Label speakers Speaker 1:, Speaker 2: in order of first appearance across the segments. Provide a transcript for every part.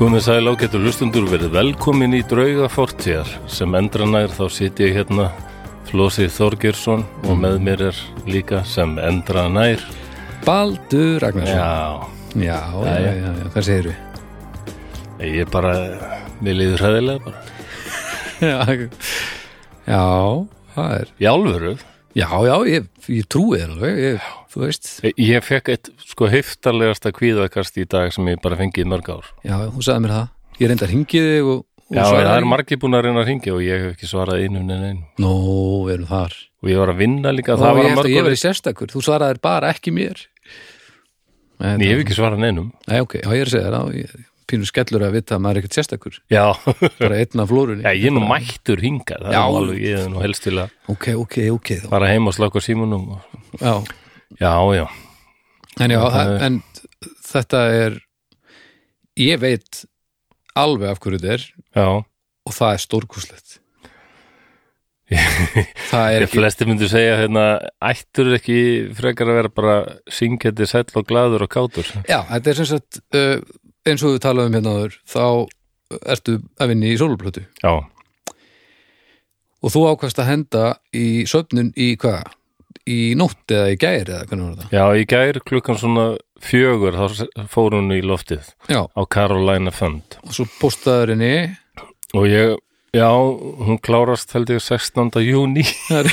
Speaker 1: Guðmið sæl ágættu lustundur verið velkomin í drauga fortíðar sem endranær þá sit ég hérna Flósið Þorgjörsson og með mér er líka sem endranær
Speaker 2: Baldur Ragnarsson
Speaker 1: Já,
Speaker 2: Já, já, já, já, já, hvað segirðu?
Speaker 1: ég bara, mér líður hræðilega bara
Speaker 2: Já, já, það er
Speaker 1: Í alvöru,
Speaker 2: Já, já, ég, ég trúi þér alveg ég, Þú veist,
Speaker 1: ég fekk eitt sko heiftarlegasta kvíðakast í dag sem ég bara fengið í mörg ár
Speaker 2: já, hún sagði mér það Ég reyndi að ringi þig og, og
Speaker 1: Já,
Speaker 2: svaraði
Speaker 1: það er
Speaker 2: ekki.
Speaker 1: margir búin að reyna að ringja og ég hef ekki svarað einu en einu
Speaker 2: Nó, við erum þar
Speaker 1: og ég var að vinna líka,
Speaker 2: Ó, ég
Speaker 1: það var að
Speaker 2: held að ég
Speaker 1: mörgur
Speaker 2: verið sérstakur, þú svaraðir bara ekki mér
Speaker 1: En ég hef ekki svarað neinum
Speaker 2: Nei, ok, já, ég er að segja það já, ég, Pínu skellur að vita að maður er ekkert sérstakur
Speaker 1: Já,
Speaker 2: Bara einn af flórunni
Speaker 1: Já, ég er nú mættur hingað það
Speaker 2: Já.
Speaker 1: er nú alveg, ég er nú helst til að
Speaker 2: Ok, ok, ok þá.
Speaker 1: fara heim og slaka á símunum og...
Speaker 2: Já,
Speaker 1: Já, já,
Speaker 2: En já, það,
Speaker 1: er-
Speaker 2: en þetta er ég veit alveg af hverju þetta er
Speaker 1: já
Speaker 2: og það er stórkúslegt Það er
Speaker 1: Ég
Speaker 2: ekki
Speaker 1: flesti myndu segja hérna ættur ekki frekar að vera bara syngjandi sæll og gladur og kátur
Speaker 2: Já, þetta er sem sagt uh, eins og við talaðum hérna áður þá ertu að vinni í sóluplötu
Speaker 1: Já,
Speaker 2: og þú ákvæmst að henda í söfnun í hvað? Í nótt eða í gæri eða hvernig var það?
Speaker 1: já, í gær klukkan svona fjögur þá s- fór hún í loftið
Speaker 2: Já,
Speaker 1: á Carolina Fund
Speaker 2: og svo postaður henni
Speaker 1: og ég, já, hún klárast held ég 16. júni
Speaker 2: Það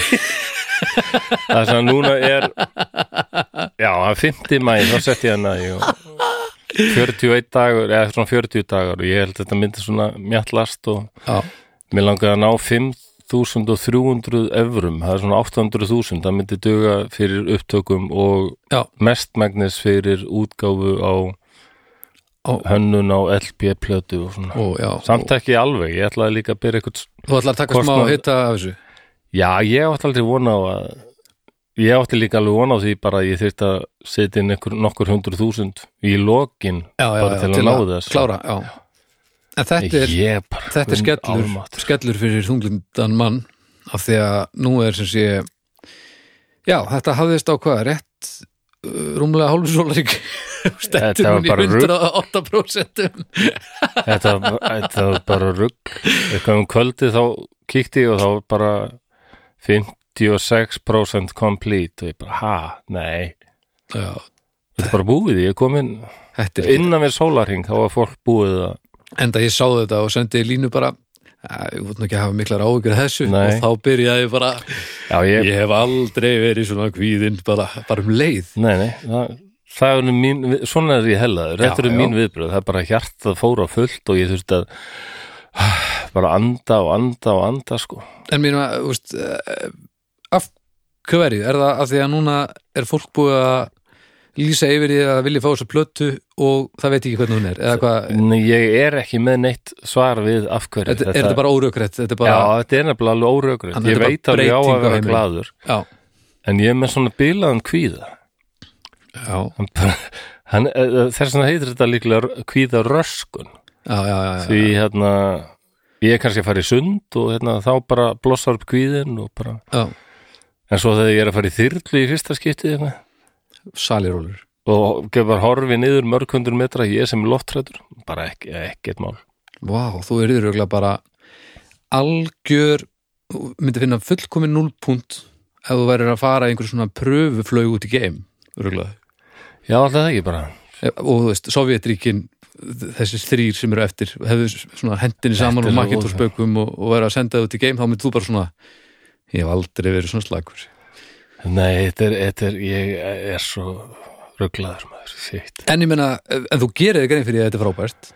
Speaker 1: þess að núna er já, að 50 mæ þá sett ég hana í og 41 dagur, eða svona 40 dagar og ég held að þetta myndi svona mjallast og
Speaker 2: Já,
Speaker 1: mér langaði að ná 5.300 evrum, það er svona 800.000 það myndi duga fyrir upptökum og
Speaker 2: já,
Speaker 1: mestmagnis fyrir útgáfu á
Speaker 2: Ó.
Speaker 1: hönnun á LP-plötu og svona
Speaker 2: og já
Speaker 1: samt ekki alveg, ég ætlaði líka að byrja eitthvað
Speaker 2: og, Þú ætlar að taka smá
Speaker 1: Kostnað-
Speaker 2: hitta af þessu
Speaker 1: Já, ég átti aldrei vona á að ég átti líka alveg vona á því bara að ég þyrfti að setja inn einhver, nokkur hundruð þúsund í lokin
Speaker 2: já, já,
Speaker 1: bara
Speaker 2: já,
Speaker 1: til að ná þess
Speaker 2: klára, já. En þetta er,
Speaker 1: Ég bara,
Speaker 2: þetta er
Speaker 1: um
Speaker 2: skellur,
Speaker 1: almáttugur.
Speaker 2: skellur fyrir þunglindan mann af því að nú er sem sé já, þetta hafðist á hvað rétt uh, rúmlega hálfur sólarík stendur
Speaker 1: Þetta var
Speaker 2: hún í
Speaker 1: bara rugl.
Speaker 2: 108%
Speaker 1: þetta, þetta var bara rugg eitthvað um kvöldi þá kíkti ég og þá var bara 56% complete og ég bara, ha, nei
Speaker 2: já,
Speaker 1: þetta er bara búið, ég kom inn
Speaker 2: þetta er
Speaker 1: innan við sólarhing, þá var fólk búið að
Speaker 2: enda ég sá þetta og sendi línu bara "Æ, ég veit nú ekki að hafa miklar áhugur af þessu
Speaker 1: Nei.
Speaker 2: og þá byrjaði ég bara
Speaker 1: Já, ég,
Speaker 2: ég hef aldrei verið svona kvíðinn bara, bara um leið
Speaker 1: Nei, nei, það, það er mín, við- svona er ég hellaður, þetta
Speaker 2: Já,
Speaker 1: eru
Speaker 2: já.
Speaker 1: mín viðbröð, það er bara hjartað fór á fullt og ég þurfti að bara anda og anda og anda sko.
Speaker 2: En mér, veist, eh, af hverju? Er það að því að núna er fólk búið að lýsa yfir því að vilja fá þessa plötu og það veit ekki hvernig hún er? Eða hvað,
Speaker 1: En ég er ekki með neitt svar við af hverju.
Speaker 2: þetta, er þetta bara órökrætt? Þetta er bara,
Speaker 1: Já, þetta er nefnilega alveg óraugrið.
Speaker 2: Þannig
Speaker 1: Ég
Speaker 2: þetta er
Speaker 1: veit
Speaker 2: bara
Speaker 1: að ég á
Speaker 2: breyting á
Speaker 1: að vera
Speaker 2: heiminum.
Speaker 1: gladur,
Speaker 2: já,
Speaker 1: en ég er með svona bilaðan kvíða.
Speaker 2: já,
Speaker 1: Hann bara- Hann, eh, þess vegna heitir þetta líklega kvíða röskun.
Speaker 2: já, já, já, já.
Speaker 1: Því hérna, ég er kannski að fara í sund og hérna, þá bara blossar upp kvíðin og bara...
Speaker 2: já.
Speaker 1: En svo þegar ég er að fara í þyrlu í fyrsta skiptið hérna,
Speaker 2: salirólur.
Speaker 1: og gefur horfi niður mörg hundur metra, ég sem loftrættur, bara ekki, ekkert mál.
Speaker 2: Vá, þú er yfiruglega bara algjör, þú myndir finna fullkomin núlpunt ef þú verður að fara í einhver svona pröfuflaug út í geim, öruglega.
Speaker 1: Já, alltaf það ekki bara.
Speaker 2: og þú veist, Sovjetríkin þessir þrýr sem eru eftir hefðu svona hendinni saman
Speaker 1: Þetta
Speaker 2: og
Speaker 1: er
Speaker 2: makint og
Speaker 1: rosa.
Speaker 2: spökum og, og verið að senda það út í geim þá myndir þú bara svona ég hef aldrei verið svona slagur
Speaker 1: Nei, þetta er, þetta er ég er svo rugglaður maður, sýtt.
Speaker 2: en ég menna, en þú gerir þig grein fyrir því að þetta er frábært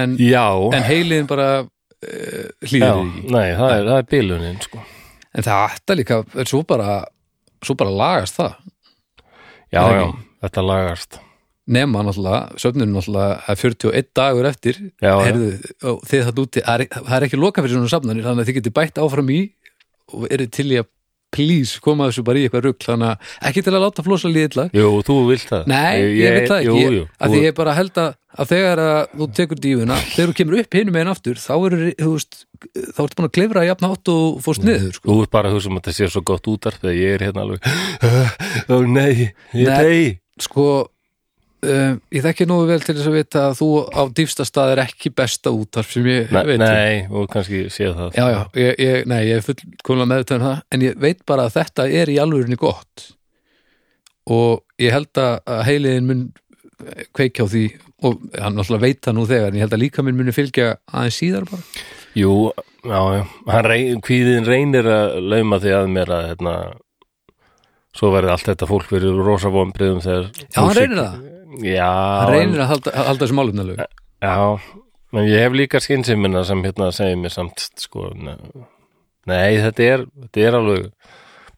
Speaker 2: en,
Speaker 1: Já,
Speaker 2: en heiliðin bara uh,
Speaker 1: já,
Speaker 2: hlýðir því ekki
Speaker 1: nei, það er, það er bílunin, sko.
Speaker 2: en það ætta líka, er svo bara svo bara lagast það Er
Speaker 1: Já,
Speaker 2: það
Speaker 1: já,
Speaker 2: ekki?
Speaker 1: þetta lagast.
Speaker 2: nema náttúrulega, söfnun náttúrulega að 41 dagur eftir
Speaker 1: Já, já.
Speaker 2: herðu, og þið það úti, það er- e, það er ekki loka fyrir svona safnanir, þannig að þið getið bætt áfram í og eru til í að please koma þessu bara í eitthvað rugl þannig að ekki til að láta flosa líði illa
Speaker 1: Jú, þú vilt það.
Speaker 2: nei, ég, veit það ekki
Speaker 1: Jú, jú,
Speaker 2: að
Speaker 1: þú,
Speaker 2: því ég bara held að, að þegar að þú tekur dífuna, þegar þú kemur upp hinum einn aftur þá eru, þú veist, þá ertu búin að klifra jafn hátt og fórst niður sko.
Speaker 1: þú ert bara að hugsa um að þetta sé svo gott útarp þegar ég er hérna alveg, ó nei, ég
Speaker 2: Nei.
Speaker 1: nei.
Speaker 2: sko, um, ég þekki nógu vel til þess að vita að þú á dýfsta stað er ekki besta útarp sem ég
Speaker 1: nei,
Speaker 2: veit um.
Speaker 1: nei, og kannski séð það
Speaker 2: Já, já, ég, ég, nei, ég er fullkomlega meðutöðan það, en ég veit bara að þetta er í alvörinni gott og ég held að að heiliðin mun kveikja á því og hann náttúrulega veit það nú þegar en ég held að líka minn muni fylgja aðeins síðar bara
Speaker 1: Jú, já, já, hann reyn, kvíðin reynir að lauma því að mér að hérna, svo verði allt þetta fólk verið rosa vonbriðum þegar
Speaker 2: Já, hann reynir það,
Speaker 1: Já,
Speaker 2: hann
Speaker 1: en-
Speaker 2: reynir að halda, að halda þessu málumnalög
Speaker 1: Já, en ég hef líka skynsýmina sem hérna segir mér samt sko, ne- nei, þetta er, þetta er alveg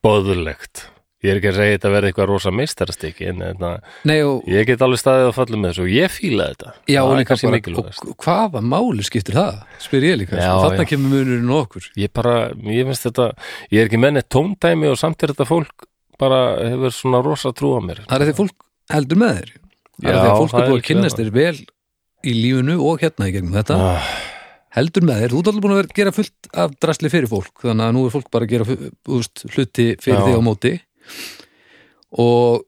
Speaker 1: boðulegt. Ég er ekki að segja að þetta verði eitthvað rosa meistarastykki, en þetta,
Speaker 2: Nei, og,
Speaker 1: ég get alveg staðið að falla með þessu og ég fíla þetta.
Speaker 2: já,
Speaker 1: það
Speaker 2: og
Speaker 1: er
Speaker 2: líka
Speaker 1: kannski
Speaker 2: bara og,
Speaker 1: mikilvægast.
Speaker 2: og hvaða máli skiptir það, spyr ég líka
Speaker 1: Já,
Speaker 2: já, þarna
Speaker 1: já.
Speaker 2: kemur munurinn á okkur
Speaker 1: Ég bara, ég finnst þetta, ég er ekki menni tóndæmi og samt er þetta fólk bara hefur svona rosa trú á mér.
Speaker 2: Það er að því fólk heldur með þeir Það er að
Speaker 1: Já,
Speaker 2: því að fólk
Speaker 1: það
Speaker 2: er
Speaker 1: er
Speaker 2: búið að
Speaker 1: líklega
Speaker 2: kynnast þeir vel í lífinu og hérna í gegnum þetta
Speaker 1: Ah,
Speaker 2: heldur með þér, þú ert alveg búin að vera, gera fullt af drasli fyrir fólk, þannig að nú er fólk bara að gera fu- úst, hluti fyrir
Speaker 1: Já.
Speaker 2: þig á móti og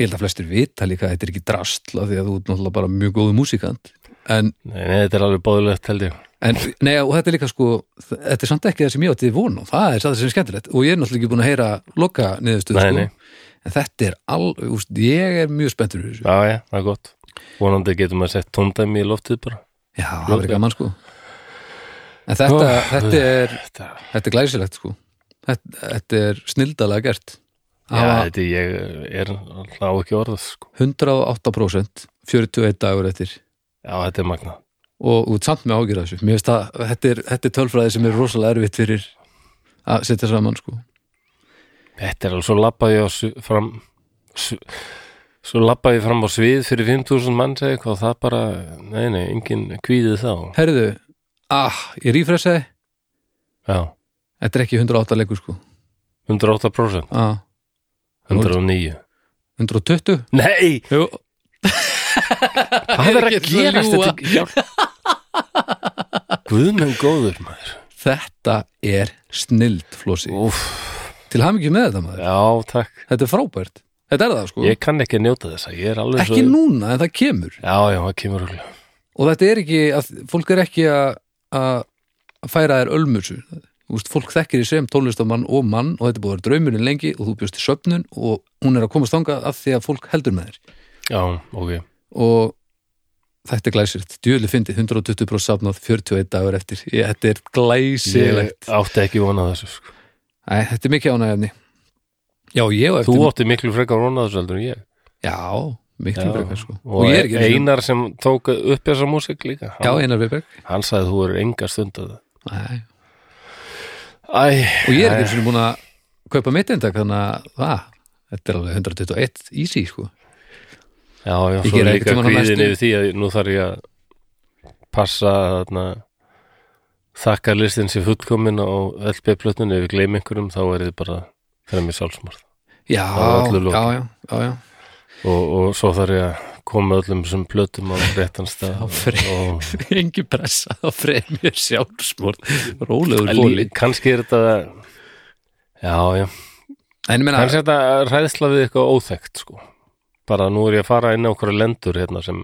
Speaker 2: ég held að flestir vita líka að þetta er ekki drasl af því að þú ert náttúrulega bara mjög góðu músikant en,
Speaker 1: nei, nei, þetta er alveg boðulegt held ég.
Speaker 2: en nei, og þetta er líka sko þetta er samt ekki það sem ég átti von á, það er það sem er skemmtilegt og ég er náttúrulega ekki búin að heyra loka niðurstöð
Speaker 1: Nei,
Speaker 2: sko,
Speaker 1: nei.
Speaker 2: en þetta er al, úst, ég er mjög spenntur fyrir þessu,
Speaker 1: Já, já, það er gott. Vonandi getum að sett tóndæmi í loftið bara.
Speaker 2: já, það verður gaman sko en þetta,
Speaker 1: Ó.
Speaker 2: þetta er
Speaker 1: Þetta,
Speaker 2: Þetta er glæsilegt sko Þetta, þetta er snildalega gert
Speaker 1: já,
Speaker 2: Það var
Speaker 1: þetta ég er alltaf ekki orðað sko.
Speaker 2: 108% 41 dagur eftir
Speaker 1: Já, þetta er magna.
Speaker 2: og út samt með ágjur þessu Mér finnst að þetta er, þetta er tölfræði sem er rosalega erfitt fyrir að setja saman sko
Speaker 1: Þetta er alveg svo labbaði ég á su- fram su- svo labbaði ég fram á svið fyrir 5.000 mann segi eitthvað og það bara, nei, nei, engin kvíði þá.
Speaker 2: Herðu, ah, ég rífressaði
Speaker 1: Já,
Speaker 2: Þetta er ekki 108 leikur sko
Speaker 1: 108%,
Speaker 2: ah,
Speaker 1: 109.
Speaker 2: 120
Speaker 1: Nei,
Speaker 2: Jú,
Speaker 1: hvað er að
Speaker 2: ekki til að
Speaker 1: gerast
Speaker 2: ljúga.
Speaker 1: þetta? Hjálp. Guðmenn góður, maður.
Speaker 2: Þetta er snild flósi
Speaker 1: Úf,
Speaker 2: Til hafa ekki með þetta maður
Speaker 1: já, takk.
Speaker 2: Þetta er frábært Þetta er það sko
Speaker 1: Ég kann ekki að njóta þessa, ég er alveg
Speaker 2: Ekki
Speaker 1: svo...
Speaker 2: núna en það kemur
Speaker 1: Já, já, það kemur alveg.
Speaker 2: og þetta er ekki að, fólk er ekki að, að að færa þér ölmusu Úst, fólk þekkir í sem tónlistamann og mann og þetta er búið að vera draumurinn lengi og þú bjóst í söfnun og hún er að komast þangað af því að fólk heldur með þér
Speaker 1: Já, ok.
Speaker 2: og þetta er glæsilegt djúli fyndið 120% safnað 41 dagur eftir ég, þetta er
Speaker 1: Ég
Speaker 2: glæsilegt
Speaker 1: átti ekki vonað þessu, sko.
Speaker 2: Æ, þetta er mikið ánægjafni já, ég og
Speaker 1: Þú
Speaker 2: eftir
Speaker 1: átti miklu frekar vonað þessu heldur en ég.
Speaker 2: já, miklu
Speaker 1: Já.
Speaker 2: brekar sko
Speaker 1: og,
Speaker 2: ég er ekki einu sinni-
Speaker 1: Einar sem tók upp þessa músík
Speaker 2: já,
Speaker 1: líka hann,
Speaker 2: einar Viberg
Speaker 1: hann sagði þú eru enga stund að
Speaker 2: Æ.
Speaker 1: það Æ,
Speaker 2: og ég er ekki einu sinni búin að kaupa mitt eindak þannig að það, þetta er alveg 121 easy sko
Speaker 1: já, já,
Speaker 2: Ég geri
Speaker 1: svo er
Speaker 2: einhvern
Speaker 1: líka
Speaker 2: tímann á
Speaker 1: kvíðin
Speaker 2: næstu.
Speaker 1: yfir því að nú þarf ég að passa þarna þakka listin sér fullkomin á LB-plötninu, ef ég gleym einhverjum þá er þið bara fyrir mér sálsmörð
Speaker 2: já,
Speaker 1: Það er öllu lokið.
Speaker 2: já, já, já, já.
Speaker 1: og, og svo þarf ég að koma öllum sem plötum á réttan stað
Speaker 2: Já, fyrir-
Speaker 1: og,
Speaker 2: engin pressa á fremjur sjálfsmorð rólegur
Speaker 1: en
Speaker 2: bóli
Speaker 1: lí- kannski er þetta já, já
Speaker 2: en ég meina,
Speaker 1: Kannski þetta ræðsla við eitthvað óþekkt sko. bara nú er ég að fara inn á okkur lendur hérna sem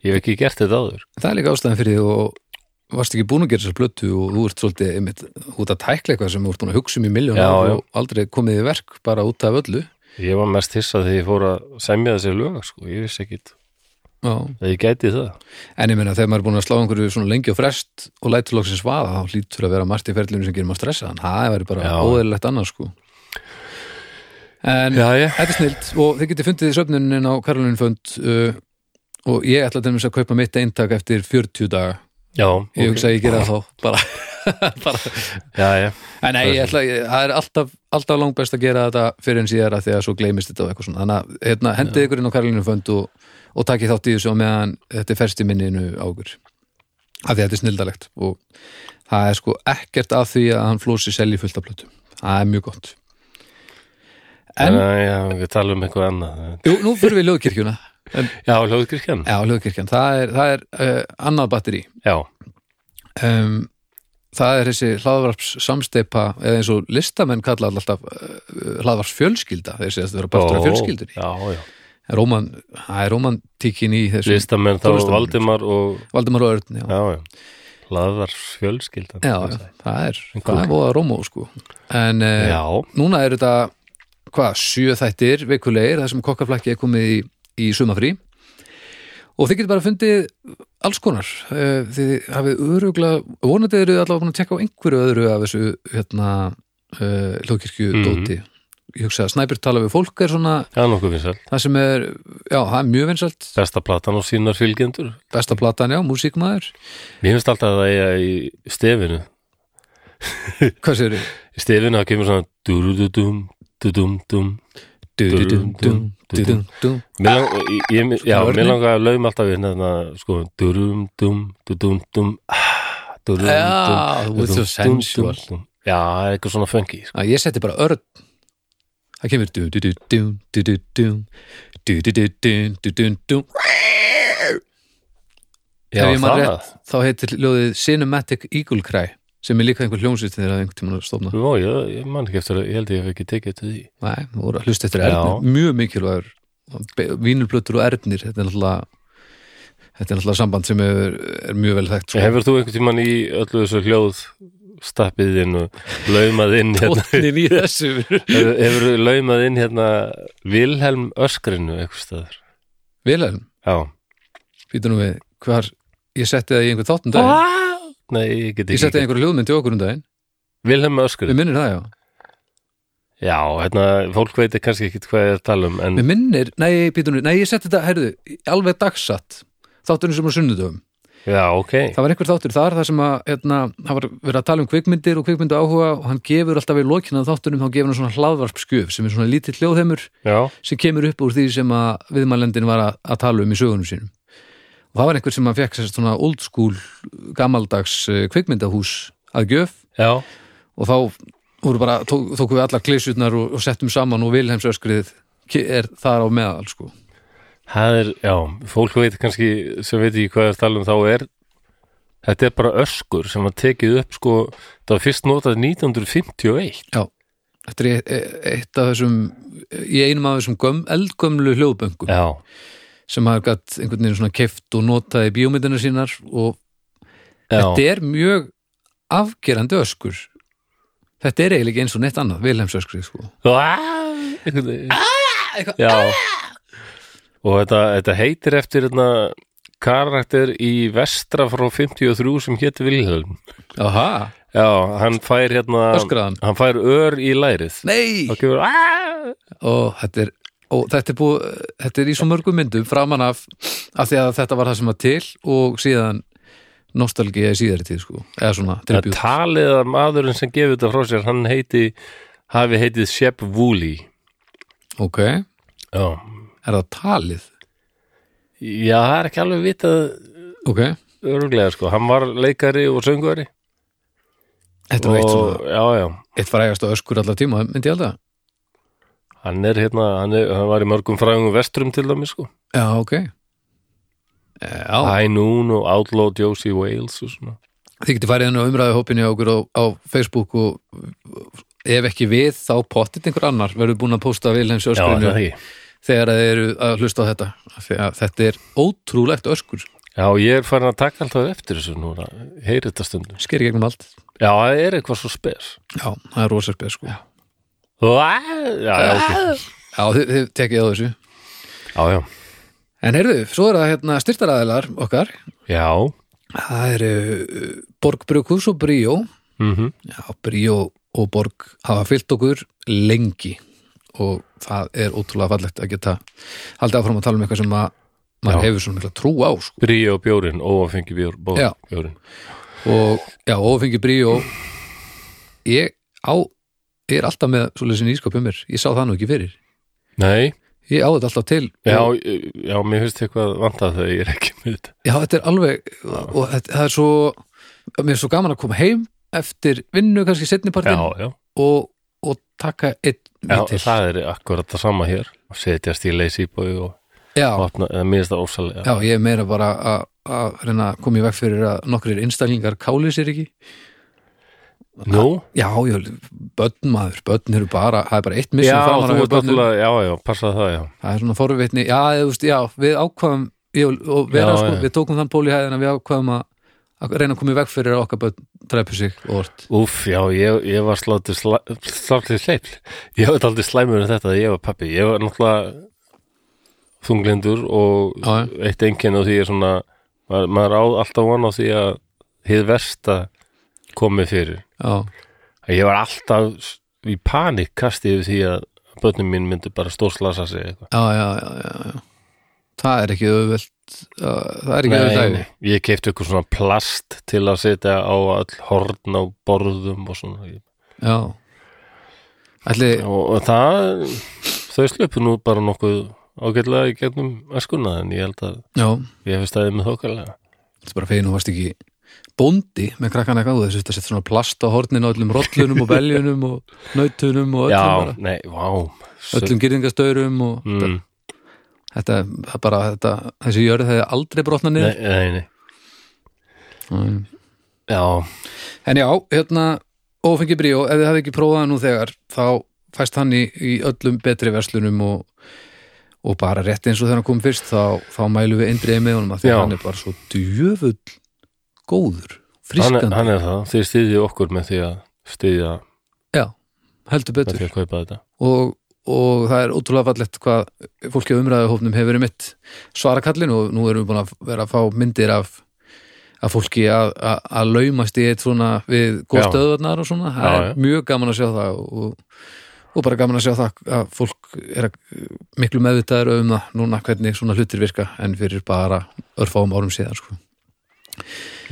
Speaker 1: ég hef ekki gert þetta áður
Speaker 2: það er líka ástæðan fyrir því og varst ekki búin að gera þessar blötu og þú ert svolítið einmitt, út að tækla eitthvað sem þú ert búin að hugsa um í miljón
Speaker 1: Já,
Speaker 2: ár
Speaker 1: já.
Speaker 2: og aldrei komið í verk bara út af öllu
Speaker 1: ég var mest hissað þegar ég fór að semja þessi lög sko. ég vissi ekkit
Speaker 2: já.
Speaker 1: að ég gæti það
Speaker 2: en ég meina þegar maður er búin að slá einhverju svona lengi og frest og lætur loksins vaða þá hlýtur að vera margt í ferlinu sem gerir maður stressa en það væri bara
Speaker 1: Já.
Speaker 2: óðurlegt annars sko en
Speaker 1: já, já.
Speaker 2: Þetta er snilt og þið getið fundið söfnunin á Karolinfönd uh, og ég ætla til dæmis að kaupa mitt eintak eftir 40 daga
Speaker 1: Já,
Speaker 2: ég hugsa að ég gera það þá bara, bara.
Speaker 1: já, já.
Speaker 2: en nei, ég ætla, ég, það er alltaf, alltaf langbest að gera þetta fyrir en síðar að því að svo gleymist þetta og eitthvað svona þannig að hérna, hendið ykkur inn á Karolinfönd og, og takið þátt í þessu og meðan þetta er ferst í minninu á okkur af því að þetta er snildalegt og það er sko ekkert af því að hann flósi selji fullt af blötu það er mjög gott En-
Speaker 1: En, já, við talum um eitthvað annað
Speaker 2: Jú, nú fyrir við í ljóðkirkjuna en
Speaker 1: já, hljóðkirkjan
Speaker 2: Já, hljóðkirkjan, það er, það er uh, annað batteri
Speaker 1: já,
Speaker 2: um, Það er þessi hlaðvarps samsteipa eða eins og eh, listamenn kalla alltaf uh, hlaðvarps fjölskylda þeir segja að þetta vera partur af fjölskyldunni
Speaker 1: já, já.
Speaker 2: Róman, það er romantíkin í þessu
Speaker 1: Listamenn þá
Speaker 2: Tónlistarmenn.
Speaker 1: Valdimar og
Speaker 2: Valdimar og Örn, já, já,
Speaker 1: já, já, laðars fjölskyldan
Speaker 2: já það er,
Speaker 1: En
Speaker 2: það
Speaker 1: kúl.
Speaker 2: er voða rómó sko en eh,
Speaker 1: já,
Speaker 2: núna er þetta hvað, sjö þættir vikulegir þar sem kokkaflakki er komið í, í sumafrí og þið getur bara fundið alls konar eh, þið hafið öruglega, vonandi eru allavega búin að tekka á einhverju öðru af þessu hérna, uh, hlókirkju
Speaker 1: Mhm.
Speaker 2: dóti ég hugsa að Snæbjörn tala við fólk er svona
Speaker 1: það er nokkuð vinsæl
Speaker 2: það sem er, já, það er mjög vinsalt
Speaker 1: besta platan og sínar fylgjendur
Speaker 2: besta platan, já, músíkmaður
Speaker 1: mér finnst alltaf að það eiga í stefinu
Speaker 2: hvað séu þið?
Speaker 1: í stefinu það kemur svona dúrududum, dudum-dum Mér lang- ég- ég- Já,
Speaker 2: Svona
Speaker 1: mér
Speaker 2: örninn.
Speaker 1: langar að lauma alltaf við hérna sko, durum-dum, dudum-dum ah, durum-dum
Speaker 2: Já, þú ert svo
Speaker 1: dudum-dum,
Speaker 2: sensual.
Speaker 1: dudum-dum. Já, eitthvað svona funky sko.
Speaker 2: að ég seti bara örn það kemur dú, dú, dú, dú, dú, dú, dú, dú, dú, dú, dú, dú, dú, dú.
Speaker 1: Já,
Speaker 2: Ef ég man
Speaker 1: það
Speaker 2: rétt, þá heitir ljóðið Cinematic Eagle Cry sem er líka einhver hljómsveit þegar einhvern tímann að stofna
Speaker 1: Jó, ég, ég man ekki eftir að ég held að ég hef ekki tekið til því
Speaker 2: Nei, þú voru að hlusta eftir
Speaker 1: Já.
Speaker 2: erðnir mjög mikilvægur vínulblötur og erðnir þetta er náttúrulega þetta er náttúrulega samband sem er, er mjög vel þekkt sko.
Speaker 1: Hefur þú einhvern tímann í öllu þessu hljóð stappið inn og laumað inn hérna,
Speaker 2: Tónninn í þessu
Speaker 1: hefur hefurðu laumað inn hérna Vilhelm Öskrinu eitthvað staðar
Speaker 2: Vilhelm,
Speaker 1: Já,
Speaker 2: býtum nú við hvar, ég setti það í einhver þáttum daginn
Speaker 1: nei, ég get
Speaker 2: ég
Speaker 1: ekki
Speaker 2: setti einhver hljóðmynd í okkur um daginn
Speaker 1: Vilhelm Öskrin
Speaker 2: við minnir það já
Speaker 1: Já, hérna, fólk veitir kannski ekkit hvað ég er að tala um en
Speaker 2: Mér minnir, nei, pítunni, nei, ég setti þetta, heyrðu, alveg dagsatt, þátturinn sem var á sunnudöfum.
Speaker 1: já, ok
Speaker 2: Það var einhver þáttur þar, þar sem að, hérna, það var verið að tala um kvikmyndir og kvikmyndu áhuga og hann gefur alltaf í lokinu af þáttunum, þá gefur hann svona hlaðvarpskjöf sem er svona lítill hljóðheimur
Speaker 1: Já,
Speaker 2: sem kemur upp úr því sem að viðmælendin var að, að tala um í sögunum sínum. Og það var einhver sem að fekk sérst svona old school gamaldags eh, kvikmyndahús að gjöf
Speaker 1: já,
Speaker 2: og þá voru bara, tók, tókum við allar klesutnar og, og settum saman og Vilhelmsöskrið er þar á meðal, sko.
Speaker 1: það er, já fólk veitir kannski, sem veit ekki hvað ég er að tala um þá er Þetta er bara öskur sem var tekið upp sko, það var fyrst notað 1951
Speaker 2: Þetta er e- eitt af þessum í einum af þessum göm, eldgömlu hljóðböngum
Speaker 1: Já,
Speaker 2: sem hafa gatt einhvern veginn svona keft og notaði bíómyndina sínar og þetta
Speaker 1: já,
Speaker 2: er mjög afgerandi öskur Þetta er eiginlega ekki eins og neitt annað, Vilhelms öskrið sko.
Speaker 1: þetta Já Og þetta, þetta heitir eftir hérna, karakter í vestra frá 53 sem hétt Vilhelm
Speaker 2: Aha,
Speaker 1: Já, hann fær hérna
Speaker 2: öskraðan
Speaker 1: hann fær ör í lærið
Speaker 2: Nei!
Speaker 1: og kemur "Ah!"
Speaker 2: Og þetta er, og þetta er, búið, þetta er í svo mörgum myndum framan af, af því að þetta var það sem var til og síðan nostalgía í síðari tíð sko. eða svona,
Speaker 1: Það
Speaker 2: tribut
Speaker 1: talið að maðurinn sem gefur þetta frá sér hann heiti, hafi heitið Shep Woolley
Speaker 2: Ok, er
Speaker 1: Já,
Speaker 2: það talið?
Speaker 1: Já það er ekki alveg vitað
Speaker 2: Ok,
Speaker 1: öruglega sko, hann var leikari og söngari
Speaker 2: þetta var eitt svona
Speaker 1: og já, já,
Speaker 2: eitt frægast og öskur allar tíma, myndi ég held að
Speaker 1: hann er hérna hann, er, hann var í mörgum frægum vestrum til dæmis sko
Speaker 2: Já, ok Já,
Speaker 1: High Noon og Outlaw Josie Wales og svona
Speaker 2: þið getið farið inn á umræðu hópinni á okkur á, á Facebook og ef ekki við þá pottit einhver annar verður búin að pósta Vilheims öskurinu
Speaker 1: ekki
Speaker 2: þegar þeir eru að hlusta á þetta þegar þetta er ótrúlegt öskur
Speaker 1: Já, ég er farin að taka alltaf eftir þessu núna heyrið þetta stundum
Speaker 2: sker í gegnum allt
Speaker 1: Já, það er eitthvað svo spes
Speaker 2: Já, það er rosa spes sko Já,
Speaker 1: Vá, Já, já, ok
Speaker 2: þið, þið tekið á þessu
Speaker 1: Já, já
Speaker 2: En heyrðu, svo er það hérna styrtaraðilar okkar
Speaker 1: Já,
Speaker 2: það eru uh, Borg Brukus og Bríó
Speaker 1: mhm
Speaker 2: Já, Bríó og Borg hafa fyllt okkur lengi og það er ótrúlega fallegt að geta haldið áfram að tala um eitthvað sem að maður
Speaker 1: Já.
Speaker 2: hefur svona mikla trú á sko.
Speaker 1: Bríu og bjórin, óafengi bjór, bó,
Speaker 2: Já.
Speaker 1: bjórin
Speaker 2: og já, ofingi Bríó ég á ég er alltaf með svoleiðis nýskap um mér ég sá það nú ekki fyrir,
Speaker 1: Nei,
Speaker 2: ég á þetta alltaf til
Speaker 1: já,
Speaker 2: og,
Speaker 1: já, mér finnst eitthvað vantað þegar ég er ekki með þetta
Speaker 2: já þetta er alveg og þetta, það er svo mér er svo gaman að koma heim eftir vinnu kannski setnipartin
Speaker 1: Já, já,
Speaker 2: og, og taka einn
Speaker 1: já
Speaker 2: vítil.
Speaker 1: það er akkurat það sama hér að setjast í leysi í bói og
Speaker 2: já,
Speaker 1: opna, eða minnst það ósalega
Speaker 2: Já, ég er meira bara að- að reyna að koma í veg fyrir að nokkrir einstaklingar káli sér ekki
Speaker 1: Nú?
Speaker 2: Já, já, börn maður, börn eru bara, það er bara eitt
Speaker 1: Já,
Speaker 2: missun framar
Speaker 1: þú
Speaker 2: að
Speaker 1: ert
Speaker 2: börnum.
Speaker 1: alltaf, já, já, passa það, já.
Speaker 2: Það er svona forvitni, já, eða, þú veist, já, við ákvaðum, ég og- og vera,
Speaker 1: Já,
Speaker 2: sko,
Speaker 1: já.
Speaker 2: við tókum þann ból í hæðina, við ákvaðum að, að reyna að koma í veg fyrir að okkar börn drepu sig og orð.
Speaker 1: Úff, já, ég, ég var sláttir sláttir sleipl. Ég var aldrei slæmur en þetta að ég var pappi. Ég var náttúrulega þunglindur og
Speaker 2: Já,
Speaker 1: eitt einkenni á því er svona maður, maður á alltaf von á því að hið versta komi fyrir.
Speaker 2: já,
Speaker 1: Að Ég var alltaf í panik kastið yfir því að börnum mín myndu bara stórslasa sig eitthvað.
Speaker 2: já, já, já, já, já. Það er ekki auðvelt, uh, það er ekki auðvelt dæmi.
Speaker 1: ég keipti eitthvað svona plast til að setja á all horn á borðum og svona. Ég
Speaker 2: Já. Ætli,
Speaker 1: og, og það þau sluppu nú bara nokkuð ágætlega í gegnum eskuna en ég held að
Speaker 2: já,
Speaker 1: ég hef stæðið með þókarlega
Speaker 2: þetta er bara fegin og varst ekki bóndi með krakkana eitthvað, þessi þetta sett svona plast á hornin á öllum rollunum og beljunum og nautunum og öllum
Speaker 1: já,
Speaker 2: bara.
Speaker 1: nei, vá Sull-
Speaker 2: öllum gyrðingastörum og
Speaker 1: mm,
Speaker 2: þetta, það er bara, þetta, þessi jörð hefði aldrei brotna
Speaker 1: nei,
Speaker 2: niður
Speaker 1: nei, nei,
Speaker 2: Nei.
Speaker 1: já,
Speaker 2: en já, hérna ófengi bríó, ef þið hafið ekki prófað hann nú þegar þá fæst hann í, í öllum betri verslunum og, og bara rétt eins og þegar hann kom fyrst þá, þá mælum við eindriði með honum að því
Speaker 1: Já.
Speaker 2: að hann er bara svo djöfull góður,
Speaker 1: hann, er-
Speaker 2: frískandi
Speaker 1: hann er það þið styðið okkur með því að styðja
Speaker 2: já, heldur
Speaker 1: með
Speaker 2: betur
Speaker 1: því að kaupa þetta
Speaker 2: og, og það er ótrúlega fallegt hvað fólki á umræðuhófnum hefur mitt svara kallin og nú erum við búin að vera að fá myndir af að fólki að, að, að laumast í eitt svona við
Speaker 1: Já.
Speaker 2: góðstöðvarnar og svona það
Speaker 1: Já,
Speaker 2: er
Speaker 1: já.
Speaker 2: mjög gaman að sjá það og, og bara gaman að sjá það að fólk er að, miklu meðvitaður um það núna hvernig svona hlutir virka en fyrir bara örfáum árum síðan sko.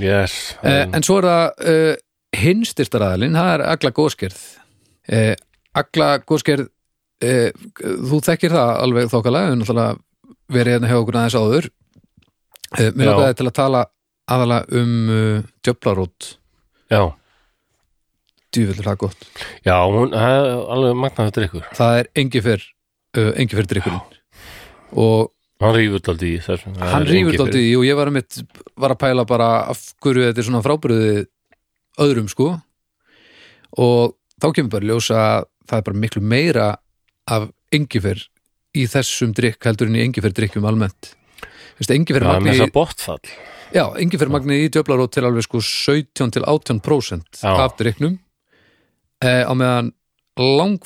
Speaker 1: yes,
Speaker 2: Eh, en svo er það uh, hinn styrtaraðalinn, það er Agla Góskerð uh, Agla Góskerð uh, þú þekkir það alveg þókala, við náttúrulega verið hérna hjá okkur aðeins áður uh, mér
Speaker 1: Já.
Speaker 2: lakaði til að tala aðala um uh, djöflarót
Speaker 1: já,
Speaker 2: djúvillur það gott,
Speaker 1: já, hún það er alveg magnaður drikkur
Speaker 2: það er engi fyrr uh, engi fyrr drikkurinn og
Speaker 1: hann rýfur daldi í þessum það
Speaker 2: hann
Speaker 1: er
Speaker 2: rýfur
Speaker 1: engi
Speaker 2: dálítið í og ég var að mitt var að pæla bara af hverju þetta er svona frábriði öðrum sko og þá kemur bara í ljós að það er bara miklu meira af engifer í þessum drikk heldur en í engifer drikkjum almennt Vist, engifer
Speaker 1: fyrir. það er með
Speaker 2: magni,
Speaker 1: þess að bóttfall
Speaker 2: já, engifer magni í djöflarót til alveg sko 17 til 18%
Speaker 1: Já.
Speaker 2: af drikknum eh, á meðan lang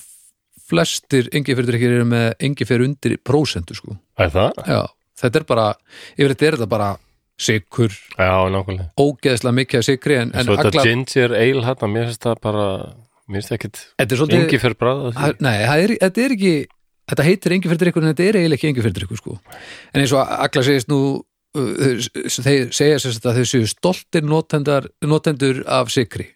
Speaker 2: flestir engifer drikkir eru með engifer undir prósentu sko
Speaker 1: er það?
Speaker 2: Já, þetta er bara, yfirleitt er þetta bara sikur,
Speaker 1: já, nákvæmlega
Speaker 2: ógeðslega mikið af sikri en, en
Speaker 1: svo þetta
Speaker 2: alla,
Speaker 1: ginger ale hann, mér finnst það bara mér finnst ekkit
Speaker 2: þetta er svolítið
Speaker 1: Engi fer bræða því
Speaker 2: að, nei, það er, þetta er ekki þetta heitir engi fyrir drikkur en þetta er eiginlega ekki engi fyrir drikkur sko. en eins og alla segist nú uh, þeir þeir segja sérst að þau séu stoltir notendar, notendur af sikri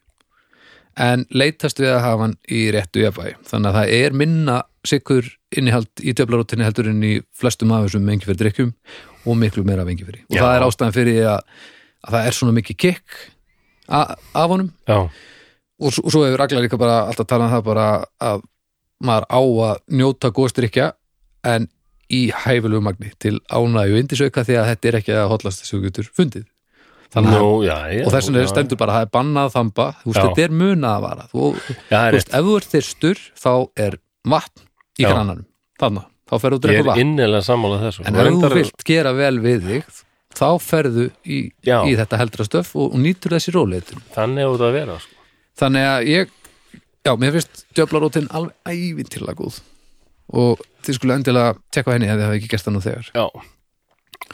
Speaker 2: en leitast við að hafa hann í réttu jafnvægi þannig að það er minna sikur innihald í djöflarótinni heldur en í flestum af þessum engi fyrir drikkjum og miklu meira af engi fyrir og
Speaker 1: Já.
Speaker 2: það er ástæðan fyrir því að, að það er svona mikið kikk a- af honum
Speaker 1: Já,
Speaker 2: og, s- og svo hefur Ragnar líka bara alltaf talað um það bara að maður á að njóta góðstrykja en í hæfilegu magni til ánægju indisauka því að þetta er ekki að hotlast þessu getur fundið Þannig að-
Speaker 1: Nú, já, já,
Speaker 2: og þess vegna er
Speaker 1: já.
Speaker 2: stendur bara að það er bannað að þamba þú veist
Speaker 1: Já.
Speaker 2: þetta er munað að vara þú,
Speaker 1: Já, það
Speaker 2: þú
Speaker 1: er rétt.
Speaker 2: veist ef þú ert þyrstur þá er vatn í
Speaker 1: Já.
Speaker 2: grannanum þannig þá ferðu að
Speaker 1: Ég
Speaker 2: drekka
Speaker 1: er
Speaker 2: vatn
Speaker 1: innilega sammála
Speaker 2: en
Speaker 1: þessu Og
Speaker 2: ef þú
Speaker 1: reyndar-
Speaker 2: vilt gera vel við þig þá ferðu í,
Speaker 1: Já.
Speaker 2: í þetta heldra stöf og, og nýtur þessi róleitur
Speaker 1: Þannig á þetta að vera sko.
Speaker 2: þannig að ég já, mér finnst djöflarótin alveg ævintilega góð og þið skulle endilega tekka henni ef þið hafa ekki gert það nú þegar
Speaker 1: Já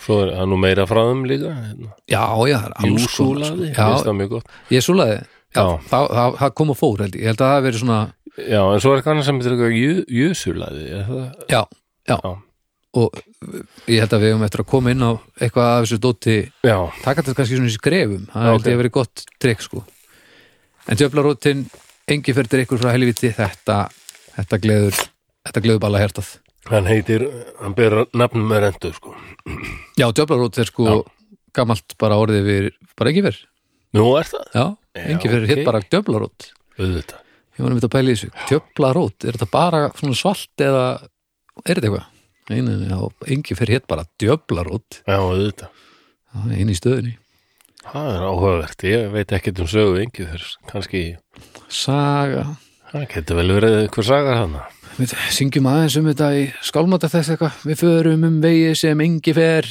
Speaker 1: Svo er það nú meira frá þeim líka hérna.
Speaker 2: já, já, það er alls konar, sko.
Speaker 1: Júsúlaði, finnst það mjög gott
Speaker 2: já, ég súlaði já,
Speaker 1: Já.
Speaker 2: það, það, það kom og fór held ég, ég held að það hafi verið svona
Speaker 1: Já, en svo er eitthvað annað sem heitir eitthvað jú- júsúlaði er það-
Speaker 2: já, já,
Speaker 1: Já.
Speaker 2: og ég held að við hefum eftir að koma inn á eitthvað af þessu dóti
Speaker 1: Já,
Speaker 2: taka þetta kannski svona í skrefum það
Speaker 1: Já,
Speaker 2: held ég
Speaker 1: ok.
Speaker 2: að verið gott trikk sko en djöflarótin, engi fyrir drikkur frá helviti þetta, þetta gleður þetta gleður bara hértað
Speaker 1: hann heitir hann ber nafnum með rendu sko.
Speaker 2: Já, djöflarót er sko gamalt bara orðið við, bara engifer
Speaker 1: Nú er það,
Speaker 2: Já, engifer okay.
Speaker 1: ok.
Speaker 2: hitt bara djöflarót
Speaker 1: auðvitað
Speaker 2: Ég var að mynda að pæla í þessu, djöflarót er þetta bara svona svalt eða er þetta eitthvað? Nei, nei, nei, já, engifer hitt bara djöflarót
Speaker 1: Já, auðvitað
Speaker 2: inn í stöðinni
Speaker 1: það er áhugavert, ég veit ekkert um sögu engi þess, kannski,
Speaker 2: Saga
Speaker 1: það getur vel verið hver sagar hana.
Speaker 2: Við syngjum aðeins um þetta í skálmata þess eitthvað Við förum um vegi sem engi fer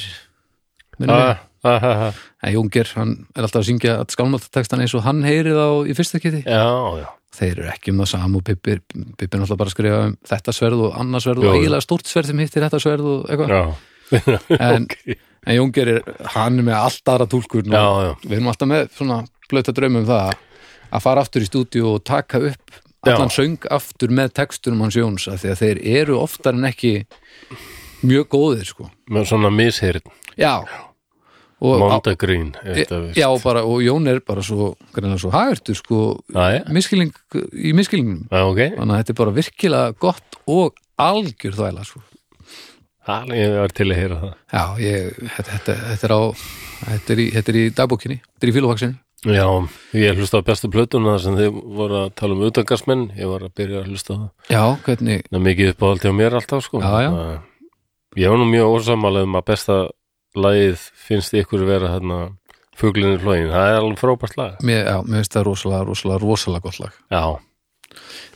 Speaker 2: Minnum við
Speaker 1: Ah, ah, ah, ah.
Speaker 2: En Jónger, hann er alltaf að syngja að skálmáltatekstan eins og hann heyri þá í fyrsta kiti.
Speaker 1: Já, já,
Speaker 2: Þeir eru ekki um það sama og Pippi, Pippi er náttúrulega bara að skrifa um þetta sverð og annars sverð
Speaker 1: Jú,
Speaker 2: og
Speaker 1: jú.
Speaker 2: eiginlega stórt sverð sem hittir þetta sverð og eitthvað.
Speaker 1: já,
Speaker 2: En,
Speaker 1: ok.
Speaker 2: en Jónger er, hann er með allt aðra túlkur.
Speaker 1: já,
Speaker 2: og
Speaker 1: já,
Speaker 2: Við erum alltaf með svona blöta draum um það að fara aftur í stúdíu og taka upp
Speaker 1: Já.
Speaker 2: allan söng aftur með textunum hans Jóns af því að þeir eru oftar en ekki mjög góðir sko.
Speaker 1: með svona mishyrn,
Speaker 2: Já. Og,
Speaker 1: mondagrín,
Speaker 2: Já, bara, og Jón er bara svo, greinlega svo hagurtur sko,
Speaker 1: já,
Speaker 2: miskiling í miskilingum
Speaker 1: já, ok.
Speaker 2: þannig að þetta er bara virkilega gott og algjör þvæla sko.
Speaker 1: Það ég var til að heyra það.
Speaker 2: Já, ég, þetta, þetta, þetta er á þetta er í, þetta er í dagbókinni, þetta er í fílofaksinni
Speaker 1: Já, ég hlusta á bestu plötuna þar sem þið voru að tala um utangarsmenn, ég var að byrja að hlusta á það.
Speaker 2: Já, hvernig,
Speaker 1: Það er mikið uppáhaldi á mér alltaf, sko.
Speaker 2: Já, já.
Speaker 1: Það- Ég var nú mjög ósamála um að besta lagið finnst ykkur vera hérna fuglinni flógin. Það er alveg frábært lag.
Speaker 2: mér, já, mér finnst það rosalega, rosalega, rosalega gott lag
Speaker 1: Já,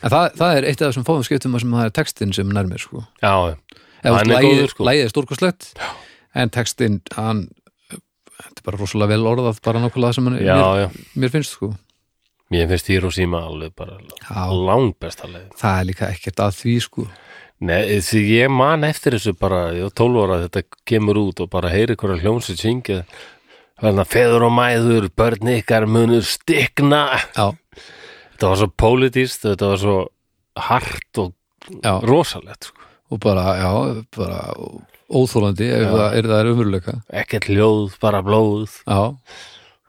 Speaker 2: en það, það er eitt af þessum fáum skiptum þar sem það er textin sem nærmir sko.
Speaker 1: já,
Speaker 2: eða
Speaker 1: Hann
Speaker 2: þú
Speaker 1: er
Speaker 2: veist,
Speaker 1: góður,
Speaker 2: lagið-
Speaker 1: sko.
Speaker 2: lagið er stórkostlegt en textin, hann þetta er bara rosalega vel orðað bara nákvæmlega sem hann,
Speaker 1: já,
Speaker 2: mér,
Speaker 1: já.
Speaker 2: mér finnst sko.
Speaker 1: Mér finnst Hiroshima alveg bara
Speaker 2: Já.
Speaker 1: langbesta lagið.
Speaker 2: það er líka ekkert að því sko.
Speaker 1: Nei, eh, því ég man eftir þessu bara, ég var 12 ára þetta kemur út og bara heyri hverja hljómsið syngja þannig að feður og mæður, börn ykkar munur stikna
Speaker 2: já,
Speaker 1: Þetta var svo pólitíst, þetta var svo hart og
Speaker 2: já,
Speaker 1: rosalegt sko.
Speaker 2: og bara, já, bara óþólandi ef það er það er umveruleika
Speaker 1: ekkert ljóð, bara blóð
Speaker 2: já,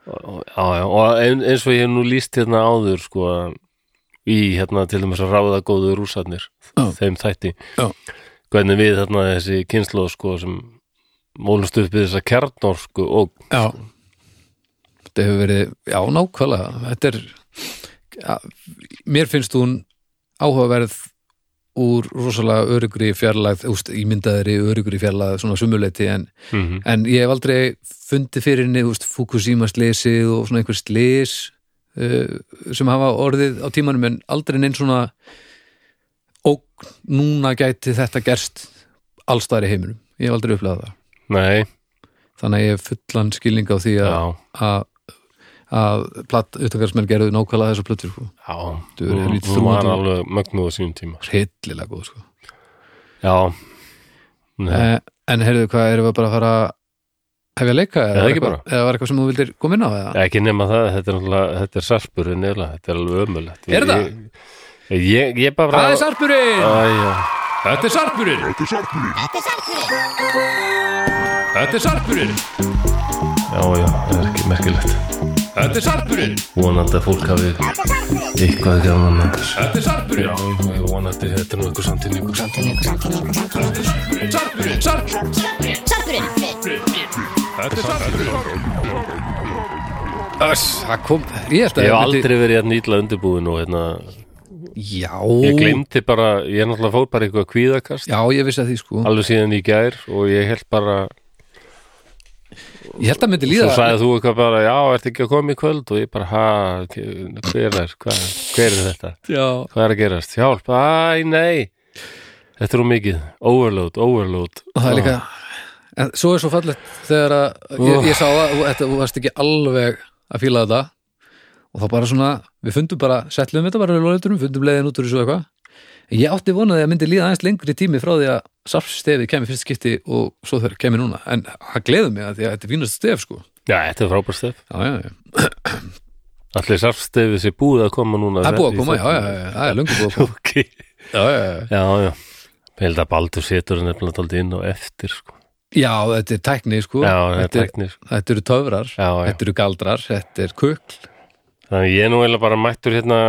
Speaker 1: og, já, já, og ein, eins og ég hef nú líst hérna áður sko, í hérna til þess að ráða góðu rúsarnir
Speaker 2: Já.
Speaker 1: þeim þætti
Speaker 2: Já.
Speaker 1: hvernig við þarna þessi kynslu sko, sem mólust upp við þessa kjarnorku og
Speaker 2: já þetta hefur verið, já, nákvæmlega þetta er ja, mér finnst hún áhugaverð úr rosalega örugri fjarlægð, úst, ímyndaðri örugri fjarlægð, svona sumuleiti en,
Speaker 1: mm
Speaker 2: en ég hef aldrei fundið fyrir henni, úst, Fukushima slesi og svona einhver slis uh, sem hafa orðið á tímanum en aldrei neinn svona og núna gæti þetta gerst allstæðar í heiminum ég hef aldrei upplegað það
Speaker 1: Nei,
Speaker 2: þannig að ég hef fullan skilning á því
Speaker 1: já,
Speaker 2: að- að að platt utangarsmenn gerðu nákvæmlega þessar plötur sko.
Speaker 1: já
Speaker 2: Þú er helvítið
Speaker 1: Hún var
Speaker 2: þrúgandi.
Speaker 1: alveg mögnuð á sínum tíma
Speaker 2: hryllilega góð sko.
Speaker 1: Já Nei,
Speaker 2: eh, en heyrðu hvað erum við bara að fara hef ég að leika
Speaker 1: Eða
Speaker 2: var
Speaker 1: ekki
Speaker 2: eitthvað, eða var eitthvað sem þú vildir koma inn á eða?
Speaker 1: ekki nema það, þetta er, náttúrulega- þetta er sarpurinn eða, þetta er alveg ömulegt
Speaker 2: Er það?
Speaker 1: Ég, ég, ég bara
Speaker 2: það er sarpurinn
Speaker 1: Æja,
Speaker 2: þetta er sarpurinn þetta er sarpurinn
Speaker 1: já, já, það er ekki merkilegt
Speaker 2: þetta er sarpurinn
Speaker 1: Vonandi að fólk hafi eitthvað gaman að þessu.
Speaker 2: þetta er sarpurinn
Speaker 1: Já, ég vonandi þetta er nú eitthvað samtíningur
Speaker 2: sarpurinn sarpurinn þetta er sarpurinn Öss, það kom ég held að
Speaker 1: Ég hef
Speaker 2: myndi-
Speaker 1: aldrei verið hérna ítla undirbúin og hérna
Speaker 2: Já,
Speaker 1: Ég glemdi bara, ég er náttúrulega fór bara í eitthvað kvíðakast
Speaker 2: já, ég vissi að því sko
Speaker 1: Alveg síðan í gær og ég held bara
Speaker 2: Ég held að myndi líða
Speaker 1: Svo sagði þú eitthvað bara, já, ertu ekki að koma í kvöld og ég bara, ha, hver er, hva, hver er þetta?
Speaker 2: Já,
Speaker 1: Hvað er að gerast? Hjálp, æ, nei Þetta er úr mikið, overload, overload
Speaker 2: og það er líka En svo er svo fallegt þegar að ég, ég sá að þú- þetta, þú varst ekki alveg að fíla þetta og þá bara svona, við fundum bara settlum þetta bara í lóðurum, fundum leiðin út úr þessu og eitthvað En ég átti vonaði að myndi líða aðeins lengri tími frá því að sarpstefið kemur fyrst skipti og svo þegar kemur núna en það gleður mig að því að þetta er fínast stef sko
Speaker 1: Já, þetta er frábær stef
Speaker 2: Já, já, já,
Speaker 1: Allir sarfstefið sé búið að koma núna
Speaker 2: það er búið að koma, já, já, já, já, það er löngu búið að koma
Speaker 1: Ok,
Speaker 2: Já, já, já,
Speaker 1: já, já Ég held að Baldur setur nefnilega aldrei inn og eftir sko.
Speaker 2: já, þetta er tækni sko,
Speaker 1: Já, þetta er
Speaker 2: þetta, er,
Speaker 1: teknir sko.
Speaker 2: þetta eru töfrar
Speaker 1: Já, já.
Speaker 2: þetta eru galdrar, þetta er kukl
Speaker 1: Þannig ég er nú eiginlega bara mættur hérna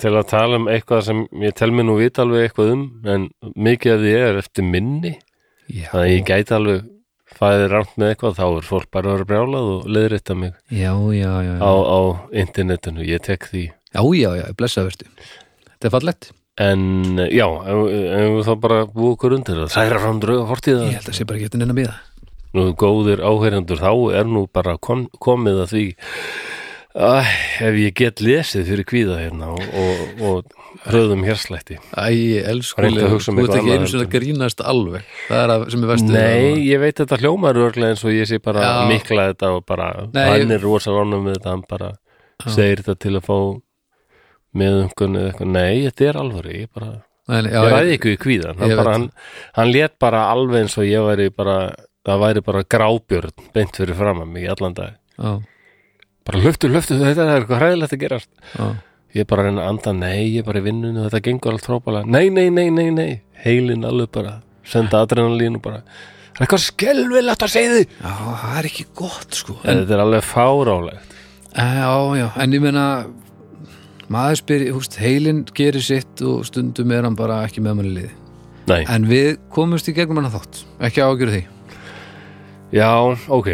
Speaker 1: til að tala um eitthvað sem ég tel mér nú vita alveg eitthvað um en mikið af því er eftir minni
Speaker 2: Já,
Speaker 1: þannig að ég gæti alveg fæði rámt með eitthvað þá er fólk bara að vera brjálað og leiðrita mig
Speaker 2: já, já, já, já.
Speaker 1: á, á internetinu, ég tek því
Speaker 2: Já, já, já, blessavertu Þetta er fallegt
Speaker 1: en eh, já, ef ef við þá bara búið okkur undir það særa fram drauga fortíða
Speaker 2: Ég held að sé bara ekki eftir neina býða
Speaker 1: nú góðir áheyrendur þá er nú bara kom, komið að því Æ, ef ég get lesið fyrir kvíða hérna og, og, og hröðum hérslætti
Speaker 2: Æ, elskuleg,
Speaker 1: Reyndu að hugsa
Speaker 2: þú
Speaker 1: um
Speaker 2: ert ekki
Speaker 1: eitthvað annað
Speaker 2: einu sinni að
Speaker 1: heldur.
Speaker 2: grínast alveg Það er að sem er vestu
Speaker 1: Nei, ég veit þetta hljómar örglega eins og ég sé bara
Speaker 2: Já.
Speaker 1: mikla þetta og bara
Speaker 2: Nei,
Speaker 1: hann
Speaker 2: ég-
Speaker 1: er rosa ránum með þetta hann bara segir þetta til að fá meðumkun eða eitthvað Nei, þetta er alvöru, ég bara
Speaker 2: Nei, nei, já,
Speaker 1: ég
Speaker 2: ég-
Speaker 1: ræði ekki við kvíðan hann,
Speaker 2: ég
Speaker 1: bara,
Speaker 2: veit.
Speaker 1: hann, hann lét bara alveg eins og ég væri bara það væri bara grábjörn beint fyrir framan mig í allan dag
Speaker 2: já,
Speaker 1: bara löftu, löftu, þetta er eitthvað hræðilegt að gerast
Speaker 2: já.
Speaker 1: ég er bara að reyna að anda, nei, ég er bara í vinnunni þetta gengur alveg trópalega, nei, nei, nei, nei, nei heilin alveg bara, senda adrenalín og bara, það er eitthvað skelvilegt að segja því
Speaker 2: já, það er ekki gott sko en,
Speaker 1: þetta er alveg fárálegt
Speaker 2: Já, já, en ég meina maður spyr, húst, heilin gerir sitt og stundum er hann bara ekki með manni í liði
Speaker 1: nei,
Speaker 2: En við komumst í gegnum hann þátt Ekki ágjöru því
Speaker 1: já, ok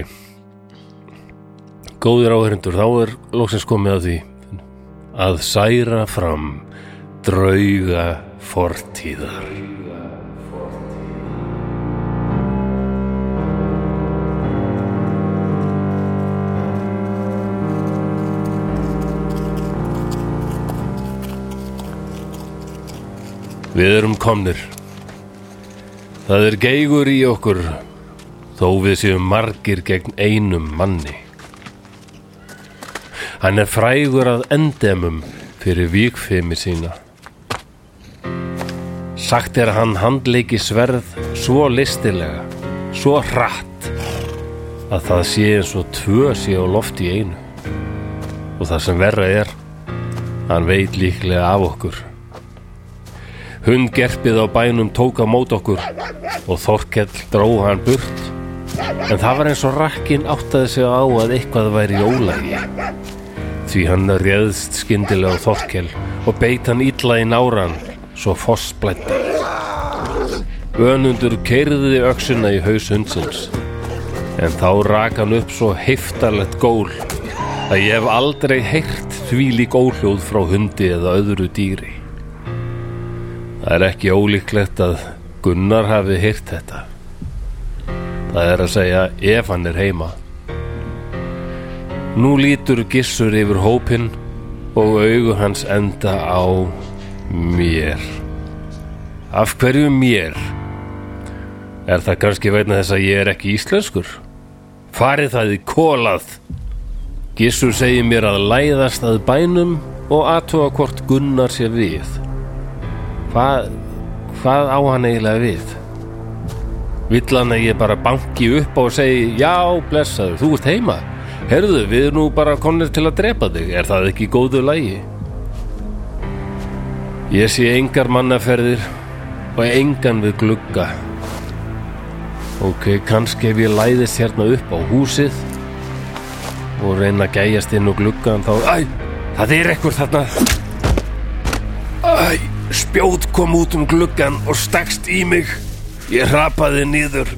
Speaker 1: góðir áherindur, þá er lóksins komið að því að særa fram drauga fortíðar Við erum komnir. Það er geigur í okkur, þó við séum margir gegn einum manni. Hann er frægur að endemum fyrir víkfemi sína. Sagt er að hann handleiki sverð svo listilega, svo hratt, að það sé eins og tvö sé á lofti í einu. Og það sem verra er, hann veit líklega af okkur. Hundgerpið á bænum tók á mót okkur og Þorkell dró hann burt en það var eins og rakkin áttaði sig á að eitthvað væri í ólægi því hann réðst skyndilega á Þorkel og beit hann illa í náran svo fossblætti Önundur keirði öksuna í haus hundsins en þá rak hann upp svo heiftarlegt gól að ég hef aldrei heyrt því lík óhljóð frá hundi eða öðru dýri Það er ekki ólíklegt að Gunnar hafi heyrt þetta Það er að segja ef hann er heima Nú lítur gissur yfir hópinn og augu hans enda á mér Af hverju mér? Er það kannski veitna þess að ég er ekki íslenskur? Farið það í kólað Gissur segir mér að læðast að bænum og aðtóa hvort Gunnar sé við Hvað, hvað á hann eiginlega við? Vill hann að ég bara banki upp á og segi Já, blessaður, þú ert heima Herðu, við erum nú bara konir til að drepa þig Er það ekki í góðu lægi? Ég sé engar mannaferðir og engan við glugga Ok, kannski ef ég læðist hérna upp á húsið og reyna að gæjast inn og gluggan þá Æ, það er ekkur þarna Æ, spjót kom út um gluggan og stakst í mig. Ég hrapaði niður.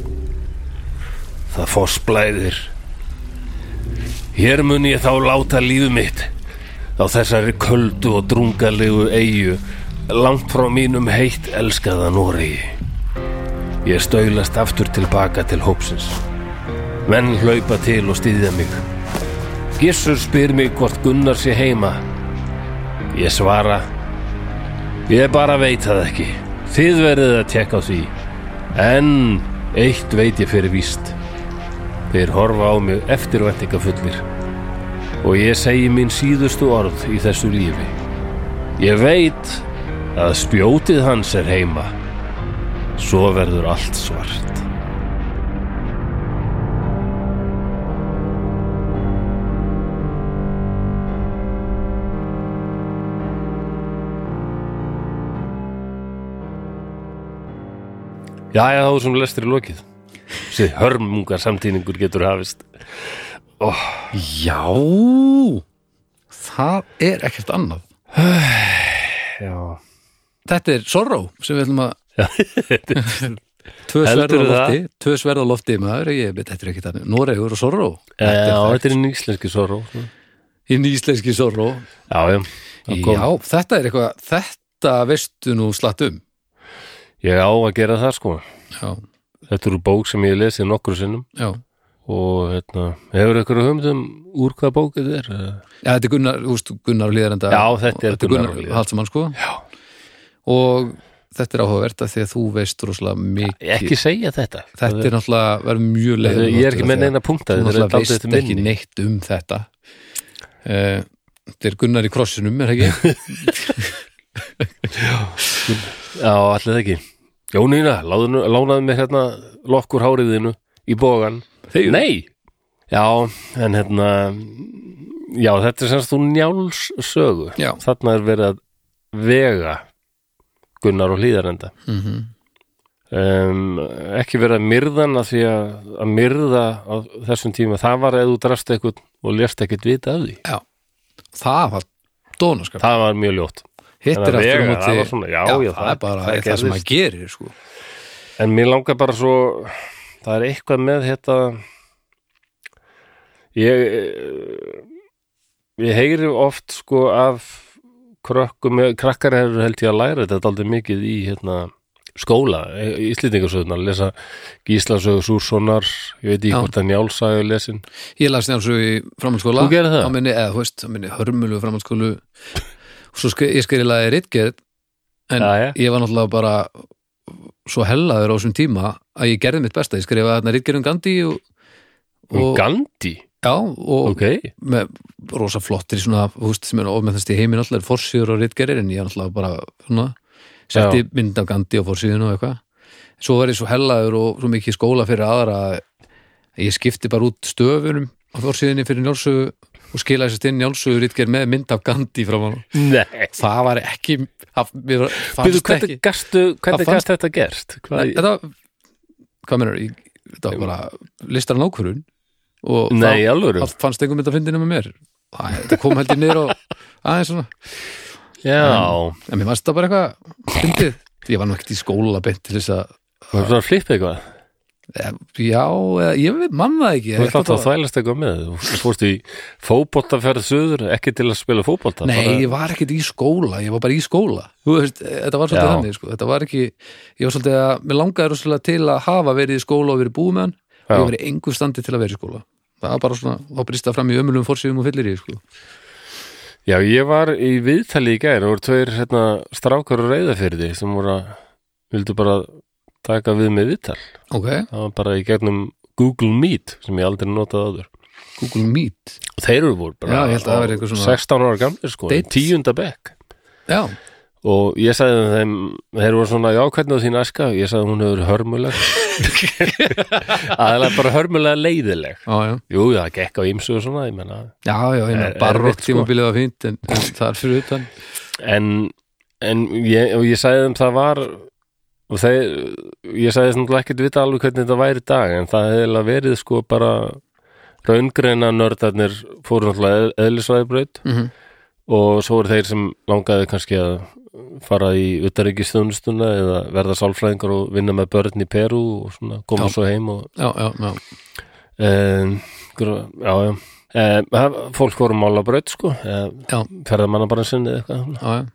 Speaker 1: Það foss blæðir. Hér mun ég þá láta líf mitt á þessari köldu og drungalegu eigu langt frá mínum heitt elskaða Noregi. Ég stöylast aftur tilbaka til hópsins. Menn hlaupa til og stýðja mig. Gissur spyr mig hvort Gunnar sé heima. Ég svara Ég bara veit það ekki. Þið verðið að tekka á því. En eitt veit ég fyrir víst. Þeir horfa á mig eftirvæntingafullir. Og ég segi mín síðustu orð í þessu lífi. Ég veit að spjótið hans er heima. Svo verður allt svart. Jæja þá sem lestir í lokið. Sér hörmungar samtíningur getur hafist.
Speaker 2: Já Það er ekkert annað
Speaker 1: Já.
Speaker 2: Þetta er sorró sem við ætlum að Tvö sverð á
Speaker 1: Heldurðu það?
Speaker 2: lofti Tvö sverð á lofti maður ég, Þetta er ekki þannig Noregur og sorró
Speaker 1: Já, þetta er einn íslenski sorró.
Speaker 2: Í nýslenski sorró
Speaker 1: Já, já. Það kom-
Speaker 2: Já, þetta er eitthvað Þetta veistu nú slatt um
Speaker 1: Ég á að gera það sko
Speaker 2: Já
Speaker 1: Þetta eru bók sem ég hef lesið nokkru sinnum
Speaker 2: já.
Speaker 1: og hérna, hefur ykkur hugmyndum úr hvað bók þetta er? eða?
Speaker 2: Já, þetta er Gunnar, húst, Gunnar og Líðarenda
Speaker 1: Já, þetta er Gunnar
Speaker 2: Gunnar,
Speaker 1: og
Speaker 2: Gunnar
Speaker 1: Hlíðar.
Speaker 2: Hallsmann sko Já. og þetta er áhugavert að því að þú veist rosalega mikið
Speaker 1: Ekki segja þetta.
Speaker 2: þetta er náttúrulega, verður mjög leið
Speaker 1: Ég er ekki með neina punkta,
Speaker 2: þú
Speaker 1: þetta er
Speaker 2: náttúrulega
Speaker 1: dálítið
Speaker 2: veist
Speaker 1: eftir
Speaker 2: ekki
Speaker 1: minni.
Speaker 2: neitt um þetta Eh, þetta er Gunnar í krossinum er það ekki?
Speaker 1: Já, allir það ekki. Jónína, láðu- lánaðu mér hérna lokkur háriðinu í bógan.
Speaker 2: Þegiðu.
Speaker 1: Nei! Já, en hérna, já, þetta er semst þú njáls sögu.
Speaker 2: Já.
Speaker 1: Þarna er verið að vega Gunnar og Hlíðarenda.
Speaker 2: mm
Speaker 1: um, ekki verið að myrða hann af því að, að myrða á þessum tíma, það var eða þú drafst eitthvað og lérst ekkert vita af því
Speaker 2: Já, það var dónaskap
Speaker 1: það var mjög ljótt,
Speaker 2: hitt
Speaker 1: Þannig
Speaker 2: er
Speaker 1: að
Speaker 2: aftur á
Speaker 1: vega,
Speaker 2: móti
Speaker 1: það var svona, já, já,
Speaker 2: það
Speaker 1: það-
Speaker 2: er bara
Speaker 1: það
Speaker 2: það, sem
Speaker 1: gerðist.
Speaker 2: maður gerir sko.
Speaker 1: en mér langar bara svo það er eitthvað með þetta ég eh, ég heyri oft sko af krökkum, krakkar hefur held ég að læra þetta aldrei mikið í hérna skóla, íslendingasöðunar lesa Gíslasögu Súrssonar ég veit ekki
Speaker 2: Já.
Speaker 1: hvort að Njálsagu er lesin
Speaker 2: ég las njálsög í framhaldsskóla
Speaker 1: Þú gerðir það?
Speaker 2: Á minni, eða, þú veist, á minni hörmulu framhaldsskólu og svo skri, ég skrifaði ritgerð en
Speaker 1: Jæja.
Speaker 2: ég var náttúrulega bara svo hellaður á þessum tíma að ég gerði mitt besta, ég skrifaði þarna ritgerð um Gandhi og,
Speaker 1: um
Speaker 2: og,
Speaker 1: Gandhi,
Speaker 2: já, og
Speaker 1: ok
Speaker 2: með rosa flottir í svona, þú veist, sem er ofmennast í heimin alltaf er forsýður og ritgerir en ég náttúrulega bara svona, setti mynd af Gandhi á forsýðinu og eitthvað svo var ég svo hellaður og svo mikið í skóla fyrir aðra að ég skipti bara út stöfunum á forsýðinni fyrir njálsugu og skilaði sérst inn njálsugu ritger með mynd af Gandhi frá hann
Speaker 1: Nei,
Speaker 2: það var ekki það, mér var-
Speaker 1: Byrðu,
Speaker 2: fannst
Speaker 1: hvernig
Speaker 2: ekki
Speaker 1: gastu, hvernig
Speaker 2: Það fannst-
Speaker 1: gast þetta gerst? Hvað,
Speaker 2: þetta, hvað meinar, ég, þetta var bara listar nákvörun og það-
Speaker 1: nei, alvöru
Speaker 2: það fannst einhver mynd að fyndinu með mér Æ, þetta kom heldur niður og aðeins svona
Speaker 1: Já,
Speaker 2: en mér fannst það bara eitthvað fyndið ég var nú ekkert í skóla beint til þess að
Speaker 1: þú ert að flippa eitthvað
Speaker 2: Eh, já, eða, ég veit mann það ekki
Speaker 1: Þú
Speaker 2: Ég
Speaker 1: ert alltaf
Speaker 2: ætla
Speaker 1: að þvælast eitthvað með Þú fórst í fótboltaferð suður ekki til að spila fótbolta
Speaker 2: nei,
Speaker 1: bara-
Speaker 2: ég var ekkert í skóla, ég var bara í skóla þú veist, eh, þetta var svolítið
Speaker 1: Já.
Speaker 2: þannig sko. þetta var ekki, ég var svolítið að mér langaði rosalega til að hafa verið í skóla og verið búið með hann og
Speaker 1: Já.
Speaker 2: ég verið engu standi til að vera í skóla það var bara svona, þá brista fram í ömulum fórsýfum og fyllir í sko.
Speaker 1: Já, ég var í viðtali í gær og voru tveir hérna, strákar og reyða fyrir því sem voru að, vildu bara taka við með viðtal
Speaker 2: ok,
Speaker 1: Það var bara í gegnum Google Meet sem ég aldrei notaði áður
Speaker 2: Google Meet
Speaker 1: og þeir eru voru bara
Speaker 2: Já, ég held að það væri eitthvað svona-
Speaker 1: 16 ára gamlir sko,
Speaker 2: Dates.
Speaker 1: tíunda bekk
Speaker 2: já,
Speaker 1: og ég sagði þeim þeir voru svona, já, hvernig á þín æska ég sagði hún hefur hörmuleg aðalega bara hörmulega leiðileg
Speaker 2: já, já
Speaker 1: jú, það gekk á ýmsu og svona, ég menna
Speaker 2: Já, já, ég meina,
Speaker 1: Er-
Speaker 2: barokk
Speaker 1: erfitt, sko.
Speaker 2: tímabilið var fínt en en það er fyrir utan
Speaker 1: en, en ég, og ég sagði þeim það var og þeir, ég sagði þeim ekkert vita alveg hvernig þetta væri í dag en það hefði eiginlega verið sko bara raungreina nördarnir fóru náttúrulega eðlisvæðibraut
Speaker 2: mm -hmm.
Speaker 1: og svo eru þeir sem langaði kannski að fara í utaríkisþjónustuna eða verða sálfræðingar og vinna með börn í Perú og svona koma
Speaker 2: Já.
Speaker 1: svo heim og
Speaker 2: Já, já, já,
Speaker 1: um, hver, já, já Um, fólk voru málabraut sko um,
Speaker 2: Já.
Speaker 1: ferðamannabarnsinn eða eitthvað svona.
Speaker 2: já, já.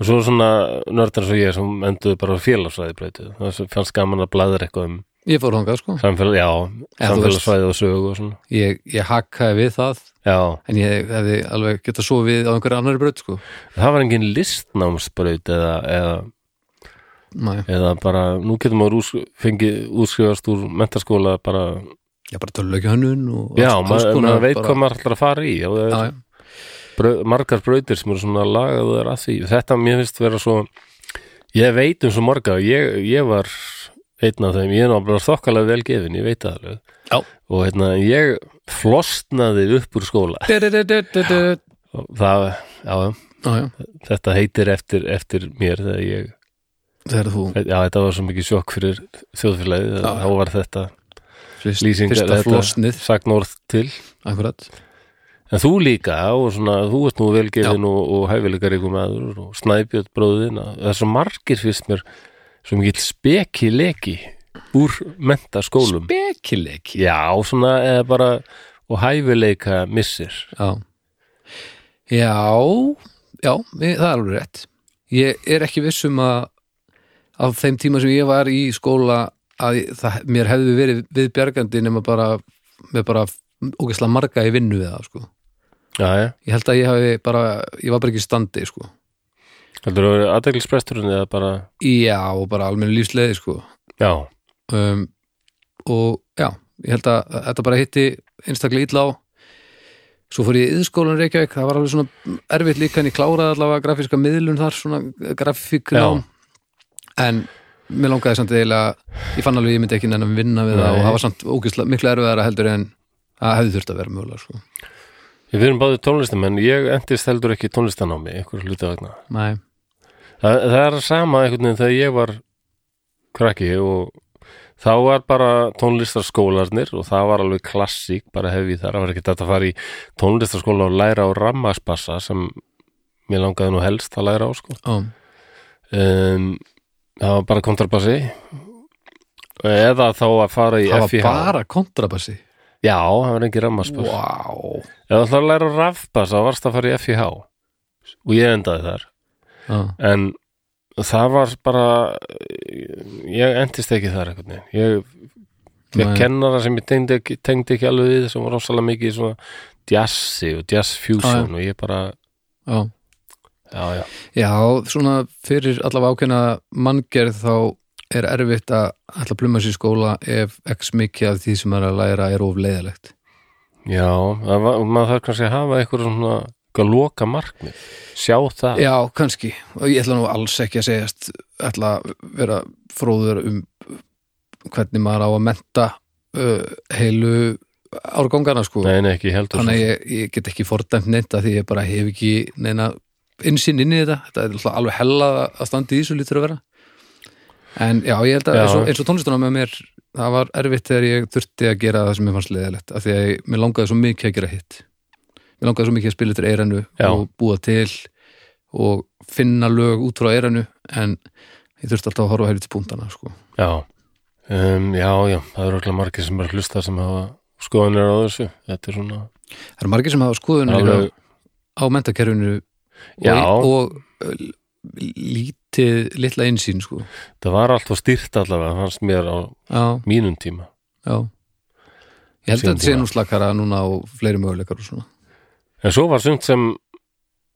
Speaker 1: og svo svona nördar svo ég sem enduðu bara félagsvæðibrautu það fannst gaman að blæður eitthvað um
Speaker 2: Ég fór þangað sko
Speaker 1: samfélag, já,
Speaker 2: Já, þú veist.
Speaker 1: samfélagsvæði og sögu og svona
Speaker 2: Ég, ég hakkaði við það
Speaker 1: já,
Speaker 2: en ég hefði alveg getað sofið á einhverju annari braut sko
Speaker 1: það var engin listnámsbraut eða, eða
Speaker 2: Næ,
Speaker 1: eða bara, nú getum maður ús, fengið útskrifast úr mentaskóla bara,
Speaker 2: ég bara tölvöki hönnun og
Speaker 1: já,
Speaker 2: alls- alls
Speaker 1: maður,
Speaker 2: konar
Speaker 1: maður veit
Speaker 2: bara-
Speaker 1: hvað maður ætlar að fara í og
Speaker 2: Já,
Speaker 1: það er
Speaker 2: já,
Speaker 1: brau, margar brautir sem eru svona lagaður að því þetta mér finnst vera svo ég veit um svo marga ég, ég var einn af þeim, ég er náttúrulega þokkalega vel gefin, ég veit það alveg
Speaker 2: já.
Speaker 1: og hérna, ég flostnaði upp úr skóla
Speaker 2: Du-du-du-du-du-du.
Speaker 1: Og það, já,
Speaker 2: Já, já,
Speaker 1: þetta heitir eftir, eftir mér þegar ég,
Speaker 2: það er þú
Speaker 1: já, þetta var svo mikið sjokk fyrir þjóðfélagið,
Speaker 2: Já.
Speaker 1: þá var þetta
Speaker 2: Fyrst,
Speaker 1: lýsing
Speaker 2: Fyrsta flosnið,
Speaker 1: sagnorð til
Speaker 2: akkurat
Speaker 1: En þú líka og svona, þú ert nú velgefin og, og hæfileikar ykkur maður og snæbjörn bróðin það er svo margir fyrst mér svo mikill speki leki úr mentaskólum
Speaker 2: Bekileiki
Speaker 1: Já, svona eða bara og hæfileika missir
Speaker 2: Já, já, já ég, það er alveg rétt. Ég er ekki viss um að af þeim tíma sem ég var í skóla að ég- það, mér hefði verið viðbjargandi nema bara með bara ógeðslega marga í vinnu við það sko.
Speaker 1: já, já,
Speaker 2: ég held að ég hafi bara, ég var bara ekki í standi sko.
Speaker 1: heldur þú aðdeglispresturinn eða bara,
Speaker 2: já og bara almenn lífsleði sko.
Speaker 1: já,
Speaker 2: um, og já, ég held að þetta bara hitti einstaklega illa á svo fór ég í yðskólan Reykjavík það var alveg svona erfitt líka en ég kláraði allavega grafíska miðlun þar, svona grafíknám en mér langaði samt eiginlega, ég fann alveg að ég myndi ekki nefnum vinna við það
Speaker 1: Nei.
Speaker 2: og það var samt ógislega, miklu erfiðara heldur en það hefði þurft að vera mögulega sko.
Speaker 1: við erum báðið tónlistamenn ég endist heldur ekki tónlistanámi einhver hluti vegna,
Speaker 2: Nei,
Speaker 1: það, það er sama einhvern veginn þegar ég var krakki og þá var bara tónlistarskólarnir og það var alveg klassík, bara hefði þar það var ekki þetta að fara í tónlistarskóla og læra á rammaspassa sem mér langaði nú helst að læra á sko
Speaker 2: á,
Speaker 1: um, það var bara kontrabassi eða þá að fara í
Speaker 2: það var
Speaker 1: FIH
Speaker 2: bara kontrabassi
Speaker 1: já, það var engin rammarspass
Speaker 2: Vá
Speaker 1: eða þá að læra rafbass þá varst að fara í FIH og ég endaði þar
Speaker 2: wow.
Speaker 1: en það var bara ég endist ekki þar einhvern veginn ég
Speaker 2: Nei.
Speaker 1: fekk kennara sem ég tengdi ekki, tengdi ekki alveg við sem var rosalega mikið í svona jazzi og jazz fusion og ég bara
Speaker 2: Já
Speaker 1: já, já,
Speaker 2: Já, svona fyrir allavega ákveðna manngerð þá er erfitt að ætla að pluma sér í skóla ef x mikið af því sem er að læra er of leiðilegt.
Speaker 1: já það var, maður þarf kannski að hafa eitthvað svona eitthvað loka markmið, sjá það
Speaker 2: Já, kannski. Og ég ætla nú alls ekki að segjast ætla að vera fróður um hvernig maður á að menta uh, heilu árgangana sko.
Speaker 1: Nei, nei, ekki ég heldur
Speaker 2: Þannig að
Speaker 1: svo.
Speaker 2: ég, ég get ekki fordæmt neitt að því ég bara hef ekki neina innsinn inn í þetta. Þetta er alltaf alveg hella að standi í þessu lítur að vera. En já, ég held að
Speaker 1: Já.
Speaker 2: eins og, eins og tónlistuna með mér, það var erfitt þegar ég þurfti að gera það sem ég fannst leiðilegt. Af því að ég, mér langaði svo mikið að gera hitt. Mér langaði svo mikið að spila þetta eiranu
Speaker 1: Já.
Speaker 2: og búa til og finna lög út frá eiranu en ég þurfti alltaf að horfa helviti púntana, sko.
Speaker 1: Já, um, já, já, það eru okkur margir sem er að hlusta sem hafa skoðanir á þessu. Þetta er svona
Speaker 2: Það eru margir sem hafa skoðunum líka
Speaker 1: alveg,
Speaker 2: á mentakerfinu
Speaker 1: Já.
Speaker 2: og, og uh, lítið, litla einsýn sko.
Speaker 1: það var allt og stýrt allavega, fannst mér á
Speaker 2: já,
Speaker 1: mínum tíma.
Speaker 2: já ég held að
Speaker 1: Sínum
Speaker 2: þetta sé
Speaker 1: tíma.
Speaker 2: nú slakara núna og fleiri möguleikar og svona
Speaker 1: En svo var sumt sem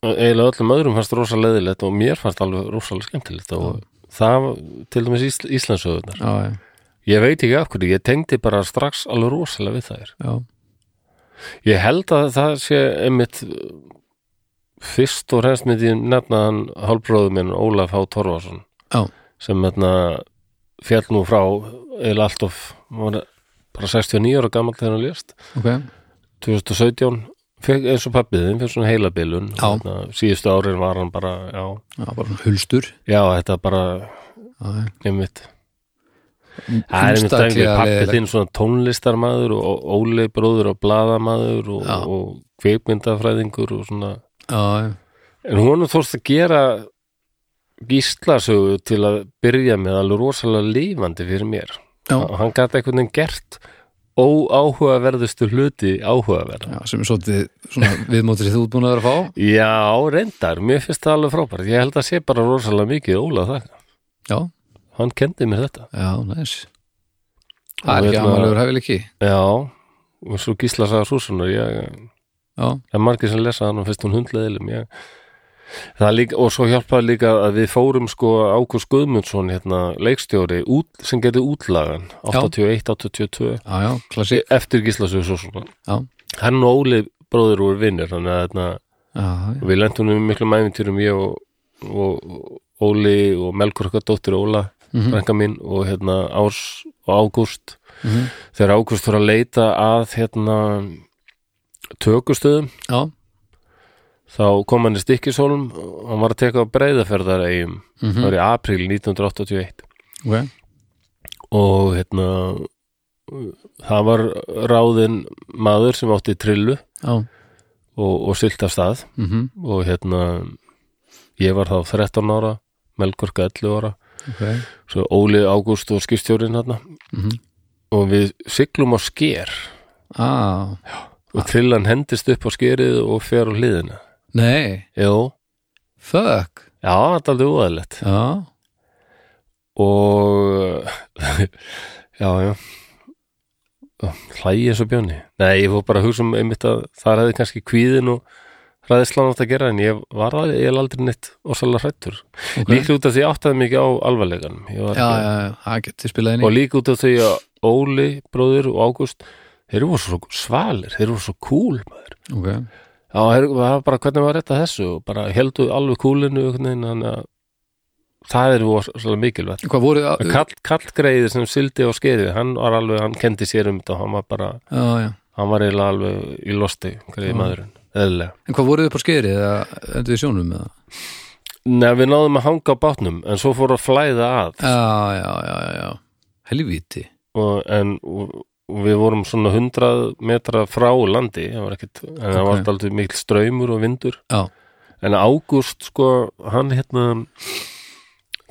Speaker 1: eh, eiginlega öllum öðrum fannst rosa leðilegt og mér fannst alveg rosalega skemmtilegt og það, til dæmis Ísl, Íslandsöðunar.
Speaker 2: já, já,
Speaker 1: Ég veit ekki af hverju, ég tengdi bara strax alveg rosalega við þær.
Speaker 2: já,
Speaker 1: Ég held að það sé einmitt eh, fyrst og fremst myndi ég nefna hann hálfbróðu minn Ólaf H. Torfason
Speaker 2: Já.
Speaker 1: sem hérna fjall nú frá eða allt of hann var bara 69 ára gamall þegar hann lést
Speaker 2: ok
Speaker 1: 2017 fekk eins og pappiðin fyrir svona heila bilun
Speaker 2: Já.
Speaker 1: síðustu árin var hann bara já,
Speaker 2: já, bara svona hulstur
Speaker 1: já þetta bara
Speaker 2: já,
Speaker 1: einmitt Það er einmitt dæmi,
Speaker 2: Einstaklega
Speaker 1: pappi
Speaker 2: leiðilegt.
Speaker 1: þinn svona tónlistarmaður og Óli bróður og bladamaður og,
Speaker 2: Já.
Speaker 1: og kveikmyndafræðingur og svona
Speaker 2: já, já,
Speaker 1: En honum þórst að gera gíslasögu til að byrja með alveg rosalega lífandi fyrir mér.
Speaker 2: Já.
Speaker 1: Og Hann gat einhvern veginn gert óáhugaverðustu hluti áhugaverða.
Speaker 2: já, sem er svolítið svona viðmótið sem þú ert búin að vera að fá
Speaker 1: Já, reyndar, mér finnst það alveg frábært. Ég held að sé bara rosalega mikið Óla þakka.
Speaker 2: já,
Speaker 1: Hann kendi mér þetta.
Speaker 2: já, næs það er
Speaker 1: Og
Speaker 2: ekki
Speaker 1: hérna-
Speaker 2: aðmælugur hæfileiki
Speaker 1: Já, og svo gísla sagði Súsunar, ég,
Speaker 2: já,
Speaker 1: það er margir sem lesa hann og fyrst hún hundleðilum, ég. Það er líka, og svo hjálpaði líka að við fórum sko Ágúst Guðmundsson, hérna, leikstjóri, út, sem gerði útlagan,
Speaker 2: já,
Speaker 1: 81-82,
Speaker 2: já, klassik
Speaker 1: eftir Gíslasögu svo svona.
Speaker 2: já,
Speaker 1: Hann og Óli bróðir voru vinnir, þannig að hérna,
Speaker 2: já, já,
Speaker 1: við lentum um miklum æfintýrum ég og, og, Óli og Melkur okkar dóttir Óla, mm mín og hérna Árs og Ágúst.
Speaker 2: Mhm.
Speaker 1: Þegar Ágúst voru að leita að hérna tökustöðum,
Speaker 2: já,
Speaker 1: þá kom hann í Stikkishólm og hann var að teka á breyðaferðareigum
Speaker 2: Mhm.
Speaker 1: það var í apríl 1981
Speaker 2: ok
Speaker 1: og hérna það var ráðinn maður sem átti trillu
Speaker 2: já,
Speaker 1: og, og silt af stað
Speaker 2: mhm,
Speaker 1: og hérna ég var þá 13 ára Melgurka 11 ára
Speaker 2: ok
Speaker 1: svo Óli Ágúst og skipstjórinn hérna
Speaker 2: Mhm.
Speaker 1: og við siglum á sker
Speaker 2: ah,
Speaker 1: og trillan hendist upp á skerið og fer á hliðina
Speaker 2: nei,
Speaker 1: Jó,
Speaker 2: fuck
Speaker 1: já, þetta er alveg óæðlegt
Speaker 2: já,
Speaker 1: og já, já hlægi eins og bjóni nei, ég fór bara að hugsa um einmitt að það hefði kannski kvíðin og hræðislan átt að gera en ég var að, ég er aldrei neitt ósalega hrættur
Speaker 2: Ok.
Speaker 1: líklega út af því ég áttaði mikið á alvarleikanum Ég var
Speaker 2: já,
Speaker 1: ekki-
Speaker 2: já, já, það getur spilað inn í
Speaker 1: og líka út af því að Óli, bróður og Ágúst þeir voru svo svalir, þeir voru svo cool maður.
Speaker 2: ok,
Speaker 1: Já, þeir var bara hvernig var þetta þessu og bara heldu alveg kúlinu þannig að það er voru svolítið mikilvægt
Speaker 2: hvað voru já,
Speaker 1: Kall, kallgreiði sem sildi á skeiði hann var alveg, hann kendi sér um þetta og hann var bara,
Speaker 2: já.
Speaker 1: hann var eiginlega alveg í losti, greiði
Speaker 2: Já.
Speaker 1: maðurinn eðlilega.
Speaker 2: en hvað voruð upp á skeri eða endur við sjónum eða
Speaker 1: Nei, við náðum að hanga á bátnum en svo fór að flæða að
Speaker 2: já, já, já, já, já. helvíti
Speaker 1: og, en og, og við vorum svona 100 metra frá landi það var ekkit, en það
Speaker 2: Ok.
Speaker 1: var alltaf mikil ströymur og vindur
Speaker 2: já,
Speaker 1: en Ágúst sko, hann hérna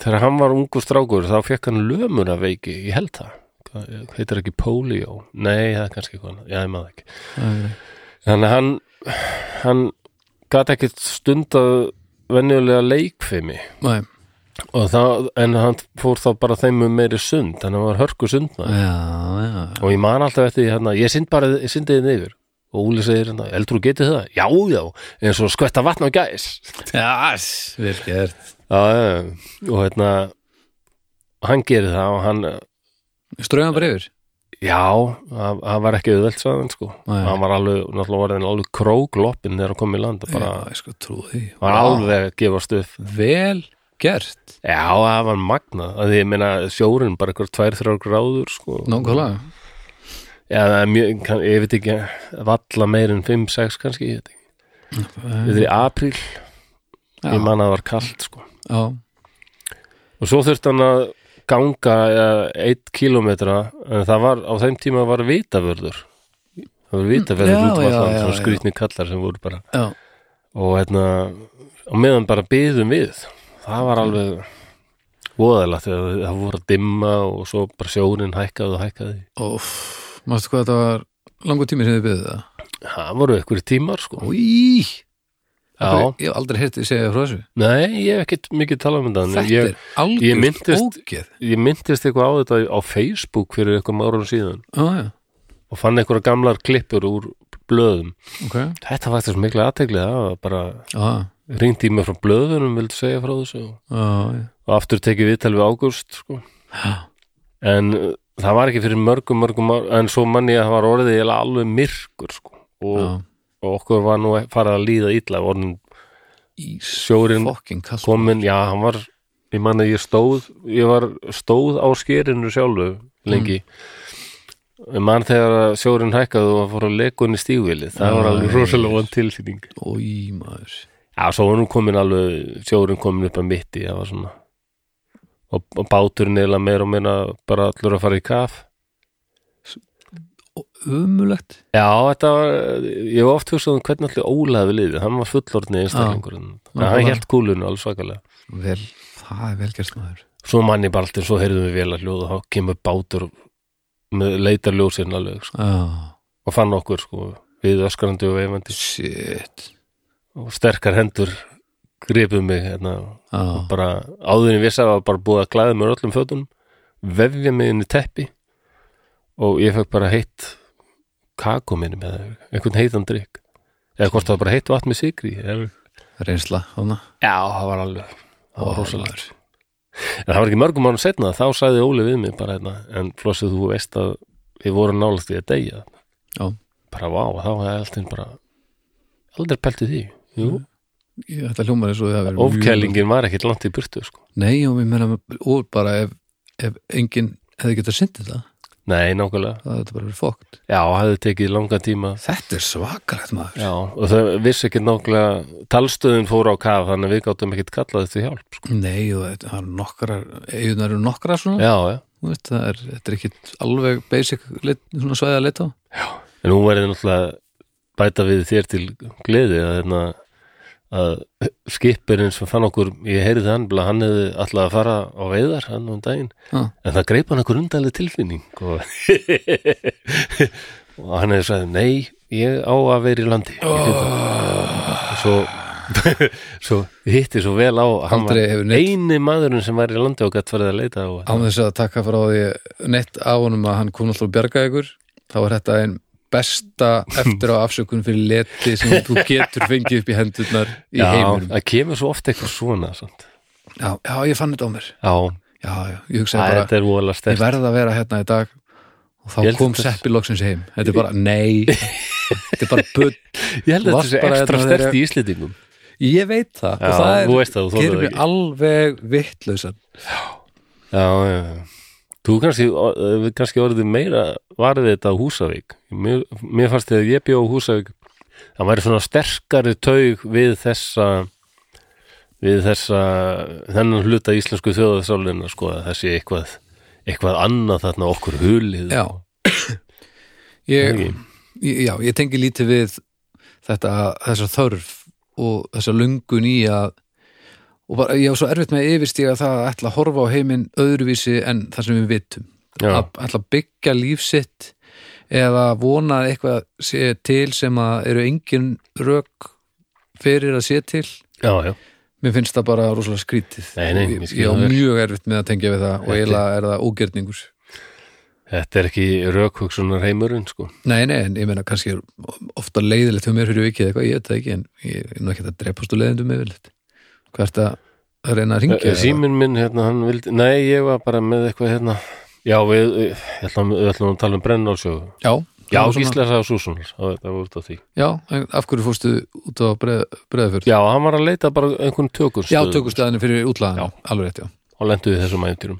Speaker 1: þegar hann var ungur strákur þá fekk hann lömur af veiki, ég held það Hvað- heitir ekki polio nei, það er kannski eitthvað, annað. já, ég maður ekki
Speaker 2: það er-
Speaker 1: þannig að hann hann gat ekkit stundað venjulega leikfimi
Speaker 2: Nei,
Speaker 1: og það, en hann fór þá bara þeim um meiri sund, þannig að hann var hörku sundna
Speaker 2: já, já, já.
Speaker 1: og ég man alltaf eftir því hérna, ég synd bara, ég syndi þið yfir og Úli segir hérna, heldur þú getið það? Já, já eins og skvetta vatn á gæs
Speaker 2: já s- vel gert
Speaker 1: já, já, já. og hérna hann gerir það og hann
Speaker 2: ströðan bara yfir
Speaker 1: já, það það var ekki auðvelt sagðan sko,
Speaker 2: Nei.
Speaker 1: hann var alveg náttúrulega var alveg krógloppin þegar hann kom í land og bara,
Speaker 2: já, ég sko trú því
Speaker 1: var
Speaker 2: Vá,
Speaker 1: alveg að gefast upp
Speaker 2: vel gert
Speaker 1: já, það var magnað, að því ég meina sjórinn bara eitthvað tvær, þrjár gráður sko
Speaker 2: nákvæmlega
Speaker 1: Já, það er mjög, kann, ég veit ekki valla meir en 5-6 kannski ég veit ekki. Þetta er í apríl
Speaker 2: Já.
Speaker 1: ég man að það var kalt sko.
Speaker 2: já,
Speaker 1: og svo þurfti hann að ganga eh, einn kilometra en það var, á þeim tíma var vitavörður það var vitavörður
Speaker 2: Já,
Speaker 1: út
Speaker 2: já,
Speaker 1: var það
Speaker 2: já,
Speaker 1: svona
Speaker 2: já.
Speaker 1: skrýtni kallar sem voru bara
Speaker 2: já,
Speaker 1: og hérna, á meðan bara byðum við það var alveg voðalegt, það það voru að dimma og svo bara sjórin hækkaði og hækkaði
Speaker 2: óf mástu hvað þetta var langur tími sem þið byggðu það
Speaker 1: það voru einhverju tímar sko
Speaker 2: Í,
Speaker 1: Já,
Speaker 2: ég hef aldrei hérti segja frá þessu
Speaker 1: nei, ég hef ekkert mikið talað um þetta
Speaker 2: Þetta
Speaker 1: en ég-
Speaker 2: er algjör
Speaker 1: ég minntist-
Speaker 2: ógeð
Speaker 1: ég myndist eitthvað á þetta á Facebook fyrir eitthvað árum síðan
Speaker 2: Já, já,
Speaker 1: og fann eitthvað gamlar klippur úr blöðum.
Speaker 2: ok
Speaker 1: Þetta var eitthvað mikla aðteglið, það var bara
Speaker 2: Já,
Speaker 1: ringdi í mig frá blöðunum, vildi segja frá þessu og-
Speaker 2: já, já
Speaker 1: og aftur tekið viðtal við ágúst sko.
Speaker 2: Já.
Speaker 1: en uh, það var ekki fyrir mörgum, mörgum ár, en svo manni að það var orðið eiginlega alveg myrkur sko. og,
Speaker 2: Já.
Speaker 1: og okkur var nú farið að líða illa, orðin
Speaker 2: Ís,
Speaker 1: sjórinn
Speaker 2: fucking kall
Speaker 1: komin, já, hann var ég man að ég stóð, ég var stóð á skerinu sjálfu lengi ég man þegar að sjórinn hækkaði og fór að leka inn í stígvilið, það var alveg
Speaker 2: Æ.
Speaker 1: rosalega von tilfinning.
Speaker 2: Í, maður
Speaker 1: Já, svo var nú komin alveg sjórinn komin upp að mitti, það var svona og, og báturinn eða meira og meira bara allur að fara í kaf
Speaker 2: Umulegt
Speaker 1: Já, þetta var, ég var oft hugsað um hvernig allir ólaði við liðið, hann var fullorðni einstaklingur, en hann
Speaker 2: Nákvæmlega.
Speaker 1: hélt kúlunu alveg svakalega.
Speaker 2: Vel, það er vel gert maður
Speaker 1: svo manni bara alltaf, svo heyrðum við vel að hljóð og þá kemur bátur með leitar ljósinn alveg sko,
Speaker 2: Já,
Speaker 1: og fann okkur sko, við öskrandi og veifandi sko,
Speaker 2: shit
Speaker 1: og sterkar hendur gripuð mig hérna,
Speaker 2: Já,
Speaker 1: og bara áðurinn vissi að það var bara búið að glæða mér öllum fötunum vefja mig inn í teppi og ég fekk bara heitt kakó minni með einhvern heitan drikk eða hvort það var bara heitt vatn með sigri eða...
Speaker 2: reynsla, hana
Speaker 1: já, það var alveg það var rosalegt
Speaker 2: maður.
Speaker 1: En það var ekki mörgum ánum setna, þá sagði Óli við mig bara hérna, en Flossið, þú veist að við vorum nálægt því að deyja.
Speaker 2: Já.
Speaker 1: Bara vá, þá hefði alltaf bara aldrei peltið því. Jú,
Speaker 2: Ég ætla að hljóma þessu að það verið mjög-
Speaker 1: ofkælingin var ekkit langt í burtu, sko.
Speaker 2: Nei, og mér meina, og bara ef, ef enginn hefði getað syndið það
Speaker 1: Nei, nákvæmlega.
Speaker 2: það hefði þetta bara verið fókt
Speaker 1: Já, hefði tekið langa tíma.
Speaker 2: Þetta er svakalegt maður
Speaker 1: Já, og það vissi ekki nákvæmlega, talstöðin fór á kaf, þannig að við gáttum ekkit kallað eftir hjálp, sko.
Speaker 2: Nei, og þetta það eru nokkrar eigunar eru nokkrar svona
Speaker 1: Já, já.
Speaker 2: Þú veist, það er, Þetta er ekkit alveg basic lit, svona svæði að leta á
Speaker 1: En hún verði náttúrulega bæta við þér til gleði að, hérna, að skipurinn sem fann okkur, ég heyrði hann, bila, hann hefði alltaf að fara á veiðar hann um daginn,
Speaker 2: Já.
Speaker 1: en það greip hann einhver undanlega tilfinning og, og hann hefði sagði, nei, ég á að vera í landi oh. svo svo hitti svo vel á að hann var
Speaker 2: Aldrei hefur neitt-
Speaker 1: eini maðurinn sem var í landi og gætt farið að leita á
Speaker 2: án þess að taka frá því neitt á honum að hann kom alltaf að bjarga ykkur þá er þetta einn besta eftir á afsökun fyrir leti sem þú getur fengið upp í hendurnar í
Speaker 1: já,
Speaker 2: heiminum
Speaker 1: það kemur svo ofta eitthvað svona sant?
Speaker 2: já, já, ég fann þetta á mér
Speaker 1: já,
Speaker 2: já, já, ég
Speaker 1: Æ,
Speaker 2: hugsaði bara,
Speaker 1: þetta er vola
Speaker 2: ég
Speaker 1: stert
Speaker 2: verð að vera hérna í dag og
Speaker 1: Ég
Speaker 2: þá
Speaker 1: held
Speaker 2: kom
Speaker 1: þetta-
Speaker 2: Seppi loksins heim þetta er bara, nei þetta er bara bull
Speaker 1: ég held að
Speaker 2: varst
Speaker 1: þetta sé
Speaker 2: bara
Speaker 1: ekstra
Speaker 2: hérna
Speaker 1: stert
Speaker 2: þegar-
Speaker 1: í Íslendingum
Speaker 2: ég veit það
Speaker 1: Já,
Speaker 2: og það er,
Speaker 1: þú veist það, þú þolir
Speaker 2: gerir
Speaker 1: það
Speaker 2: mér
Speaker 1: ekki.
Speaker 2: alveg vittlausan
Speaker 1: já, já, já þú kannski, uh, kannski orðið meira varðið þetta á Húsavík mér, mér fannst þegar ég bjó á Húsavík það væri svona sterkari taug við þessa við þessa þennan hluta íslensku þjóðarsálinna sko að það sé eitthvað eitthvað annað þarna okkur hulið
Speaker 2: já ég, ég- já, ég tengi lítið við þetta, þessa þörf og þessa lungun í að og bara, ég á svo erfitt með að yfirstíga það að ætla að horfa á heiminn öðruvísi en það sem við vitum
Speaker 1: Já.
Speaker 2: að ætla að byggja líf sitt eða vona að eitthvað sé til sem að eru engin rök fyrir að sé til
Speaker 1: já, já,
Speaker 2: mér finnst það bara rosalega skrítið
Speaker 1: Nei, nei, ég
Speaker 2: ég,
Speaker 1: skil
Speaker 2: ég á
Speaker 1: það vel.
Speaker 2: mjög erfitt með að tengja við það og
Speaker 1: Þetta-
Speaker 2: eiginlega er það ógerningur
Speaker 1: þetta er ekki rökhugsunar heimurinn sko
Speaker 2: Nei, nei, en ég meina kannski er ofta leiðilegt hjá mér fyrir vikið eitthvað, ég veit það ekki en ég er nú ekki að drepast úr leiðindum yfirleitt hvert að reyna að
Speaker 1: Eh,
Speaker 2: ringja
Speaker 1: síminn minn, hérna, hann vildi nei, ég var bara með eitthvað hérna já, við, ég ætlum, við ætlum að tala um brennálsjóðu
Speaker 2: Já,
Speaker 1: já,
Speaker 2: það var
Speaker 1: Gísla sagði Súsun það var út á því
Speaker 2: já, en af hverju fórstu út á breðafjörð?
Speaker 1: já, hann var að leita bara einhvern tökurstöð
Speaker 2: já tökustöðinu fyrir útlaðan, alveg rétt, já
Speaker 1: og lendu við þessum æfintýrum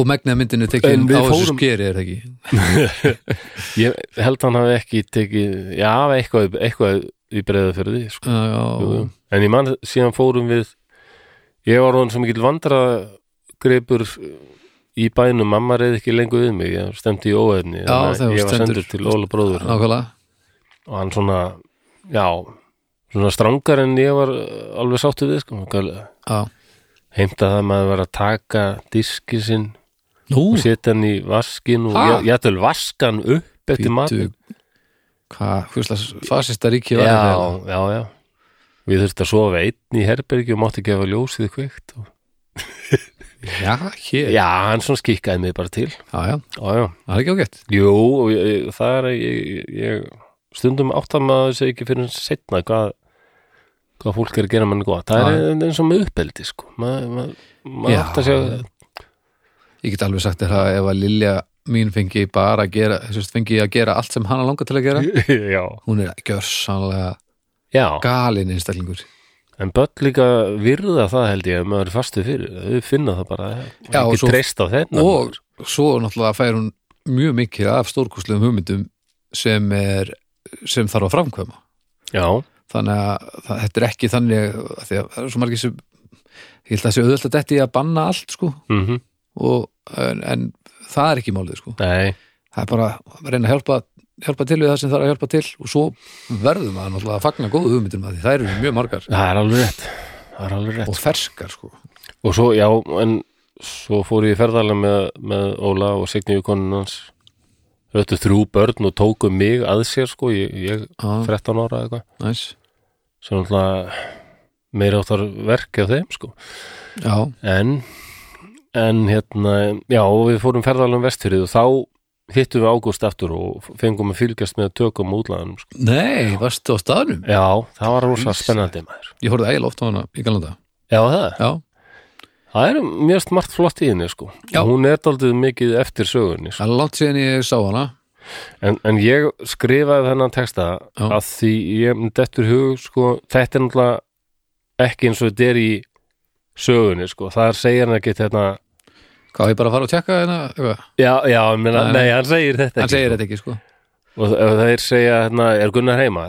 Speaker 2: og megnið af myndinu
Speaker 1: En
Speaker 2: tekin
Speaker 1: við
Speaker 2: á þessu
Speaker 1: fórum-
Speaker 2: skeri er það ekki
Speaker 1: ég held hann hafi ekki tekið já, eitthvað, eitthvað í breiða fyrir því sko.
Speaker 2: Já, já,
Speaker 1: Jú, en ég mann síðan fórum við ég var hún sem ekki vandra greipur eh, í bænum mamma reyði ekki lengur við mig ég stemdi í óefni
Speaker 2: Já, þegar
Speaker 1: þannig að
Speaker 2: þú
Speaker 1: ég var
Speaker 2: stendur-
Speaker 1: sendur til Óla bróður
Speaker 2: nákvæmlega
Speaker 1: og hann svona, já svona strangar en ég var uh, alveg sáttu við sko,
Speaker 2: Já,
Speaker 1: heimta það maður var að taka diski sinn
Speaker 2: nú,
Speaker 1: og setja hann í vaskin og
Speaker 2: Ha?
Speaker 1: ég, ég ætlum vaskan upp eftir
Speaker 2: býtu
Speaker 1: matinn
Speaker 2: hvað, hverslega fasista ríki
Speaker 1: já,
Speaker 2: var hérna
Speaker 1: já, já við þurfti að sofa einn í herbergi og mátti ekki hafa ljósið kveikt og...
Speaker 2: þetta Já, hér, já,
Speaker 1: já, hann svona skikkaði mig bara til
Speaker 2: já,
Speaker 1: Já, já.
Speaker 2: það er ekki ágætt
Speaker 1: Jú, og ég- ég- það er að ég, ég stundum áttamaður þessi ekki fyrir setna hvað, hvað fólk er að gera manni góð. Það er eins og með uppeldi, sko. Maður ma, ma
Speaker 2: Já.
Speaker 1: átt að segja,
Speaker 2: Ég get alveg sagt þér það ef að Lilja mín fengi bara að gera sérst, fengi að gera allt sem hana langar til að gera
Speaker 1: já,
Speaker 2: hún er gjörsanlega
Speaker 1: já.
Speaker 2: galin einstaklingur
Speaker 1: En börn líka virða það held ég að maður er fastu fyrir. Þau finna það bara,
Speaker 2: Já, og
Speaker 1: ekki
Speaker 2: svo-
Speaker 1: treyst á þennan.
Speaker 2: og svo náttúrulega fær hún mjög mikið af stórkostlegum hugmyndum sem er sem þarf að framkvæma
Speaker 1: já,
Speaker 2: þannig að það, þetta er ekki þannig að því að það er svo margir sem ég held að það sé auðvitað þetta í að banna allt sko
Speaker 1: mhm,
Speaker 2: og, en, en það er ekki málið sko
Speaker 1: nei,
Speaker 2: það er bara að reyna að hjálpa, hjálpa til við það sem það er að hjálpa til og svo verðum að náttúrulega að fagna góðu hugmyndum að því það eru mjög margar
Speaker 1: það er alveg rétt. Það er alveg rétt.
Speaker 2: og ferskar sko
Speaker 1: Og svo, já, en svo fór ég í ferðarlega með, með Óla og Signíu konun hans Þetta þrjú börn og tóku mig að sér sko, ég, ég
Speaker 2: ah,
Speaker 1: 13 ára eða eitthvað
Speaker 2: nice.
Speaker 1: sem alltaf meira áttar verki á þeim sko
Speaker 2: já,
Speaker 1: en, en hérna já, og við fórum ferðarlega um vestfyrið og þá hittum við ágúst aftur og fengum að fylgjast með tökum og útlaðanum sko.
Speaker 2: nei, varstu á staðnum
Speaker 1: Já, það var rosa
Speaker 2: Lýsa.
Speaker 1: spennandi maður
Speaker 2: ég horfði ægilega oft á hana í galanda
Speaker 1: Já, það,
Speaker 2: já,
Speaker 1: það er mjög margt flott í henni sko
Speaker 2: Já.
Speaker 1: Hún er daldið mikið eftir sögunni sko.
Speaker 2: það er langt síðan ég sá hana
Speaker 1: En, en ég skrifaði þennan texta
Speaker 2: Já.
Speaker 1: að því ég dettur hug sko, þetta er náttúrulega ekki eins og þetta er í sögunni sko. það er segir hann hérna- ekki þetta
Speaker 2: hvað, á ég bara að fara og tjekka hérna Eitthvað?
Speaker 1: já, já, ég meina,
Speaker 2: Nei,
Speaker 1: nei,
Speaker 2: nei.
Speaker 1: hann segir þetta
Speaker 2: hann
Speaker 1: ekki
Speaker 2: segir þetta ekki sko
Speaker 1: og, og þeir segja, hérna, er Gunnar heima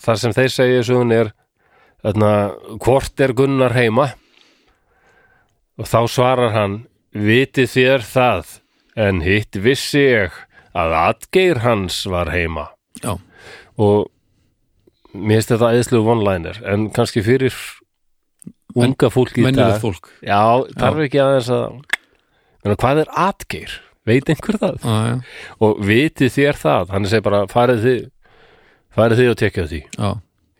Speaker 1: þar sem þeir segja í sögunni er hérna, hvort er Gunnar heima og þá svarar hann viti þér það en hitt vissi ég að atgeir hans var heima
Speaker 2: já,
Speaker 1: og mér finnst þetta æðislu one-liner en kannski fyrir unga fólk í dag
Speaker 2: mennilegt fólk
Speaker 1: já, þarf ekki aðeins að Menna, hvað er atgeir? veit einhver það?
Speaker 2: já, já,
Speaker 1: og viti þér það, hann segir bara farið þið farið þið og tekja því
Speaker 2: já,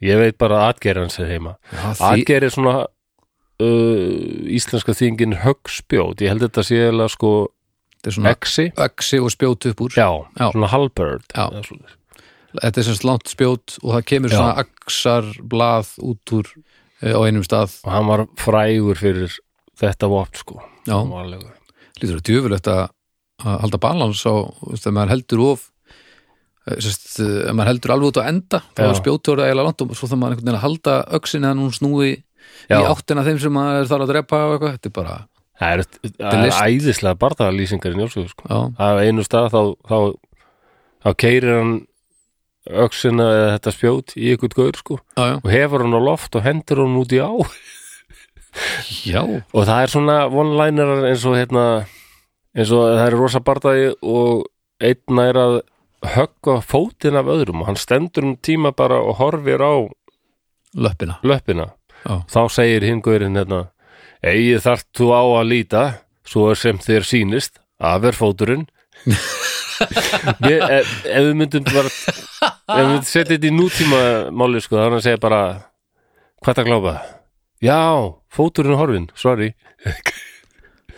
Speaker 1: Ég veit bara að atgerið hans er heima
Speaker 2: Já, því,
Speaker 1: Atgerið er svona uh, íslenska þýðingin högspjót Ég held þetta sé eiginlega sko
Speaker 2: þetta er svona
Speaker 1: exi
Speaker 2: öksi og spjót upp úr
Speaker 1: Já,
Speaker 2: Mm. Já.
Speaker 1: svona halbird
Speaker 2: Já.
Speaker 1: eða svoleiðis.
Speaker 2: þetta er semst langt spjót og það kemur
Speaker 1: Já.
Speaker 2: svona aksar blað út úr eh, á einum stað
Speaker 1: Og hann var frægur fyrir þetta vopn sko
Speaker 2: já,
Speaker 1: Hann var alveg-
Speaker 2: lítur að djöfulegt að að halda balans á, veist, ef maður heldur of eh, semst, eh, ef maður heldur alveg út á enda þá
Speaker 1: Já.
Speaker 2: er spjótur að eiginlega langt og svo þarf maður einhvern veginn að halda öxin en hún snúi í
Speaker 1: Já.
Speaker 2: áttina að þeim sem maður þarf að drepa og eitthvað, þetta er bara
Speaker 1: Það er, það er
Speaker 2: list.
Speaker 1: æðislega barðalýsingar í njálsögu sko
Speaker 2: já,
Speaker 1: Það er einu stað þá, þá, þá keirir hann öxina eða þetta spjót í ykkur gaur sko
Speaker 2: já, já,
Speaker 1: og hefur hann á loft og hendur hann út í á
Speaker 2: já.
Speaker 1: og það er svona one-linerar eins og hérna eins og það er rosa barðaði og einn er að högga fótinn af öðrum og hann stendur um tíma bara og horfir á
Speaker 2: löppina
Speaker 1: löppina
Speaker 2: Já.
Speaker 1: þá segir hingurinn hérna eigið þart þú á að líta svo er sem þér sýnist af er fóturinn Ég, e, ef, ef við myndum bara ef við myndum setja þetta í nútíma máli sko, þannig að segja bara hvað það glápa? Já, fóturinn er horfinn, sorry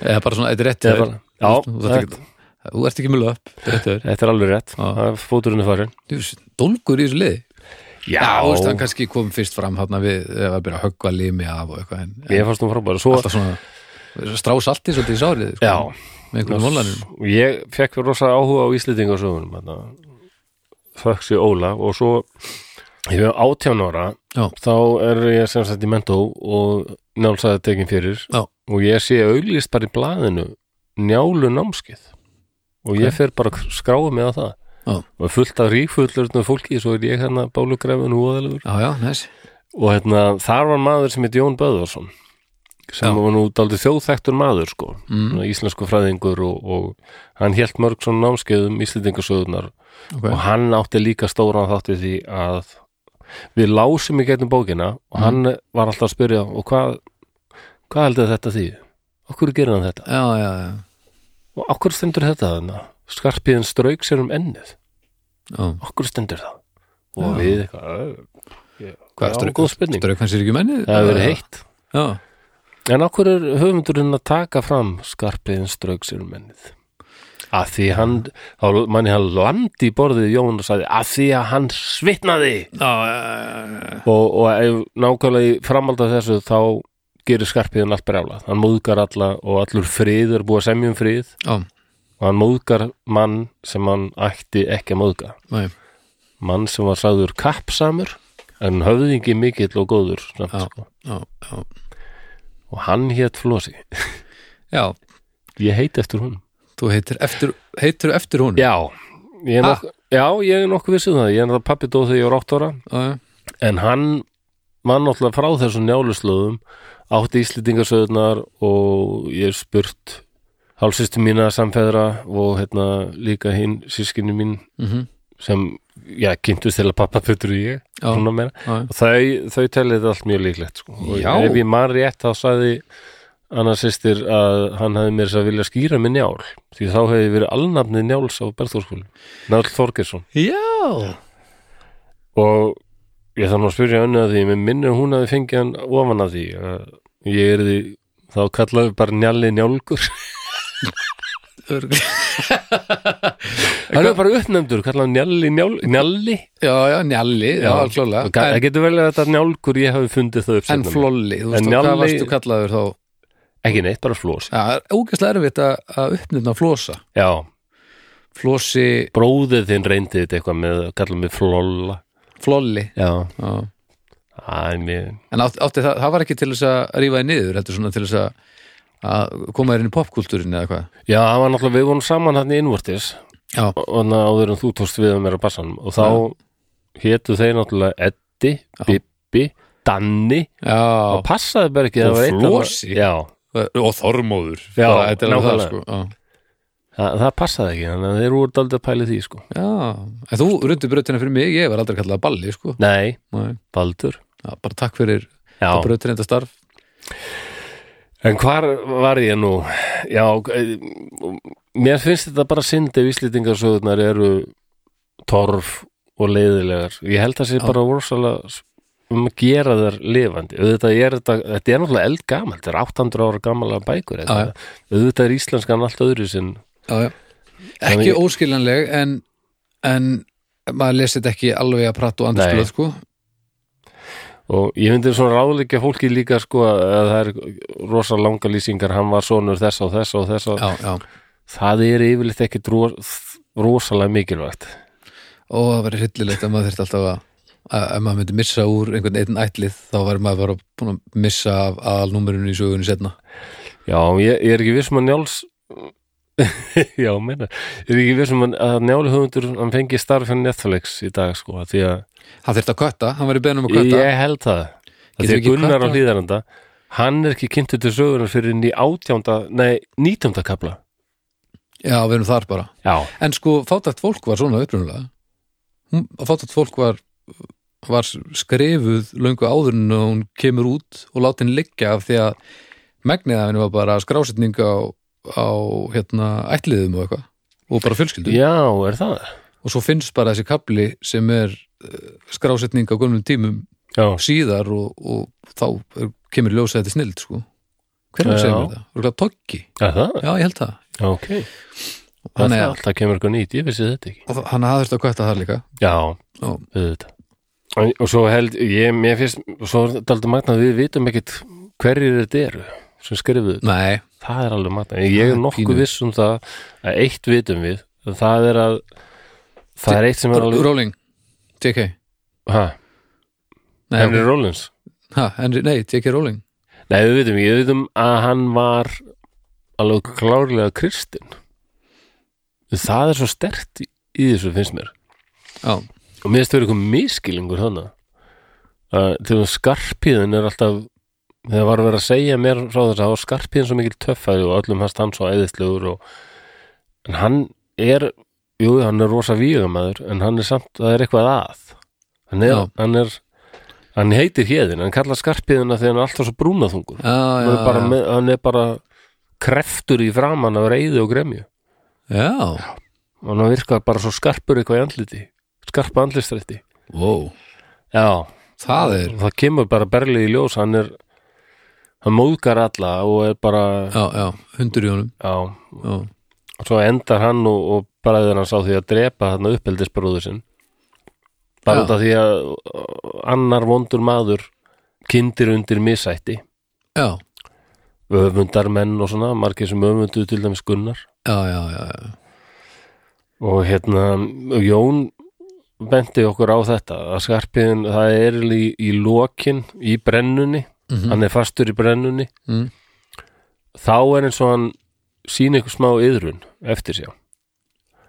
Speaker 2: eða bara svona, þetta er rétt
Speaker 1: Eða
Speaker 2: hjá
Speaker 1: bara,
Speaker 2: þér.
Speaker 1: já,
Speaker 2: þú, þú, ert ekki, þú ert ekki með löpp þetta er,
Speaker 1: þetta er alveg rétt
Speaker 2: Já.
Speaker 1: Það er fóturinn er farin
Speaker 2: djöfull, dólgur í þessu liði
Speaker 1: Já,
Speaker 2: Já, þú veist, hann kannski kom fyrst fram hann við ef að byrja að höggva limi af og eitthvað en, en
Speaker 1: ég fannst hún frábæra svo,
Speaker 2: alltaf svona strá salti svolítið í sárið sko,
Speaker 1: Já,
Speaker 2: með einhverjum volanum
Speaker 1: ég fekk rosa áhuga á Íslendingasögunum þöksi Óla og svo ég hef átján ára
Speaker 2: Já.
Speaker 1: þá er ég sem sagt í mentó og njálsaði tekin fyrir
Speaker 2: Já.
Speaker 1: og ég sé auglýst bara í blaðinu njálu námskið og ég
Speaker 2: Ok.
Speaker 1: fer bara að skráa mig á það
Speaker 2: Já.
Speaker 1: og fullt af ríkfullur fólki svo er ég hérna bálugrefin og óðalegur
Speaker 2: Já, já, næs
Speaker 1: og hérna, þar var maður sem heit Jón Böðvarsson sem
Speaker 2: Já.
Speaker 1: var nú daldið þjóðþektur maður sko
Speaker 2: mm,
Speaker 1: svona íslensku fræðingur og, og hann hélt mörg svona námskeiðum íslendingasöðunar
Speaker 2: okay.
Speaker 1: og hann átti líka stóran þátt við því að við lásum í getum bókina og
Speaker 2: Mhm.
Speaker 1: hann var alltaf að spyrja og hvað, hvað heldur þetta því? Okkur gerir hann þetta?
Speaker 2: Já, já, já,
Speaker 1: Og okkur stendur þetta þarna? Skarpiðin strauk sér um ennið
Speaker 2: já.
Speaker 1: okkur stendur það? Og
Speaker 2: Já.
Speaker 1: við eitthvað "Ö, ég-
Speaker 2: Hvað
Speaker 1: já,
Speaker 2: er strauk-
Speaker 1: góð spurning,
Speaker 2: Strauk hans er ekki mennið
Speaker 1: það hefur verið heitt
Speaker 2: Já,
Speaker 1: En okkur er höfundurinn að taka fram skarpiðin strauksir um mennið? Að því hann, þá manni hann landi í borðið Jón og sagði að því að hann svitnaði
Speaker 2: já, já, já, já.
Speaker 1: og, og ef nákvæmlega í framhald af þessu þá gerir skarpiðin allt brjála. Hann móðgar alla og allur frið er búið að semja um frið
Speaker 2: Já.
Speaker 1: og hann móðgar mann sem hann ætti ekki að móðga.
Speaker 2: Nei,
Speaker 1: Mann sem var sagður kappsamur en höfðingi mikill og góður. Samt,
Speaker 2: Já.
Speaker 1: sko.
Speaker 2: já, já.
Speaker 1: Og hann hétt Flosi.
Speaker 2: já,
Speaker 1: Ég heiti eftir hún.
Speaker 2: þú heitir eftir, heitir eftir hún
Speaker 1: Já, ég er
Speaker 2: Ha?
Speaker 1: nokkuð Já, ég er nokkuð vissið það, ég er það pappi dóð þegar ég var 8 ára
Speaker 2: já,
Speaker 1: en hann var náttúrulega frá þessum njáluslöðum átti íslendingasöðunar og ég hef spurt hálsistu mína samfæðra og hérna líka hinn sískinni mín
Speaker 2: mhm,
Speaker 1: sem, já, kynntust til að pappa betur og ég,
Speaker 2: Já.
Speaker 1: svona meira
Speaker 2: já, já.
Speaker 1: og þau, þau telja þetta allt mjög líklegt sko. og
Speaker 2: Já.
Speaker 1: ef ég man rétt þá sagði annars sýstir að hann hefði mér þess að vilja skýra með njál því þá hefði verið alnafnið njáls á Berþórskóli Njál Þorgesson
Speaker 2: Já,
Speaker 1: og ég þarf nú að spyrja önnu að því mér minnir hún að þið fengið hann ofan að því að ég er því þá kallaði bara njalli njálgur
Speaker 2: örg-
Speaker 1: hann er bara uppnefndur, kallaði hann njalli njál, njalli
Speaker 2: já, já, njalli, já,
Speaker 1: Já.
Speaker 2: klálega
Speaker 1: Og það
Speaker 2: En-
Speaker 1: getur vel að þetta njálgur ég hafi fundið
Speaker 2: En
Speaker 1: þau uppsetna
Speaker 2: flolli, þú veist,
Speaker 1: En
Speaker 2: hvað
Speaker 1: njalli-
Speaker 2: varstu kallaður þá
Speaker 1: ekki neitt, bara flós
Speaker 2: Já, það er ógæslega erfitt að, að uppnefna flosa
Speaker 1: já,
Speaker 2: flosi,
Speaker 1: bróðið þinn reyndi þetta eitthvað með að kalla mig flolla
Speaker 2: flolli
Speaker 1: Já,
Speaker 2: Já.
Speaker 1: það er mér
Speaker 2: en átti, átti það, það var ekki til þess að rífa þið niður, heldur svona til þess að, að koma þér inn í popkultúrin eða hvað
Speaker 1: Já, það var náttúrulega, við vorum saman hann í innvortis
Speaker 2: Já.
Speaker 1: og þannig að áður en þú tókst við að mér á bassanum og þá hétu þeir náttúrulega Eddi,
Speaker 2: Já.
Speaker 1: Bibbi, Danni og
Speaker 2: Já,
Speaker 1: passaði bara ekki
Speaker 2: Og
Speaker 1: að það var einn að-
Speaker 2: Flosi.
Speaker 1: Já,
Speaker 2: og þormóður
Speaker 1: Já,
Speaker 2: Bara, þetta er alveg það,
Speaker 1: nákvæmlega.
Speaker 2: sko. Já.
Speaker 1: það, það passaði ekki þannig að þeir voru daldið að pæla í því sko
Speaker 2: Já, en þú rundu brautina fyrir mig ég var aldrei kallað balli, sko
Speaker 1: Nei,
Speaker 2: Nei.
Speaker 1: Baldur
Speaker 2: Já, bara takk fyrir
Speaker 1: Já,
Speaker 2: brautina þetta starf
Speaker 1: en hvar var ég nú? Já, eh, mér finnst þetta bara synd ef Íslendingasöðunar eru torf og leiðilegar. Ég held að það sé
Speaker 2: Já.
Speaker 1: bara vorsalega um að gera þær lifandi auðvitað er þetta, þetta er náttúrulega eldgamalt þetta er 800 ára gamala bækur
Speaker 2: Já, já.
Speaker 1: þetta. auðvitað er íslenskan allt öðru sinn
Speaker 2: já, já.
Speaker 1: Þannig
Speaker 2: ekki
Speaker 1: ég-
Speaker 2: óskiljanleg en, en maður lesi þetta ekki alveg að pratt og
Speaker 1: Nei.
Speaker 2: andurspilað sko
Speaker 1: og ég myndi svona ráðleikja fólki líka sko að að það er rosa langa lýsingar, hann var sonur þess og þess og þess og
Speaker 2: já, já.
Speaker 1: það er yfirleitt ekkit ros- rosalega mikilvægt
Speaker 2: og það verið hryllilegt að maður þyrfti alltaf að að ef maður myndi missa úr einhvern einn ætlið þá var maður bara búin að missa af aðalnúmerinu í sögunni setna
Speaker 1: já, ég, ég er ekki viss um að njáls já, meina ég er ekki viss um að- að njáli höfundur hann fengi starf fyrir Netflix í dag sko af því að
Speaker 2: hann þyrfti að kötta, hann verið beðin um að kötta
Speaker 1: Ég held það
Speaker 2: Getum
Speaker 1: Þegar
Speaker 2: við ekki
Speaker 1: Gunnar á
Speaker 2: kvartað?
Speaker 1: hlýðaranda hann er ekki kynntur til sögurinn fyrir ný átjánda, nei, nítjánda kapla
Speaker 2: já, við erum þar bara
Speaker 1: Já,
Speaker 2: en sko, fátækt fólk var svona upprunulega Hún- fátækt fólk var var skrifuð löngu áður en hún kemur út og látin liggja af því að megnið af henni var bara skrásetning á, á hérna, ætliðum og eitthvað og bara fjölskyldu
Speaker 1: já, er það
Speaker 2: og svo finnst bara þessi kapli sem er uh, skrásetning á gönnum tímum
Speaker 1: Já,
Speaker 2: síðar og, og þá er, kemur ljósa þetta er snild sko. hver er að segja
Speaker 1: Já.
Speaker 2: mér það? Rúkla Toggi?
Speaker 1: er það?
Speaker 2: Já, ég held það
Speaker 1: Ok, það
Speaker 2: Þannig
Speaker 1: er
Speaker 2: að
Speaker 1: alltaf kemur eitthvað nýtt, ég vissi þetta ekki
Speaker 2: og þa- hann hafði þetta að kvæta það líka
Speaker 1: Já,
Speaker 2: Já.
Speaker 1: auðvitað Og og svo held, ég, mér finnst og svo er þetta aldrei magnað, við vitum ekkit hverjir þetta eru sem skrifuðu þetta.
Speaker 2: Nei,
Speaker 1: það er alveg magnað, ég
Speaker 2: Það
Speaker 1: er
Speaker 2: er
Speaker 1: nokkuð
Speaker 2: pínu.
Speaker 1: viss um það að eitt vitum við, það er að það er eitt sem er alveg
Speaker 2: Rowling J.K.
Speaker 1: ha,
Speaker 2: Nei,
Speaker 1: Henry Rollins
Speaker 2: ha, Henry, nei J.K. Rowling
Speaker 1: Nei, við veitum, ég veitum að hann var alveg klárlega kristinn. Það er svo stert í, í þessu, finnst mér.
Speaker 2: Já,
Speaker 1: Og mér finnst það vera eitthvað miskilingur þannig. Uh, til að skarpiðin er alltaf, þegar var að vera að segja mér frá þess að skarpiðin svo mikil töffæri og öllum hans hann svo æðislegur og, en hann er, jú, hann er rosa vígamæður, en hann er samt, það er eitthvað að. Hann er,
Speaker 2: Já.
Speaker 1: hann er, hann heitir héðin, hann kallar skarpiðina þegar hann er alltaf svo brúnaþungur
Speaker 2: já, já,
Speaker 1: hann er bara,
Speaker 2: já.
Speaker 1: með, hann er bara kreftur í framan af reyði og gremju
Speaker 2: já.
Speaker 1: og hann virkar bara svo skarpur eitthvað í andliti skarpa andlistrætti
Speaker 2: Wow.
Speaker 1: já,
Speaker 2: það er
Speaker 1: það kemur bara berlið í ljós hann er, hann móðgar alla og er bara,
Speaker 2: já, já, hundur í honum
Speaker 1: já
Speaker 2: já.
Speaker 1: og svo endar hann og, og bræður hans á því að drepa þarna uppeldisbróður sinn
Speaker 2: Já.
Speaker 1: bara út af því að uh, annar vondur maður kindir undir misætti
Speaker 2: já,
Speaker 1: öfundarmenn og svona, margir sem öfundu til dæmis Gunnar
Speaker 2: já, já, já, já.
Speaker 1: og hérna Jón benti okkur á þetta að skarpiðin, það er í, í lokin í brennunni
Speaker 2: Mhm.
Speaker 1: hann er fastur í brennunni
Speaker 2: Mm.
Speaker 1: þá er eins og hann sín eitthvað smá yðrun eftir sér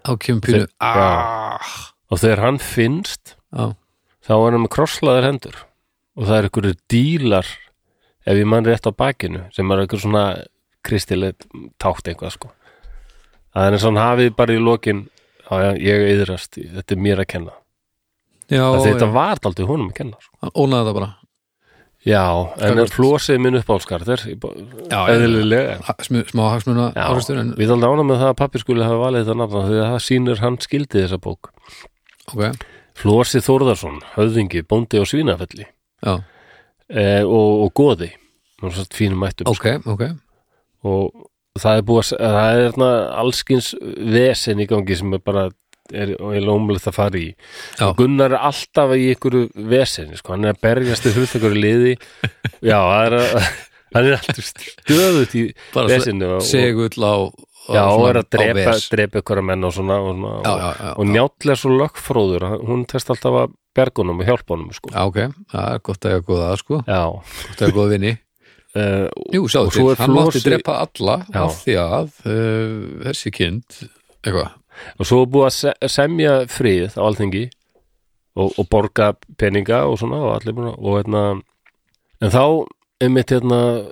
Speaker 2: Þá kemur pínu
Speaker 1: Ah. og þegar hann finnst
Speaker 2: Já,
Speaker 1: þá er hann með krosslaðar hendur og það er einhverju dílar ef ég mann rétt á bakinu sem er einhver svona kristilegt tátt eitthvað sko það er eins og hann hafið bara í lokin já, já, ég yðrast, þetta er mér að kenna
Speaker 2: já,
Speaker 1: Af
Speaker 2: já.
Speaker 1: því þetta var aldrei honum að kenna sko.
Speaker 2: hann ónaði það bara
Speaker 1: Já, en
Speaker 2: Gagnvart-
Speaker 1: flósið minn
Speaker 2: Já,
Speaker 1: uppáhalskarðir
Speaker 2: já.
Speaker 1: eðlilega
Speaker 2: Ha- smu- smá hagsmuna
Speaker 1: Já,
Speaker 2: áristur en
Speaker 1: Við aldrei ánum með það að pappi skuli hafa valið þetta nafna því að það sýnir hann skildi þessa bók
Speaker 2: ok,
Speaker 1: Flósi Þórðarsson, höfðingi, bóndi og svínafelli
Speaker 2: já,
Speaker 1: e, og, og goði og svo fínum mættum
Speaker 2: ok, ok
Speaker 1: og það er búið að s- það er þarna allskins vesen í gangi sem er bara er, og er lómulegt að fara í
Speaker 2: Já.
Speaker 1: og Gunnar er alltaf í ykkur vesen sko. hann er að berjast í hlut ykkur liði já, það er að hann er alltaf stöðut í
Speaker 2: Bara svo-
Speaker 1: vesinu og, og,
Speaker 2: segull á á
Speaker 1: já, og
Speaker 2: svona-
Speaker 1: er að
Speaker 2: á
Speaker 1: drepa,
Speaker 2: ves.
Speaker 1: drepa ykkur menn og svona, og, svona,
Speaker 2: já,
Speaker 1: og,
Speaker 2: já, já,
Speaker 1: og njáttlega svo lögfróður hann- hún test alltaf að bergunum og hjálpa honum sko.
Speaker 2: já, ok, það er gott að ég að góða það sko,
Speaker 1: já,
Speaker 2: gott að ég að góða vinni
Speaker 1: uh,
Speaker 2: jú, sjáðu
Speaker 1: Og svo
Speaker 2: til,
Speaker 1: er
Speaker 2: hann mátti
Speaker 1: flosi-
Speaker 2: drepa alla
Speaker 1: Já.
Speaker 2: af því að uh, þessi kind eitthvað,
Speaker 1: og svo er búið að se- semja frið á alþingi og, og borga peninga og svona og allir búin að- og hérna en þá einmitt hérna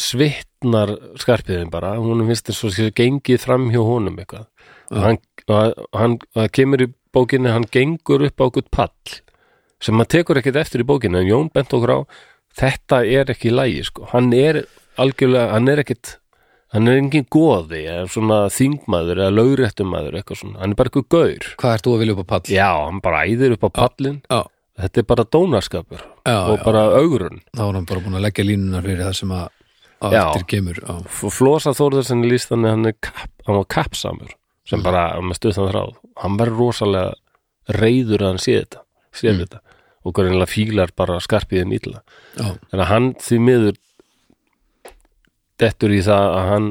Speaker 1: svitnar skarpiðin bara hún finnst þess að gengið fram hjá honum eitthvað og hann, og hann það kemur í bókinni, hann gengur upp á okkur pall sem maður tekur ekkert eftir í bókinni en Jón bent okkur á þetta er ekki í lægi sko hann er algjörlega, hann er ekkit hann er engin goði, er svona þingmaður eða lögréttumaður eitthvað svona, hann er bara eitthvað gaur
Speaker 2: hvað ert þú að vilja upp á pall
Speaker 1: já, hann bara æðir upp á pallin
Speaker 2: já,
Speaker 1: þetta er bara dónaskapur
Speaker 2: Já,
Speaker 1: og
Speaker 2: já.
Speaker 1: bara augrun
Speaker 2: þá er hann bara búin að leggja línunar fyrir það sem að á
Speaker 1: Já.
Speaker 2: eftir kemur á.
Speaker 1: F- Flosa Þórðarsen í listanni hann er kap, hann var kappsamur sem bara með stuðan þráð hann verður rosalega reyður að hann sé þetta sé þetta og hvernig fílar bara skarpiðin illa
Speaker 2: Já.
Speaker 1: þannig að hann því miður dettur í það að hann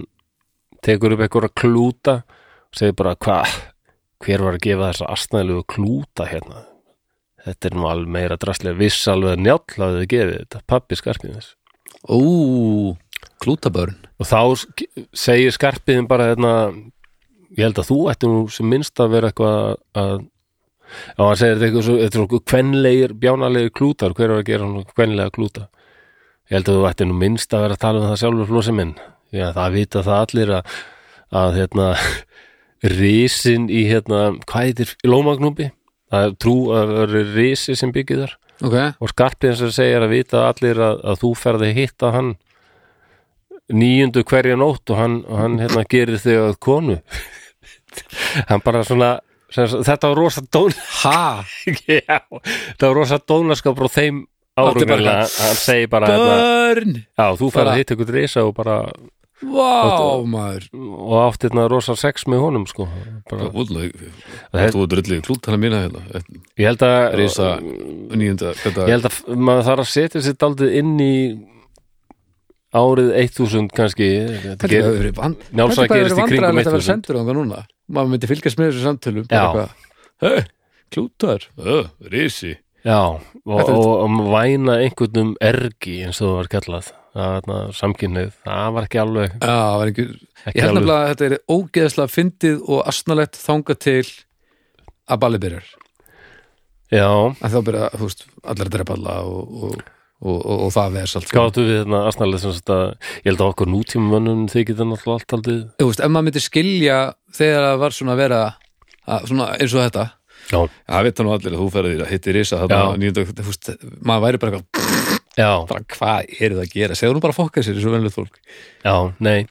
Speaker 1: tekur upp einhverja klúta og segir bara hvað hver var að gefa þessa astnæðlegu klúta hérna þetta er nú alveg meira drastlega viss alveg að njáll hafði gefið þetta pappi skarpiðins
Speaker 2: Ú, klútabörn
Speaker 1: og þá sk- segir skarpiðin bara hérna ég held að þú ætti nú sem minnst að vera eitthvað að Já, hann segir þetta eitthvað svo, þetta er okkur kvenlegir, bjánalegir klútar, hver var að gera hann kvenlega klúta? Ég held að þú ætti nú minnst að vera að tala um það sjálfur flósi minn. Já, það vita það allir að, að hérna, risin í, hérna, hvað heitir, lómagnúpi? Það er trú að það eru risi sem byggir þar
Speaker 2: Ok,
Speaker 1: og skarpið eins og segir að vita allir að, að þú ferði að hitta hann nýjundu hverja nótt og hann, og hann hérna gerir þig að konu hann bara svona sem, sagt, þetta var rosa dón
Speaker 2: ha,
Speaker 1: já, þetta var rosa dónaskapur á þeim
Speaker 2: Þetta er bara
Speaker 1: árum hann segir bara hérna,
Speaker 2: börn
Speaker 1: já, þú ferði
Speaker 2: Bara-
Speaker 1: að hitta ykkur risa og bara
Speaker 2: Vá, maður
Speaker 1: og átti hérna rosa sex með honum sko bara,
Speaker 2: Þú var drullið klútana mína hérna
Speaker 1: ég held að
Speaker 2: Rísa nýjunda
Speaker 1: Ég
Speaker 2: þetta,
Speaker 1: held að f- maður þarf að setja sér daldið inn í árið 1000 kannski Þetta
Speaker 2: Þetta
Speaker 1: gerir-
Speaker 2: hefur verið vand- þetta
Speaker 1: Njálsson
Speaker 2: hefur bara
Speaker 1: gerist
Speaker 2: verið
Speaker 1: í kringum
Speaker 2: vandræðilegt að vera
Speaker 1: 1000.
Speaker 2: sendur þangað núna Maður myndi fylgjast með þessu samtölum
Speaker 1: Já.
Speaker 2: bara eitthvað, "Hey, Klútar, Ö, risi
Speaker 1: Já, og,
Speaker 2: Þetta er-
Speaker 1: og, og væna einhvern um ergi eins og það var kallað að, samkynneið, það var ekki alveg
Speaker 2: Já, það var einhver
Speaker 1: ekki
Speaker 2: Ég held
Speaker 1: alveg,
Speaker 2: nefnilega að þetta er ógeðslega fyndið og asnalegt þanga til að balli byrjar
Speaker 1: Já,
Speaker 2: að þá byrja, þú veist, allir að drepa alla og, og, og, og, og það veðs allt saman.
Speaker 1: gáttu við þarna asnalið sem þetta, ég held að okkur nútíma mönnum þykir þetta náttúrulega allt aldrei
Speaker 2: Þú veist, ef maður myndi skilja þegar það var svona að vera að, svona eins og þetta
Speaker 1: Já,
Speaker 2: Það veit það nú allir að þú ferði að hitti risa þarna
Speaker 1: Já.
Speaker 2: nýjönda, þú veist, maður væri bara, eitthvað,
Speaker 1: já,
Speaker 2: bara hvað er það að gera segðu nú bara að fokka sér, þessu venlega fólk
Speaker 1: já, nei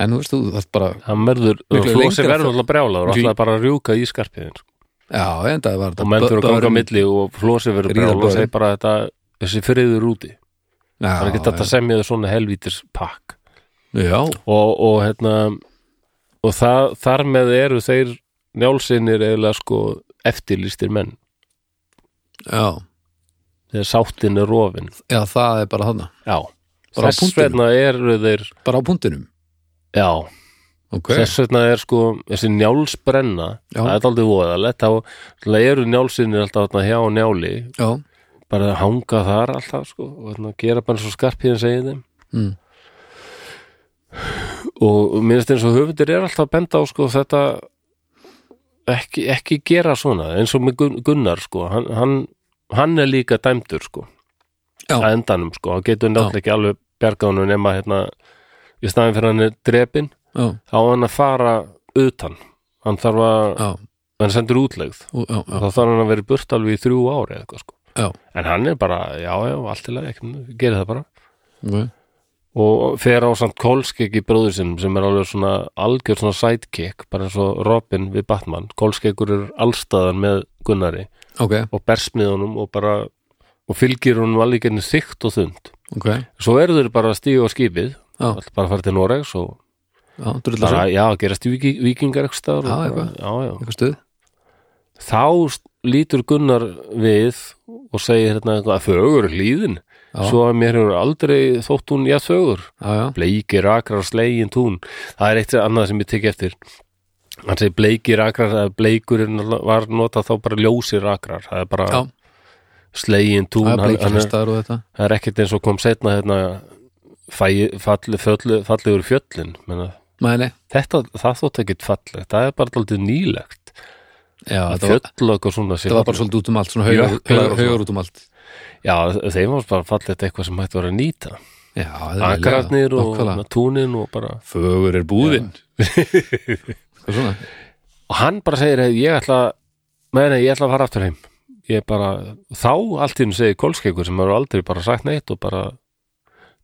Speaker 2: en þú veist, þú þarft bara
Speaker 1: hann verður,
Speaker 2: Miklu
Speaker 1: flósi
Speaker 2: lengra
Speaker 1: verður
Speaker 2: þó-
Speaker 1: alltaf brjálaður,
Speaker 2: Miklu-
Speaker 1: alltaf bara að rjúka í skarpiðin
Speaker 2: já, en það var
Speaker 1: og menn þurfa að ganga á
Speaker 2: börn-
Speaker 1: milli og flósi verður
Speaker 2: Ríða
Speaker 1: brjálaður og
Speaker 2: börn.
Speaker 1: segir bara þetta, þessi friður úti
Speaker 2: já,
Speaker 1: Það er ekki þetta að semja þau svona helvítis pakk
Speaker 2: já, já,
Speaker 1: og, og hérna og það, þar með eru þeir njálsinnir eiginlega sko eftirlýstir menn
Speaker 2: já,
Speaker 1: þegar sáttin er rofin
Speaker 2: já, það er bara þarna
Speaker 1: já,
Speaker 2: Bara á
Speaker 1: þess
Speaker 2: punktinum.
Speaker 1: vegna eru þeir
Speaker 2: bara á punktinum,
Speaker 1: já,
Speaker 2: ok
Speaker 1: þess vegna er sko þessi njálsbrenna,
Speaker 2: Já.
Speaker 1: það er aldrei voðalegt þá náttúrulega eru njálsinnir alltaf þarna hjá njáli,
Speaker 2: já,
Speaker 1: bara hanga þar alltaf sko og þarna gera bara svo skarpiðin segið þeim
Speaker 2: mm.
Speaker 1: og og mér finnst eins og höfundir er alltaf að benda á sko þetta ekki, ekki gera svona eins og með Gun- Gunnar sko hann, hann, hann er líka dæmdur sko
Speaker 2: Já.
Speaker 1: að endanum sko, hann getur náttúrulega ekki alveg bjargað honum nema hérna í staðin fyrir hann er drepin
Speaker 2: já,
Speaker 1: þá á hann að fara utan hann þarf að,
Speaker 2: já,
Speaker 1: hann sendur útlegð
Speaker 2: ú, já, já,
Speaker 1: þá þarf hann að vera í burt alveg í þrjú ári eða eitthvað sko,
Speaker 2: já,
Speaker 1: en hann er bara já, já, allt til að ekki, gerir það bara
Speaker 2: ok
Speaker 1: og fer á samt Kolskegg í bróður sinn sem er alveg svona algjör svona sidekick bara eins og Robin við Batman Kolskeggur er allstaðan með Gunnari
Speaker 2: ok,
Speaker 1: og berst með honum og bara og fylgir honum alveg genið þykkt og þund
Speaker 2: ok, já,
Speaker 1: svo eru þeir bara að stíga á skipið
Speaker 2: Já.
Speaker 1: allt bara að fara til Noregs og
Speaker 2: drullar svo
Speaker 1: bara, já, gerast í viki- vikingar ekki staðar
Speaker 2: Já,
Speaker 1: og bara,
Speaker 2: eitthvað.
Speaker 1: já, já.
Speaker 2: eitthvað stuð,
Speaker 1: þá st- lítur Gunnar við og segir hérna eitthvað að fögur hlýðin
Speaker 2: Já.
Speaker 1: svo að mér hefur aldrei þótt hún jafn fögur
Speaker 2: já, já,
Speaker 1: bleikir akrar slegin tún það er eitt annað sem ég tekja eftir hann segir bleikir akrar eða bleikurinn var notað þá bara ljósir akrar það er bara
Speaker 2: já,
Speaker 1: slegin tún
Speaker 2: það er
Speaker 1: hann, hann er,
Speaker 2: bleikirhestar og þetta
Speaker 1: það er ekkert eins og kom setna hérna, fæ, falli, fjöll, fallegur fjöllin menna,
Speaker 2: Nei, nei,
Speaker 1: þetta, það þótt ekkert fallegt það er bara aldrei nýlegt
Speaker 2: já, þetta var,
Speaker 1: fjöll og svona sé
Speaker 2: þetta var bara
Speaker 1: fallegt.
Speaker 2: svolítið út um allt, svona
Speaker 1: Jöklar
Speaker 2: haugar,
Speaker 1: og
Speaker 2: haugar,
Speaker 1: svona.
Speaker 2: haugar út um allt
Speaker 1: já, þeim var bara fallegt eitthvað sem hægt var að nýta
Speaker 2: Já, það er
Speaker 1: akararnir og
Speaker 2: nákvæmlega.
Speaker 1: túnin og bara
Speaker 2: Fögur er búðinn Hvað svona?
Speaker 1: og hann bara segir að ég ætla með henni, ég ætla að fara aftur heim ég bara, þá allt í henni segir kólskeikur sem eru aldrei bara sagt neitt og bara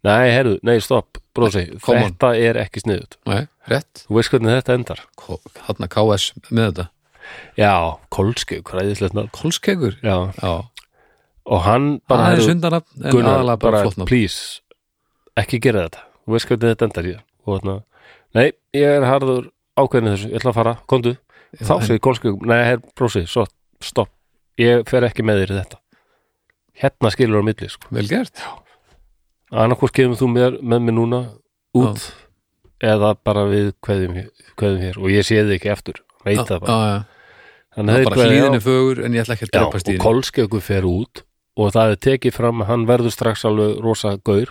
Speaker 1: nei, herru, nei, stopp, brósi
Speaker 2: Come on.
Speaker 1: þetta er ekki sniðut,
Speaker 2: Nei, rétt
Speaker 1: þú veist hvernig þetta endar
Speaker 2: Hanna KS með þetta
Speaker 1: já, kólskeikur, ræðislegt nafn
Speaker 2: Kolskegur?
Speaker 1: já,
Speaker 2: Já,
Speaker 1: og hann
Speaker 2: bara
Speaker 1: bara,
Speaker 2: aðeins
Speaker 1: "Heyrðu,
Speaker 2: hundanafn en
Speaker 1: Gunnar,
Speaker 2: aðalega bara flott
Speaker 1: bara
Speaker 2: nafn
Speaker 1: please ekki gera þetta, þú veist hvernig þetta endar ég og þarna, nei, ég er harður ákveðinu þessu, ég ætla að fara, komdu þá
Speaker 2: en-
Speaker 1: segir Kolskjögum, nei, her, brósi, svo stopp, ég fer ekki með þér í þetta hérna skilur á milli sko.
Speaker 2: vel gert,
Speaker 1: annarkvort kemur þú með, með mér núna út eða bara við kveðum, kveðum hér og ég sé þig ekki eftir veit það bara,
Speaker 2: já, já.
Speaker 1: þannig
Speaker 2: bara,
Speaker 1: þeir
Speaker 2: bara
Speaker 1: kveðja á-
Speaker 2: hlýðin er fögur en ég ætla ekki að
Speaker 1: Já,
Speaker 2: drepa
Speaker 1: og
Speaker 2: stíðin
Speaker 1: Kolskjöku fer út og það er tekið fram að hann verður strax alveg rosa gaur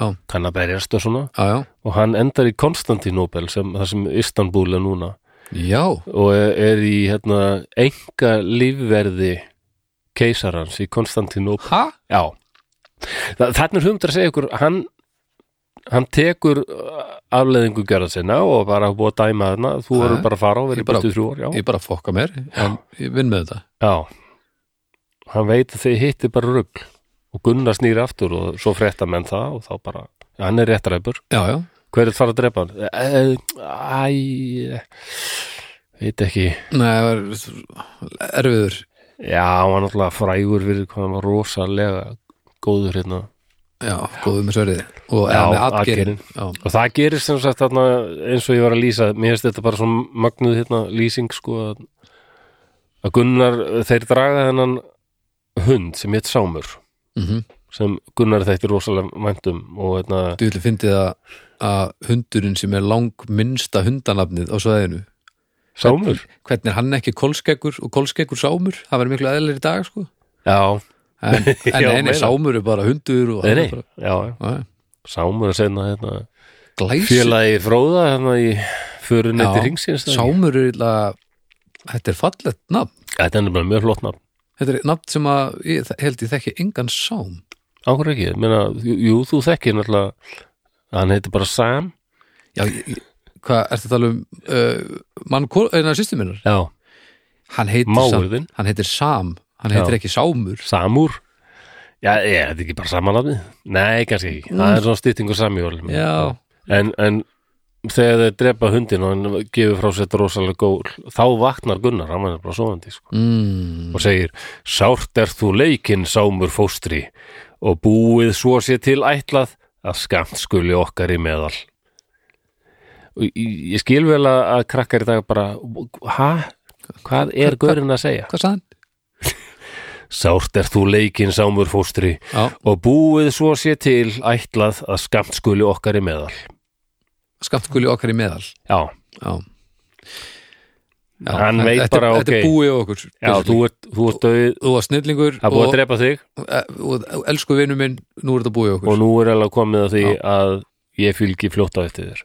Speaker 2: Já.
Speaker 1: kann að berjast og svona
Speaker 2: já, já,
Speaker 1: og hann endar í Konstantinopel sem, þar sem Istanbul er núna
Speaker 2: já,
Speaker 1: og er, er í hérna, enga lífverði keisarans í Konstantinopel
Speaker 2: ha?
Speaker 1: Já, Þa, þannig er hundra að segja ykkur hann, hann tekur afleðingu gerða sinna og bara búið að dæma þarna þú
Speaker 2: Já.
Speaker 1: verður bara að fara og verður
Speaker 2: Ég bara-
Speaker 1: bara þrjú ár já.
Speaker 2: ég bara fokka mér, en ég vinn með þetta
Speaker 1: Já, hann veit að þið hitti bara rugl og Gunnar snýr aftur og svo frétta menn það og þá bara, ja, hann er réttaræpur
Speaker 2: já, já,
Speaker 1: hver er það að fara að drepa hann? Eh, Æ, eh, veit ekki
Speaker 2: nei, það var erfiður
Speaker 1: Já, hann var náttúrulega frægur fyrir hvað hann var rosalega góður hérna
Speaker 2: já, góðu með sverðið og
Speaker 1: Já,
Speaker 2: eða með atgerin
Speaker 1: atgerin.
Speaker 2: já,
Speaker 1: og það gerist sem sagt þarna eins og ég var að lýsa, mér finnst þetta bara svona magnuð hérna lýsing sko að- að Gunnar, þeir draga þennan hund sem hétt Sámur
Speaker 2: mhm,
Speaker 1: sem Gunnar þætti rosalega væntum og hérna,
Speaker 2: þú vilja fyndið að að hundurinn sem er lang minnsta hundanafnið á svæðinu
Speaker 1: Sámur?
Speaker 2: hvernig er hann ekki kolskeggur og kolskeggur sámur, það verður miklu eðlir í dag sko.
Speaker 1: Já,
Speaker 2: en, en
Speaker 1: Já,
Speaker 2: eini
Speaker 1: meira.
Speaker 2: sámur er bara hundur og
Speaker 1: nei,
Speaker 2: hann
Speaker 1: nei,
Speaker 2: er bara,
Speaker 1: já, já.
Speaker 2: Nei,
Speaker 1: Sámur að segna hérna
Speaker 2: glæsi
Speaker 1: félagi fróða hérna í förunni
Speaker 2: Já,
Speaker 1: til ringsins
Speaker 2: Sámur er illa þetta er fallegt nafn
Speaker 1: Þetta er bara mjög flott nafn
Speaker 2: þetta er nafn sem að ég þ- held ég þekki engan sám
Speaker 1: Áhver ekki, ég meina, jú, jú, þú þekkir náttúrulega hann heitir bara Sam
Speaker 2: já, ég- ég- hvað ertu að tala um uh, mann, eina sýstu minnar
Speaker 1: Já,
Speaker 2: hann heitir, sam,
Speaker 1: máurðin,
Speaker 2: hann heitir Sam hann heitir
Speaker 1: Já.
Speaker 2: ekki Sámur
Speaker 1: Samúr Já, ég, þetta er ekki bara samanlafni Nei, kannski ekki, það er svona styttingu samjól
Speaker 2: Mm. já,
Speaker 1: en, en þegar þeir drepa hundin og hann gefur frá sér rosalega gól þá vaknar Gunnar, hann er bara svoandi sko.
Speaker 2: mm,
Speaker 1: og segir Sárt er þú leikinn sámur fóstri og búið svo sé til ætlað að skamt skuli okkar í meðal og ég ég skil vel að að krakkar í dag bara hæ? Hvað er gaurinn að segja?
Speaker 2: hvað sagði hann?
Speaker 1: Sárt er þú leikinn sámur fóstri
Speaker 2: Já,
Speaker 1: og búið svo sé til ætlað að skamt skuli okkar í meðal
Speaker 2: skamtkuli okkar í meðal
Speaker 1: Já,
Speaker 2: já, já
Speaker 1: Hann
Speaker 2: en-
Speaker 1: veit
Speaker 2: þetta,
Speaker 1: bara,
Speaker 2: þetta
Speaker 1: ok.
Speaker 2: er búið á okkur
Speaker 1: já þú
Speaker 2: basically.
Speaker 1: ert, þú ert döið
Speaker 2: þú var snillingur
Speaker 1: Það er búið að
Speaker 2: og, eh,
Speaker 1: drepa þig
Speaker 2: og, og elsku vinnu minn, nú er þetta búið á okkur
Speaker 1: og nú er alveg komið að því
Speaker 2: Já.
Speaker 1: að ég fylgi fljótt á eftir þér.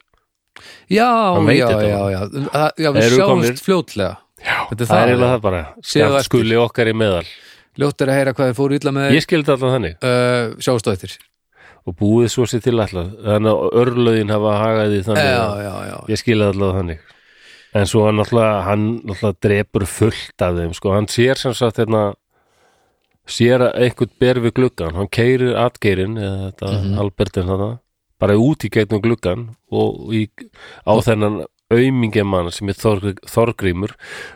Speaker 2: Já,
Speaker 1: Hann veit
Speaker 2: já,
Speaker 1: þetta.
Speaker 2: já, já, Þa- já, við
Speaker 1: Þeir eru
Speaker 2: sjáumst
Speaker 1: komnir.
Speaker 2: fljótlega Þetta er
Speaker 1: Það er
Speaker 2: það,
Speaker 1: eiginlega það bara.
Speaker 2: Séðu
Speaker 1: Skamt
Speaker 2: eftir.
Speaker 1: skuli okkar í meðal.
Speaker 2: ljótt er að heyra hvað þeir fóru illa með
Speaker 1: Ég skildi alltaf þannig
Speaker 2: uh, sjáumst á eftir
Speaker 1: og búið svo sér til alltaf. Þannig að örlögin hafa hagaði þannig
Speaker 2: Já,
Speaker 1: að
Speaker 2: já, já,
Speaker 1: ég skildi alltaf þannig. En svo hann náttúrulega, hann náttúrulega drepur fullt af þeim, sko. Hann sér sem sagt hérna, sér að einhvern ber við gluggan. Hann keirir atgeirinn, eða þetta
Speaker 2: Mhm.
Speaker 1: Albertin þarna, bara út í gegnum gluggan og í, á þennan aumingjamann sem er Þorgr, Þorgrímur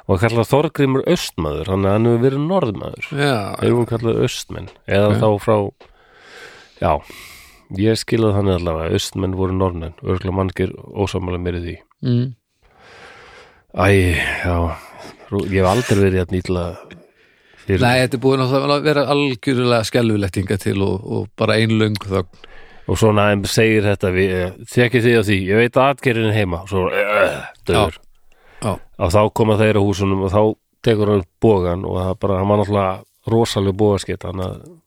Speaker 1: og hann kallar Þorgrímur östmaður, hann, hann hefur verið norðmaður.
Speaker 2: já,
Speaker 1: Þeir voru kallað austmenn eða
Speaker 2: Ok.
Speaker 1: þá frá já, ég skilaði þannig allavega austmenn voru normenn, örgulega mannskir ósámála mér í því
Speaker 2: mm.
Speaker 1: Æ, já, rú- ég hef aldrei verið að nýtla fyrir
Speaker 2: Nei, þetta er búið náttúrulega að vera algjörlega skelfulegt inga til og, og bara einlöng þögn
Speaker 1: og svona em, segir þetta við, eh, þekki því á því, ég veit að atgerðin er heima og svo uh, döður
Speaker 2: Já,
Speaker 1: og þá koma þeir á húsunum og þá tekur hann upp bógan og það bara, hann var náttúrulega rosalega bógaskett hann að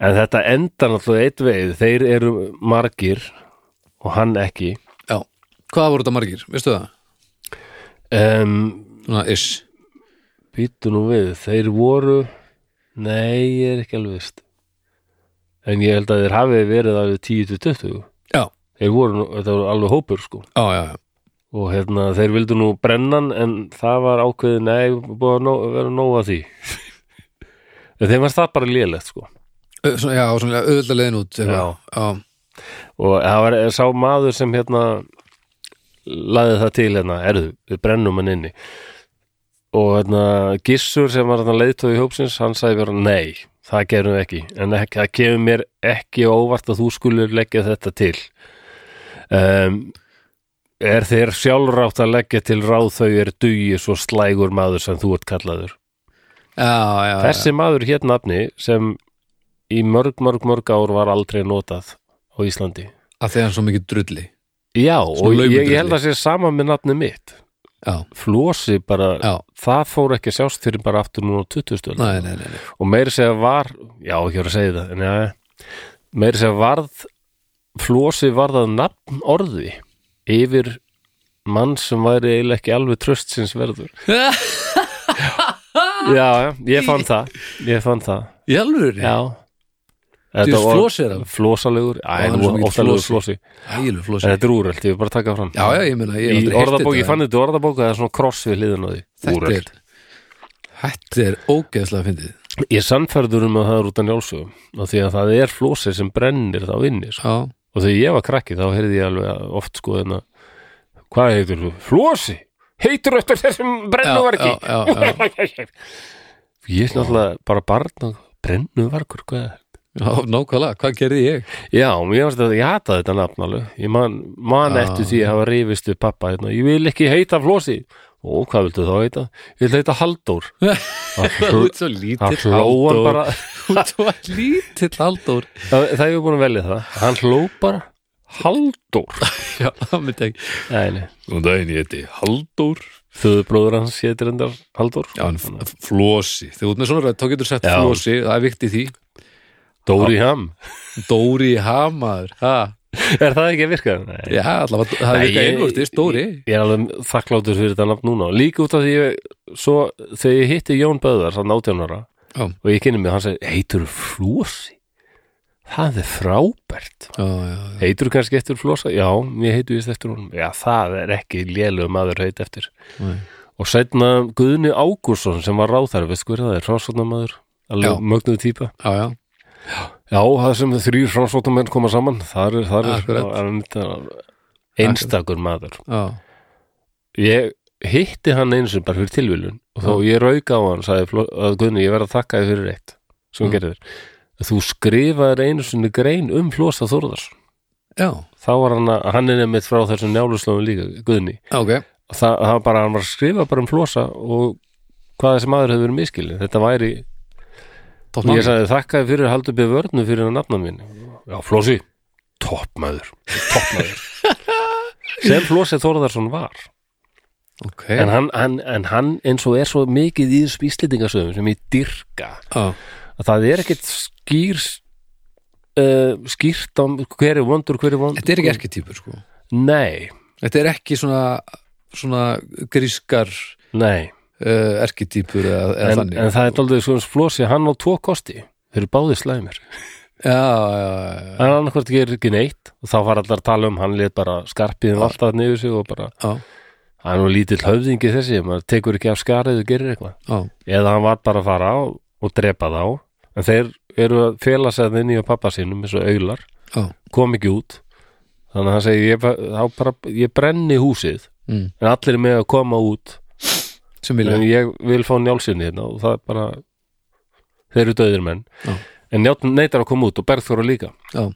Speaker 1: en þetta endar náttúrulega eitt veið þeir eru margir og hann ekki
Speaker 2: já, hvað voru þetta margir, veistu það?
Speaker 1: um,
Speaker 2: Svona ish,
Speaker 1: býttu nú við, þeir voru nei, ég er ekki alveg vist en ég held að þeir hafi verið alveg 10-20
Speaker 2: já,
Speaker 1: þeir voru, nú- þetta voru alveg hópur sko
Speaker 2: já, já, já.
Speaker 1: og hérna, þeir vildu nú brennan en það var ákveðið, nei, búið að nó- vera nóg að því en þeim var það bara lélegt sko
Speaker 2: Ö, Svona, já, svona auðvitað leiðin út eitthvað. já,
Speaker 1: og það var sá maður sem hérna laði það til hérna, erðu, við brennum hann inni og hérna Gissur sem var hérna leiðtói í hópsins, hann sagði vera nei það gerum við ekki en ekki, það kemur mér ekki á óvart að þú skulur leggja þetta til um, er þér sjálfrátt að leggja til ráð þau er dugi svo slægur maður sem þú ert kallaður
Speaker 2: já, já,
Speaker 1: þessi maður hér nafni sem í mörg, mörg, mörg ár var aldrei notað á Íslandi
Speaker 2: já. að því hann svo mikið drulli
Speaker 1: já, og
Speaker 2: laumur
Speaker 1: ég, ég held
Speaker 2: drulli.
Speaker 1: að sé sama með nafni mitt
Speaker 2: já,
Speaker 1: flosi bara,
Speaker 2: já,
Speaker 1: það fór ekki að sjást fyrir bara aftur núna á 20 stöld
Speaker 2: nei, nei, nei, nei.
Speaker 1: og meiri segja var já, ekki voru að segja það en ja, meiri segja varð flosi varðað nafn orði yfir mann sem væri eiginlega ekki alveg tröst sinns verður já, já, ég fann það ég fann það,
Speaker 2: í alvöru,
Speaker 1: já
Speaker 2: Þú veist, flosi er hann?
Speaker 1: flosalegur,
Speaker 2: Já, hann er
Speaker 1: æ,
Speaker 2: svo mikill
Speaker 1: óttalegur
Speaker 2: flosi.
Speaker 1: flosi
Speaker 2: ægilu
Speaker 1: en
Speaker 2: flósi
Speaker 1: þetta er úröld, ég vil bara taka það fram
Speaker 2: já, já, ég meina, ég hef
Speaker 1: í
Speaker 2: aldrei heyrt
Speaker 1: orðabók, ég
Speaker 2: þetta.
Speaker 1: fann þetta í orðabók að það er svona kross við hliðin á því
Speaker 2: þetta er, þetta er ógeðslega fyndið
Speaker 1: ég er sannfærður um að það er út af njálsögum og því að það er flosi sem brennir þá inni, sko
Speaker 2: já,
Speaker 1: og þegar ég var krakki þá heyrði ég alveg oft sko þarna hvað heitir þú? Flosi? Heitur eftir þessum brennuvargi?
Speaker 2: Já, já, já,
Speaker 1: ég er náttúrulega bara barn og brennuvargur, hvað er
Speaker 2: já, nákvæmlega, hvað gerði ég?
Speaker 1: Já, mér varst að ég hata þetta nafn alveg ég man, man
Speaker 2: Já.
Speaker 1: eftir því að hafa rifist við pappa hérna. ég vil ekki heita Flosi Ó, hvað viltu þá heita? Ég vil heita Halldór
Speaker 2: Þú ert svo lítill
Speaker 1: Það hlóan
Speaker 2: Halldór.
Speaker 1: bara
Speaker 2: Þú ert svo lítill Halldór
Speaker 1: Það það hefur búin að velja það Hann hló bara Halldór
Speaker 2: Já, það myndi ekki
Speaker 1: Nei, nei
Speaker 2: Nú daginn ég heiti Halldór
Speaker 1: Þauðbróður hans hétir endar Halldór
Speaker 2: Já, en f- flosi Þegar út með svona rödd, þá getur sett
Speaker 1: Já.
Speaker 2: flosi Það er vikt í því
Speaker 1: Dóri Ham
Speaker 2: Dóri Hamaður ha.
Speaker 1: Er það ekki að virka? Nei.
Speaker 2: Já, allavega, það er
Speaker 1: Nei,
Speaker 2: vikað
Speaker 1: ég-
Speaker 2: einvortis, Dóri
Speaker 1: Ég er alveg þakkláttur fyrir þetta nafn núna Líka út af því ég, svo, þegar ég hitti Jón Böðar þann 18 ára
Speaker 2: Já.
Speaker 1: og ég kynni mig, hann segi, heitur flosi? Það er frábært
Speaker 2: Já, já, já,
Speaker 1: Heitur kannski eftir flosa? Já, ég heitu vist eftir honum Já, það er ekki lélug maður heit eftir
Speaker 2: Nei.
Speaker 1: Og setna Guðni Ágúrsson sem var ráþar, veist hver það er, rannsóknarmaður
Speaker 2: Já.
Speaker 1: alveg mögnuð típa
Speaker 2: já, já.
Speaker 1: Já, það sem þrýr rannsóknarmenn koma saman þar er, þar er,
Speaker 2: Akkurat.
Speaker 1: er, er einstakur maður
Speaker 2: já.
Speaker 1: ég hitti hann eins og bara fyrir tilvílun og þá ég rauk á hann sagði Flo- að Guðni ég verð að þakka þér fyrir eitt
Speaker 2: Mm.
Speaker 1: sem mm. gerðir þú skrifaðir einu sinni grein um Flosa Þórðarsson
Speaker 2: já.
Speaker 1: þá var hann að hann er nefnir frá þessum njáluslóðum líka Guðni
Speaker 2: ok
Speaker 1: það, það var bara hann var að skrifa bara um Flosa og hvað þessi maður hefur verið miskilin þetta væri
Speaker 2: Topp
Speaker 1: og
Speaker 2: maður
Speaker 1: ég sagði þakka þér fyrir haldur byrð vörnu fyrir að nafna mín já Flosi toppmaður toppmaður sem Flosi Þórðarsson var
Speaker 2: Ok,
Speaker 1: En hann, hann, en hann eins og er svo mikið í þessu íslendingasöðum sem ég dyrka
Speaker 2: já,
Speaker 1: að það er ekkit skýr uh, skýrt á hver er vondur, hver er vondur
Speaker 2: þetta er ekki erketýpur sko
Speaker 1: Nei,
Speaker 2: Þetta er ekki svona, svona grískar
Speaker 1: nei
Speaker 2: uh, erketýpur eða, eða
Speaker 1: en,
Speaker 2: þannig
Speaker 1: en það er daldið svo hans flósi hann á tvo kosti, þau eru báði slæmir
Speaker 2: Já, já, já, já,
Speaker 1: en annarkvort gerir ekki neitt og þá var allar að tala um, hann lét bara um skarpiðin alltaf niður sig og bara,
Speaker 2: já,
Speaker 1: hann var lítill höfðingi þessi, maður tekur ekki af skarið og gerir eitthvað
Speaker 2: já.
Speaker 1: eða hann var bara að fara á og drepa þá en þeir eru að fela sig inn í á pappa sínum eins og auðlar,
Speaker 2: Já.
Speaker 1: kom ekki út þannig að hann segi ég, ba- þá bara, ég brenni húsið
Speaker 2: Mm.
Speaker 1: en allir er með að koma út
Speaker 2: sem vilja
Speaker 1: en ég vil fá njálsinni hérna og það er bara þeir eru döðir menn
Speaker 2: Já.
Speaker 1: en njáln neitar að koma út og berðþóra líka
Speaker 2: Já.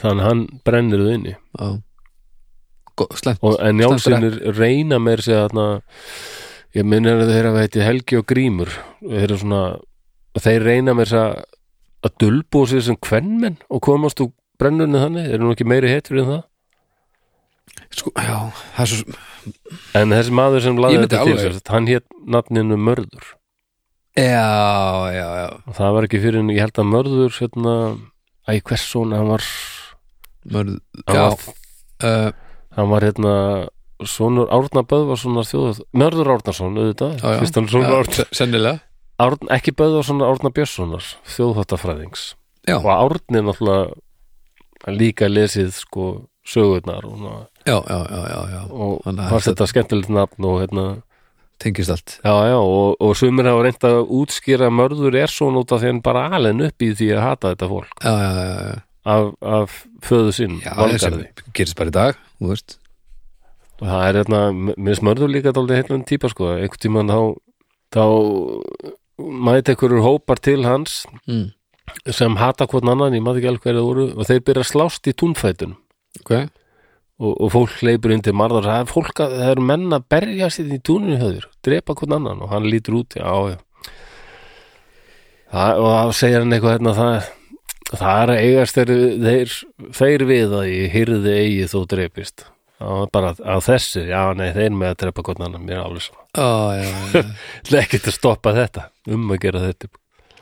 Speaker 1: þannig að hann brennir þau inni
Speaker 2: Já. Go- Slæmt
Speaker 1: og, en
Speaker 2: Stendur
Speaker 1: njálsinnir reyna meir sig þarna ég minnir að þeirra heiti Helgi og Grímur þeir eru svona þeir reyna meir sig að að dulbúa sér sem kvenmenn og komast úr brennunni þannig, þeir eru nú ekki meiri hetur en það
Speaker 2: sko, Já, það er svo
Speaker 1: en þessi maður sem laði
Speaker 2: Ég myndi
Speaker 1: þetta til
Speaker 2: alveg-
Speaker 1: sér, hann hétt nafninu Mörður
Speaker 2: Já, já, já
Speaker 1: og það var ekki fyrir en ég held að Mörður hérna, æ, hvers svona hann var,
Speaker 2: Mörð,
Speaker 1: hann
Speaker 2: já,
Speaker 1: var, eh,
Speaker 2: uh,
Speaker 1: hann var hérna sonur Árna Böðvarssonar þjóðað Mörður Árnason, auðvitað,
Speaker 2: Já, já.
Speaker 1: fyrst hann
Speaker 2: já
Speaker 1: sonur Árna
Speaker 2: se- Sennilega
Speaker 1: Árn, ekki Böðvarsson Árna Björnssonar, þjóðháttafræðings
Speaker 2: Já.
Speaker 1: og Árni er náttúrulega líka lesið sko sögurnar og, svona.
Speaker 2: Já, já, já, já, já
Speaker 1: og
Speaker 2: Þannig að
Speaker 1: fannst þetta skemmtilegt nafn og hérna,
Speaker 2: Tengist allt
Speaker 1: já, já, og, og sumir hafa reynt að útskýra að mörður er svona út af því hann bara alinn upp í því að hata þetta fólk
Speaker 2: Já, já, já, já,
Speaker 1: af, af föðu sinn,
Speaker 2: Eh, já eins og
Speaker 1: valgarði
Speaker 2: Gerist bara í dag, þú veist
Speaker 1: og það er hérna, minnst mörður líka dálítið heitlan típa sko, einhvern tímann þá þá mæti einhverjur hópar til hans
Speaker 2: Mm.
Speaker 1: sem hata hvort annan, ég maður ekki alveg hverju voru og þeir byrja að slást í túnfætunum
Speaker 2: ok,
Speaker 1: og, og fólk leipur undir marðar það er fólk að, það eru menn að berja sér í túninu höður, drepa hvern annan og hann lítur út, já, já það, og það segir hann eitthvað hérna, það, það er að eigast þeir, þeir, þeir við að ég hyrði eigi þú drepist Það var bara að þessu, já nei, þeir með að drepa hvern annan, mér er alveg svo
Speaker 2: á, já, já,
Speaker 1: ekkert að stoppa þetta, um að gera þetta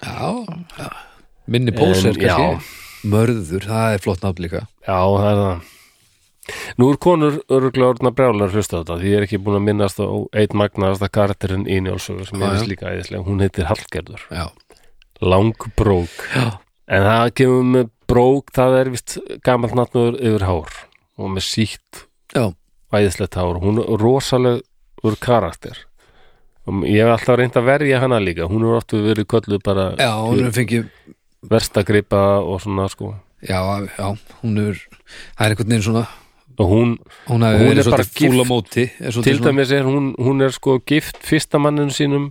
Speaker 2: já, já. minni póser
Speaker 1: Em, já.
Speaker 2: kannski, mörður, það er flott nafn líka
Speaker 1: Já, það er það Nú er konur örgulega orðna brjálar hlusta á þetta því ég er ekki búin að minnast á eitt magnaðasta karakterinn í Njálsögu
Speaker 2: Já,
Speaker 1: sem ég
Speaker 2: já.
Speaker 1: veist líka æðislega, hún heitir Hallgerður
Speaker 2: já,
Speaker 1: Langbrók,
Speaker 2: já,
Speaker 1: en það kemur með brók, það er vist gamalt nafnur yfir hár og með sítt
Speaker 2: já,
Speaker 1: æðislegt hár, hún er rosalegur karakter og ég hef alltaf reynd að verja hana líka hún er oft verið kölluð bara
Speaker 2: já, hún er fengið
Speaker 1: verstagripa og svona sko
Speaker 2: já, já, hún er það er einhvern veginn svona
Speaker 1: og hún
Speaker 2: hún, hafi
Speaker 1: Hún er
Speaker 2: verið
Speaker 1: bara
Speaker 2: svolítið fúl á
Speaker 1: gift.
Speaker 2: móti er svolítið
Speaker 1: til
Speaker 2: svona-
Speaker 1: dæmis er hún, hún er sko gift fyrsta manninu sínum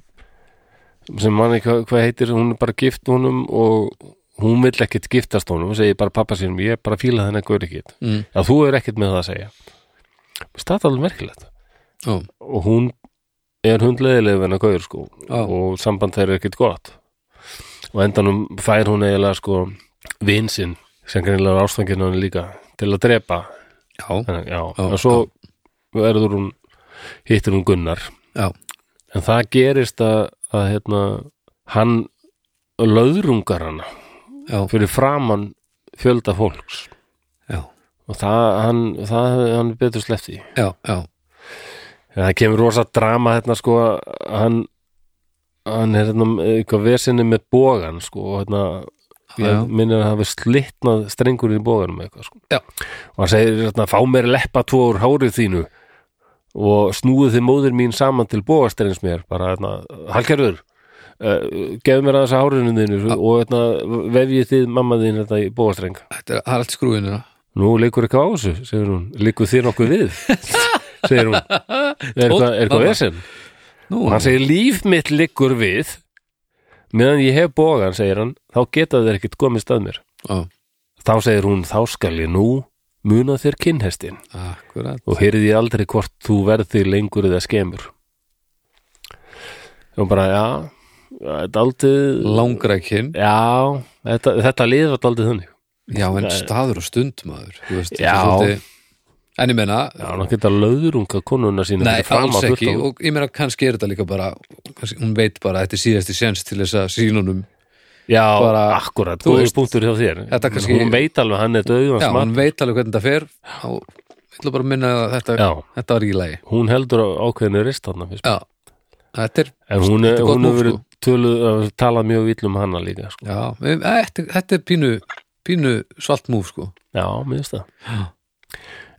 Speaker 1: sem manni hvað, hvað heitir hún er bara gift honum og hún vill ekkit giftast honum og segir bara pappa sínum ég bara fíla þennan gaur ekkit
Speaker 2: mm,
Speaker 1: já þú er ekkit með það að segja stað alveg merkilegt
Speaker 2: já,
Speaker 1: og hún er hundleðileg við hennar gaur sko
Speaker 2: Já.
Speaker 1: og samband þeirra er ekkit gott og á endanum fær hún eiginlega sko vinsinn sem greinilega er ástanginu hann líka til að drepa
Speaker 2: já,
Speaker 1: Þannig, já,
Speaker 2: Já,
Speaker 1: en svo verður hún hittir hún Gunnar
Speaker 2: já,
Speaker 1: en það gerist að, að hérna, hann löðrungar hana
Speaker 2: já,
Speaker 1: fyrir framan fjölda fólks
Speaker 2: já,
Speaker 1: og það, hann, það hann er betur sleppt í
Speaker 2: já, já,
Speaker 1: en það kemur rosa drama hérna sko að hann hann er hérna eitthvað vesinni með bógan sko og hérna
Speaker 2: Já.
Speaker 1: ég minni að hann hafi slitnað strengur í bóganum eitthvað sko
Speaker 2: Já.
Speaker 1: og hann segir hérna fá mér leppa tvo úr hárið þínu og snúið þið móðir mín saman til bógastreins mér bara hérna, halkerður uh, gefðu mér aðeins að hárinu þínu og hérna vefjið þið mamma þín þetta í bógastreng
Speaker 2: þetta er það er allt skrúinu já,
Speaker 1: Nú leikur ekki á þessu, segir hún Leikur þér nokkuð við, segir hún Er eitthvað, er eitthvað
Speaker 2: mamma.
Speaker 1: vesinn?
Speaker 2: Nú,
Speaker 1: Og hann segir líf mitt liggur við Meðan ég hef bógan, segir hann Þá geta þeir ekkit komist að mér
Speaker 2: já,
Speaker 1: Þá segir hún, þá skal ég nú Muna þér kynhestin
Speaker 2: akkurat
Speaker 1: Og heyrði ég aldrei hvort þú verði lengur eða skemur Og bara, já Þetta aldrei
Speaker 2: langra kyn
Speaker 1: Já, þetta, þetta lið var aldrei þannig
Speaker 2: já, en staður og stund maður þú veist,
Speaker 1: Já.
Speaker 2: svolítið- en ég meina
Speaker 1: Já, hann geta löðurunga konuna sína
Speaker 2: Nei,
Speaker 1: fyrir framan
Speaker 2: alls
Speaker 1: fullt
Speaker 2: ekki
Speaker 1: af-
Speaker 2: og ég meina kannski er þetta líka bara kannski, hún veit bara að þetta er síðasti séns til þess að sínunum
Speaker 1: Já,
Speaker 2: Bara-
Speaker 1: akkurat,
Speaker 2: þú
Speaker 1: góður
Speaker 2: veist,
Speaker 1: punktur hjá þér
Speaker 2: þetta kannski-
Speaker 1: Hún veit alveg, hann er döðu
Speaker 2: já,
Speaker 1: hún,
Speaker 2: hún veit alveg hvernig þetta fer og ég ætla bara að minna að þetta,
Speaker 1: Já.
Speaker 2: þetta var ekki í lagi
Speaker 1: hún heldur á ákveðinu rist hann
Speaker 2: já, þetta er
Speaker 1: En hún,
Speaker 2: Þetta
Speaker 1: er-
Speaker 2: er gott sko.
Speaker 1: hún
Speaker 2: múl,
Speaker 1: hefur verið töluð, talað mjög vill um hana líka sko.
Speaker 2: já, við- að, þetta, þetta er pínu pínu svalt múf sko
Speaker 1: Já, mér finnst það
Speaker 2: Já.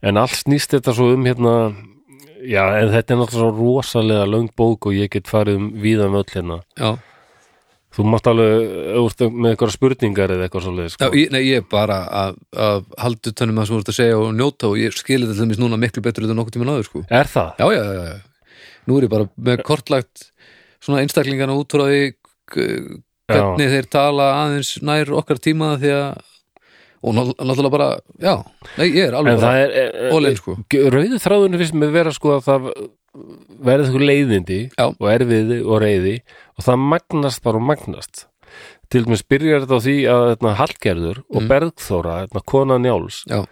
Speaker 1: En allt snýst þetta svo um hérna Já, en þetta er náttúrulega svo rosalega löng bók og ég get farið um víða um öll hérna
Speaker 2: já,
Speaker 1: Þú mátt alveg, ef þú ert með eitthvað spurningar eða eitthvað svoleið
Speaker 2: já
Speaker 1: sko.
Speaker 2: ég, nei, ég er bara að, að haldu tönnum að sem voru að segja og njóta og ég skil þetta til þess núna miklu betur þetta nokkuð tíma náður sko
Speaker 1: Er það?
Speaker 2: já, já, já, já, nú er ég bara með kortlagt svona einstaklingana út úr að því k- hvernig þeir tala aðeins nær okkar tíma því að og ná- náttúrulega bara, já, nei, ég er alveg
Speaker 1: En
Speaker 2: bara
Speaker 1: það er, er, er
Speaker 2: ólein sko,
Speaker 1: rauðu þráðunni finnst mér vera sko að það verði eitthvað leiðindi
Speaker 2: Já.
Speaker 1: og erfiði og reyði og það magnast bara og magnast til dæmis byrjar þetta á því að hérna, Hallgerður
Speaker 2: Mm.
Speaker 1: og Bergþóra hérna, kona Njáls,
Speaker 2: já,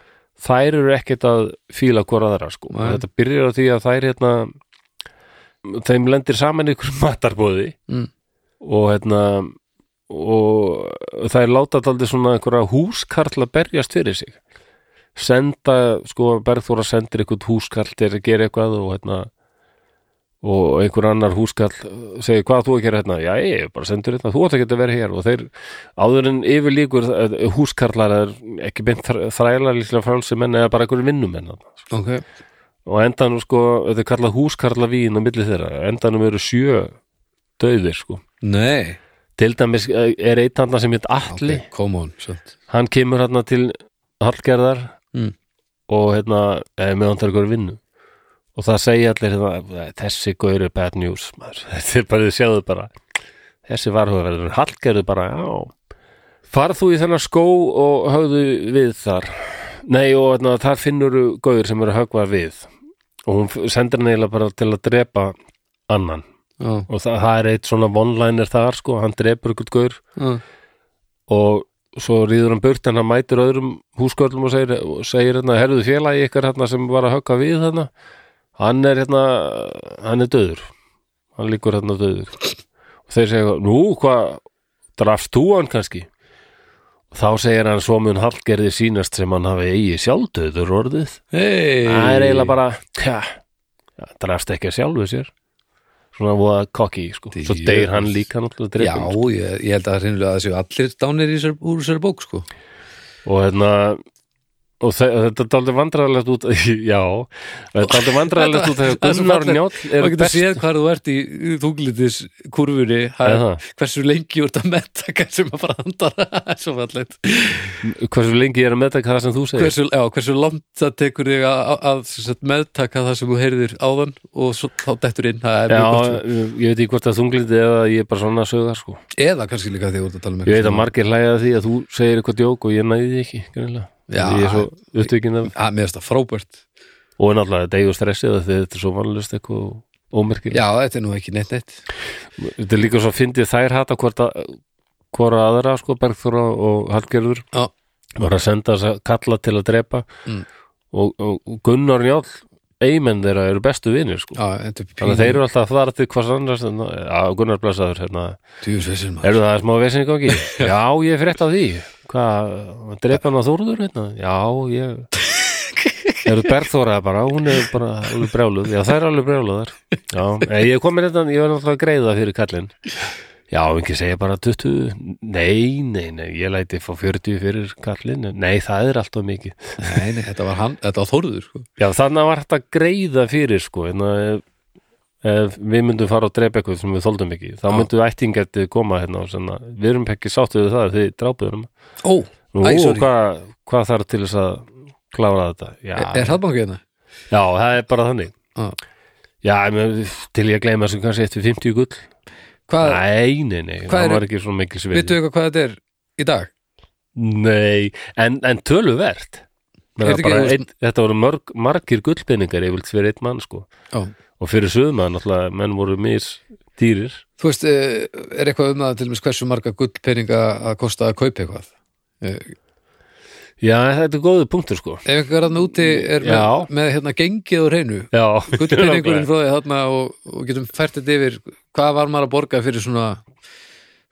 Speaker 1: þær eru ekkert að fíla hvora aðra sko
Speaker 2: Nei.
Speaker 1: þetta byrjar á því að þær hérna, þeim lendir saman ykkur matarbóði
Speaker 2: Mm.
Speaker 1: og hérna og þær láta taldi svona einhverja húskarla berjast fyrir sig senda, sko, Bergþóra sendir eitthvað húskall til að gera eitthvað og hérna og einhver annar húskall segir hvað átt þú að gera hérna, já ég er bara sendur hérna þú átt ekki að vera hér og þeir áður en yfir líkur húskallar er ekki beint þr- þrælar líklega frálsi menn eða bara einhverjum vinnumenn þarna, sko.
Speaker 2: ok
Speaker 1: og á endanum sko, þetta er kallað húskarla vín á milli þeirra, á endanum eru sjö döðir sko,
Speaker 2: nei,
Speaker 1: til dæmis eh, er einn þarna sem heit Atli
Speaker 2: ok, come on sant.
Speaker 1: hann kemur hérna til Hallgerðar
Speaker 2: Mm.
Speaker 1: og hérna eh, meðan það er ykkur vinnu og það segja allir hérna, þessi gaur er bad news maður. þetta er bara, þið sjáðu bara þessi varhugaverður, Hallgerður bara já, farð þú í þennan skó og höfðu við þar nei og þarna, þar finnur gauður sem eru að höggva við og hún f- sendir hann eiginlega bara til að drepa annan
Speaker 3: já,
Speaker 1: og það, það er eitt svona one-liner þar sko, hann drepur ykkur gaur
Speaker 3: já,
Speaker 1: og svo rýður hann burt en hann mætir öðrum húsgörlum og segir, og segir hérna, herðu félagi ykkar hérna sem var að högga við hérna hann er hérna, hann er döður hann líkur hérna döður og þeir segja, nú hvað drafst þú hann kannski og þá segir hann svo mun hallgerði sínast sem hann hafi eigi sjálfdöður orðið
Speaker 3: hei
Speaker 1: það er eiginlega bara, tja ja, drafst ekki að sjálfu sér svona voða kokki, sko svo
Speaker 2: Djöfull.
Speaker 1: deyr hann líka náttúrulega
Speaker 2: Já,
Speaker 1: drepinn, sko.
Speaker 2: ég, ég held að hreinlega að það séu allir dánir í sér, úr sér bók sko.
Speaker 1: og hérna og þe- þetta er aldrei vandræðilegt út já, þetta er aldrei vandræðilegt út þegar
Speaker 2: Það er svo
Speaker 1: Gunnar
Speaker 2: fallegt.
Speaker 1: Njáll
Speaker 2: Það
Speaker 1: er
Speaker 2: getur
Speaker 1: best
Speaker 2: séð hvað þú ert í þunglitis kurfunni
Speaker 1: Eða.
Speaker 2: hversu lengi úr þetta metta um hversu maður bara andara svo fallegt
Speaker 1: hversu lengi ég er að meðtaka það sem þú segir
Speaker 2: hversu, já, hversu langt það tekur þig að, að, að sem sagt, meðtaka það sem þú heyrðir áðan og svo, þá dettur inn það er
Speaker 1: já,
Speaker 2: mjög gott.
Speaker 1: ég veit ekki hvort það þunglindi eða ég er bara svona sögar sko
Speaker 2: eða kannski líka því þú ert að tala um með
Speaker 1: ég veit að margir hlæja að því að þú segir eitthvað djók og ég næði því ekki, greinlega
Speaker 2: Já.
Speaker 1: ég er svo upptökin af
Speaker 2: að Ah, mér finnst það frábært
Speaker 1: og er náttúrulega deg og stressið af því að þetta er svo vanlust eitthvað ómerkir
Speaker 2: já, þetta er nú ekki neitt neitt
Speaker 1: þetta er líka svo fyndið þær hata hvort að hvora aðra sko Bergþóra og Hallgerður
Speaker 2: Já.
Speaker 1: var að senda þess að kalla til að drepa
Speaker 2: Mm.
Speaker 1: og, og Gunnar Njáll eimenn þeirra eru bestu vinir sko
Speaker 2: já, þetta er
Speaker 1: þannig að þeir eru alltaf að þvara til hvers annars en, já, Gunnar blessaður hérna
Speaker 2: djúfisveisin maður
Speaker 1: eru það smá vesinn í gangi? já, ég er frétt af því hvað, drepa hann að Þórður hérna? já, ég eru Bergþóra bara, hún er bara alveg brjáluð, já það er alveg brjáluðar já, nei, ég kom með þetta, ég var náttúrulega að greiða fyrir kallinn já, ekki segja bara 20, nei, nei, nei ég læti fá 40 fyrir kallinn nei, það er alltaf mikið
Speaker 2: nei, nei, þetta var, hann, þetta var þórður sko.
Speaker 1: já, þannig var þetta að greiða fyrir sko, en að ef, ef við myndum fara og drepa eitthvað sem við þoldum ekki þá
Speaker 2: Já.
Speaker 1: myndum ættingartið koma hérna og svona, við erum ekki sáttu við það þið drápuður um
Speaker 2: ó,
Speaker 1: Nú,
Speaker 2: Æ, sorry.
Speaker 1: hvað, hvað þarf til þess að klára þetta? Já,
Speaker 2: er, er það bankið hérna?
Speaker 1: já það er bara þannig.
Speaker 2: Já.
Speaker 1: Já, ég meina, til ég gleyma sem kannski eftir 50 gull.
Speaker 2: hvað,
Speaker 1: Nei, nei, nei,
Speaker 2: hvað
Speaker 1: það
Speaker 2: eru-
Speaker 1: var ekki svona mikil sem
Speaker 2: veitu eitthvað hvað þetta er í dag?
Speaker 1: Nei, en, en töluvert.
Speaker 2: Er
Speaker 1: Meina,
Speaker 2: þetta ekki-
Speaker 1: bara, ein, þetta voru mörg, margir gullpenningar yfirlt fyrir einn mann, sko.
Speaker 2: Já.
Speaker 1: Og fyrir sögum að náttúrulega menn voru mis dýrir.
Speaker 2: þú veist, eh, er eitthvað um það til mér hversu marga gullpeninga að kosta að kaupa eitthvað Eh,
Speaker 1: Já, þetta er góðu punktur, sko.
Speaker 2: ef einhver að úti er
Speaker 1: Já.
Speaker 2: með, með hérna gengið og reynu
Speaker 1: Já,
Speaker 2: gullpenningurinn frá því þarna og, og getum fært þetta yfir hvað var maður að borga fyrir svona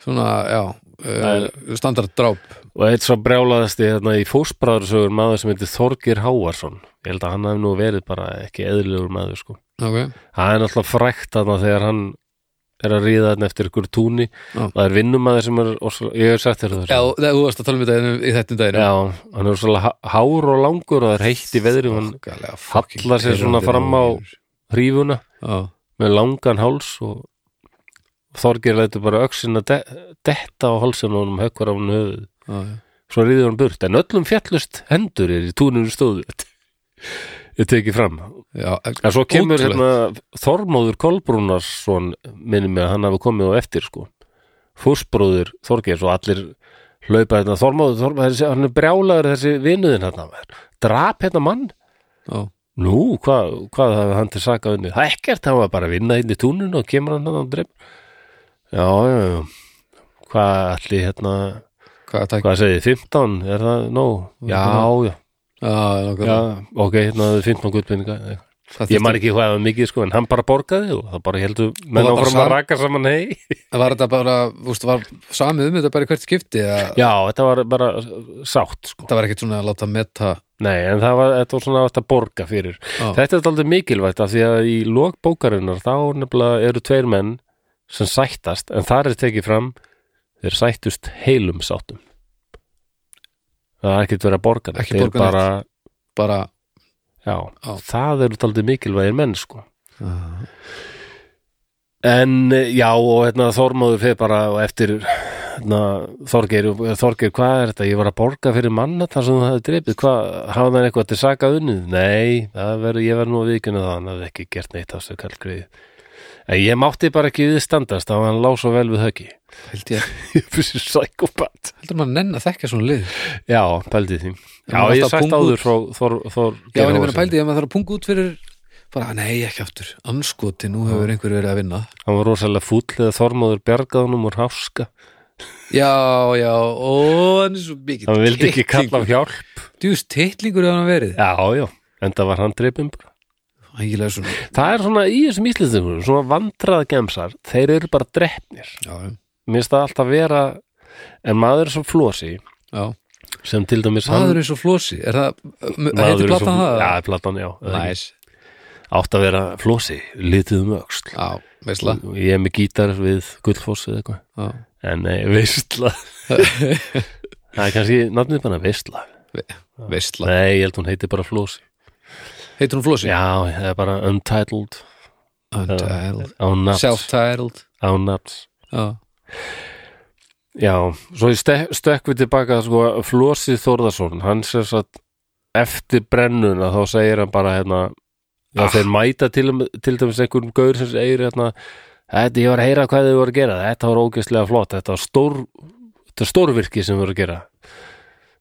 Speaker 2: svona, já uh, standarddráp
Speaker 1: og eitt svo brjálaðasti hérna í fósbræðursögur maður sem heitir Þorgir Hávarsson ég held að hann hafði nú verið bara ekki eðlilegur maður sko.
Speaker 2: okay.
Speaker 1: það er náttúrulega frækt þarna þegar hann er að ríða þarna eftir ykkur túni
Speaker 2: Já.
Speaker 1: það er vinnumæður sem er og svo, ég hef sagt þér
Speaker 2: já,
Speaker 1: það sko.
Speaker 2: þú- þú varst að tala um þetta í þetta daginn
Speaker 1: já, hann er svolítið há- hár og langur og það er heitt í veðri og hann hallar sér svona fram á- hrífuna
Speaker 2: já,
Speaker 1: með langan háls og Þorgir lætur bara öxina de detta á hálsinn og hann hökkvar á hann höfuð
Speaker 2: já, já.
Speaker 1: svo rýður hann burt en öllum fjallust hendur er í túninu stóðu ég teki fram en
Speaker 2: já, en-
Speaker 1: svo kemur
Speaker 2: Ótrúlegt.
Speaker 1: hérna Þormóður Kolbrúnarsson minni mig að hann hafi komið á eftir sko fósbróður Þorgeirs og allir hlaupa hérna Þormóður Þormóður þessi, hann er brjálaður þessi vinuðin hérna maður. drap hérna mann
Speaker 2: já,
Speaker 1: nú hvað, hvað hafði hann til saka unni það er ekkert hann var bara að vinna inn í túninu og kemur hann hann og dreif já, já, já hvað allir hérna
Speaker 2: hvað að tækja
Speaker 1: Hvað segið, 15, er það nóg? Já, já,
Speaker 2: já,
Speaker 1: já, ok, hérna hafði 15 guttbynninga Ég man ekki hvað það var mikið sko, en hann bara borgaði og það bara heldur menn
Speaker 2: var bara
Speaker 1: áfram að
Speaker 2: sam-
Speaker 1: raka saman hei
Speaker 2: var þetta bara, þú veist, var samið um þetta bara í hvert skipti að
Speaker 1: Já, þetta var bara sátt sko
Speaker 2: þetta var ekkert svona að láta metta
Speaker 1: Nei, en það var, þetta var svona átt að borga fyrir
Speaker 2: Já.
Speaker 1: Þetta er aldrei mikilvægt af því að í lok bókarinnar þá nefnilega eru tveir menn sem sættast, en þar er tekið fram þeir sættust heilum sáttum Það er ekkert verið að borga neitt,
Speaker 2: Ekki
Speaker 1: þeir
Speaker 2: borga neitt.
Speaker 1: bara,
Speaker 2: bara
Speaker 1: Já,
Speaker 2: Já.
Speaker 1: það eru taldið mikilvægir menn sko.
Speaker 2: Já.
Speaker 1: En eh, já, og hérna Þormóður fyrir bara og eftir hérna, Þorgeir, og- eh, Þorgeir, hvað er þetta? Ég var að borga fyrir manna þar sem þú hafði drepið, hvað, hafði hann eitthvað til saka unnið? Nei, það verður, ég verður nú að viðkynna það, hann hafði ekki gert neitt af þessu kallgriði. En ég mátti bara ekki viðstandast að hann lá svo vel við höggi.
Speaker 2: held ég,
Speaker 1: Ég fyrir psykopat.
Speaker 2: heldur maður að nenn að þekka svona lið
Speaker 1: Já, pældi því. Já,
Speaker 2: maður
Speaker 1: ég
Speaker 2: alltaf
Speaker 1: sætt
Speaker 2: pung
Speaker 1: áður frá Þor... Þor
Speaker 2: Já, en ég meina
Speaker 1: Geirþórssyni.
Speaker 2: pældi, ég maður þarf að punga út fyrir bara, nei, ekki aftur, anskoti nú hefur einhver verið að vinna
Speaker 1: Hann var rosalega fúll eða Þormóður bjargaðunum úr háska.
Speaker 2: Já, já, ó, hann er svo mikið
Speaker 1: Hann vildi ekki kalla á hjálp.
Speaker 2: Djúst, titlingur hefur hann verið
Speaker 1: Já, já, en það var hann dreipin bara.
Speaker 2: Ægilega svona
Speaker 1: Það er svona í þessum íslensum, svona vandraða gemsar, þeir eru bara drefnir.
Speaker 2: Já, já,
Speaker 1: Mér finnst það alltaf vera, en maður er svo flosi,
Speaker 2: já
Speaker 1: sem til dæmis hann-
Speaker 2: Maður eins og flosi, er það,
Speaker 1: Maður
Speaker 2: heitir
Speaker 1: er svo-
Speaker 2: platan það?
Speaker 1: Já, platan, já.
Speaker 2: Næs,
Speaker 1: Átt að vera flosi, litið um öxl.
Speaker 2: já, veistla
Speaker 1: Ég er með gítar við gullfoss eða eitthvað.
Speaker 2: Já,
Speaker 1: En nei, veistla. það er kannski nafnið bara veistla.
Speaker 2: veistla
Speaker 1: Nei, ég held hún heiti bara flosi.
Speaker 2: Heitir hún flosi?
Speaker 1: Já, það er bara untitled
Speaker 2: Untitled,
Speaker 1: á nafns.
Speaker 2: self-titled
Speaker 1: Á nafns.
Speaker 2: Já,
Speaker 1: Já, svo ég stek, stökk við tilbaka sko, Flosi Þórðarsson hann sér satt eftir brennuna þá segir hann bara hérna að
Speaker 2: Ah.
Speaker 1: þeir mæta til, til dæmis einhverjum gaur sem segir hérna þetta ég var að heyra hvað þau voru að gera þetta var ógeðslega flott, þetta var stór þetta er stórvirki sem voru að gera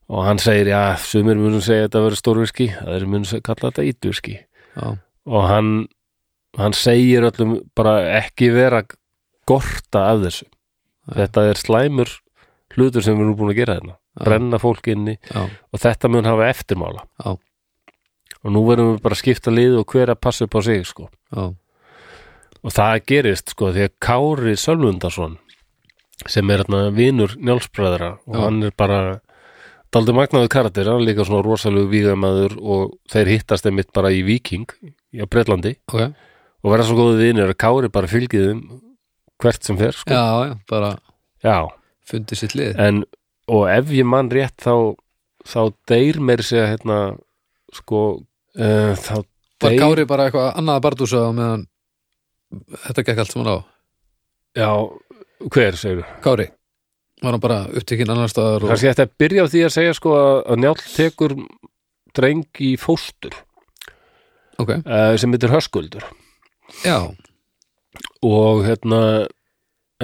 Speaker 1: og hann segir, já, sumir munum segja að þetta verið stórvirki, aðeir munum se- kalla þetta ítvirki
Speaker 2: já,
Speaker 1: og hann, hann segir öllum bara ekki vera að gorta af þessu þetta er slæmur hlutur sem við erum búin að gera hérna brenna fólk inni
Speaker 2: já,
Speaker 1: og þetta mun hafa eftirmála
Speaker 2: Já.
Speaker 1: og nú verðum við bara að skipta lið og hver að passa upp á sig sko.
Speaker 2: já
Speaker 1: og það gerist sko því að Kári Sölvundarsson sem er hérna vinur njálsbræðra og
Speaker 2: Já.
Speaker 1: hann er bara daldi magnaðu karakter, hann er líka svona rosalegu vígamæður og þeir hittast einmitt bara í Viking á Bretlandi
Speaker 2: Ok, já,
Speaker 1: og verða svo góðu vinur að Kári bara fylgið þeim hvert sem fer sko.
Speaker 2: já, bara
Speaker 1: Já.
Speaker 2: fundið sitt lið
Speaker 1: en, og ef ég mann rétt þá, þá deyr meir segja hérna sko uh, þá
Speaker 2: Var
Speaker 1: deyr
Speaker 2: Kári bara eitthvað annað að bardúsa á meðan þetta gekk allt saman á
Speaker 1: já, hver segir
Speaker 2: Kári, var hann bara upptekinn annar staðar og...
Speaker 1: kannski þetta að byrja á því að segja sko að, að Njáll tekur dreng í fóstur
Speaker 2: Ok,
Speaker 1: uh, sem heitir Höskuldur
Speaker 2: já,
Speaker 1: og hérna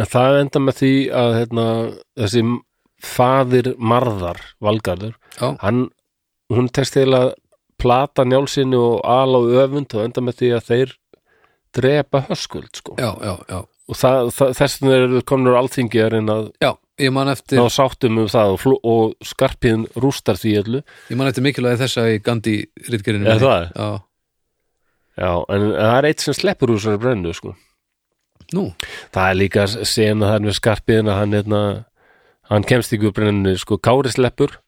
Speaker 1: en það enda með því að hérna, þessi faðir marðar, Valgarður
Speaker 2: já,
Speaker 1: hann, hún tekst til að plata njálsinu og ala og öfund og enda með því að þeir drepa höskuld sko
Speaker 2: já, já, já
Speaker 1: og það, það, þess vegna eru komnur alþingi að reyna að
Speaker 2: Já, ég man eftir,
Speaker 1: ná sáttum um það og, fló, og skarpiðin rústar því öllu
Speaker 2: ég man eftir mikilvæg þessa í Gandhi ritgerinu
Speaker 1: Er það?
Speaker 2: Já,
Speaker 1: já, en það er eitt sem sleppur úr þessari brennu sko.
Speaker 2: nú,
Speaker 1: það er líka sena þar með skarpiðin að hann, hérna, hann kemst ekki úr brennunni sko, Kári sleppur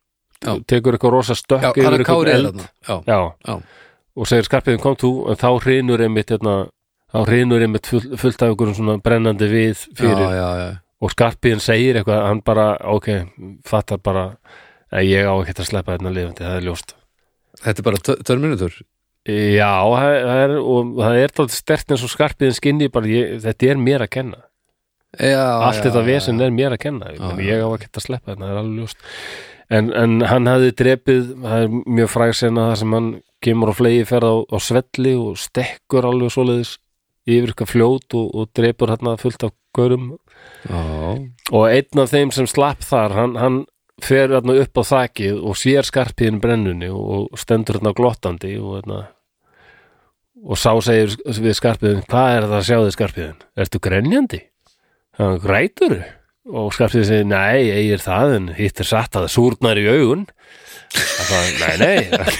Speaker 2: Já.
Speaker 1: tekur eitthvað rosa
Speaker 2: já,
Speaker 1: stökk yfir
Speaker 2: hann er
Speaker 1: einhvern
Speaker 2: Kári hérna. er
Speaker 1: eld.
Speaker 2: þarna Já,
Speaker 1: já,
Speaker 2: já,
Speaker 1: og segir skarpiðin kom þú en þá hrinur einmitt hérna, þá hrinur einmitt full, fullt af einhverjum svona brennandi við fyrir
Speaker 2: já, já, já
Speaker 1: og skarpiðin segir eitthvað hann bara, ok, fattar bara að ég á ekkert að sleppa þarna lifandi það er ljóst
Speaker 2: Þetta er bara tö- Terminator
Speaker 1: já, það það er, og það er þátt stert eins og skarpiðin skinni bara, ég, þetta er mér að kenna
Speaker 2: Já,
Speaker 1: allt
Speaker 2: já,
Speaker 1: þetta
Speaker 2: já.
Speaker 1: vesen er mér að kenna já,
Speaker 2: Já,
Speaker 1: ég á ekkert að sleppa þarna, það er alveg ljóst en, en hann hafði drepið það er mjög fræg sena það sem hann kemur á flegi ferð á, á svelli og stekkur alveg svoleiðis yfir eitthvað fljót og, og drepur hérna fullt af gaurum
Speaker 2: Já,
Speaker 1: og einn af þeim sem slapp þar hann, hann fer þarna upp á þakið og sér skarpiðin brennunni og og stendur þarna glottandi og, þarna, og sá segir sk- við skarpiðin hvað er það að sjá þið skarpiðin? Ertu grenjandi? Hann grætur og skarpiðin segir nei, ég er það en hitt er satt að það súrnar í augun það sagði, nei, nei það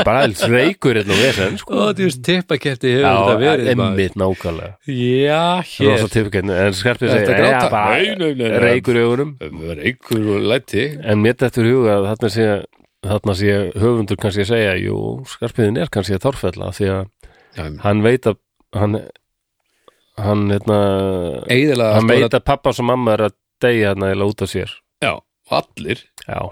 Speaker 1: er bara alls reykur einn og vesen sko.
Speaker 2: Ó, þú veist, tippakefti hefur þetta
Speaker 1: Já,
Speaker 2: verið maður.
Speaker 1: emmitt nákvæmlega
Speaker 2: Já, hér
Speaker 1: Rosa tippkenn, en skarpið
Speaker 2: Ertu að
Speaker 1: segir
Speaker 2: gráta?
Speaker 1: "Nei, bara
Speaker 2: Nei, nei, nei, nei.
Speaker 1: reykur í augunum
Speaker 2: Reykur og læti
Speaker 1: En mér dættur huga að þarna sé, þarna sé höfundur kannski að segja, jú, skarpiðin er kannski að torfella því að
Speaker 2: Já, ég-
Speaker 1: hann veit að hann, hann, hérna,
Speaker 2: Eðilega
Speaker 1: hann veit að pappa og mamma er að deyja hérna eða út af sér.
Speaker 2: Já, allir
Speaker 1: Já,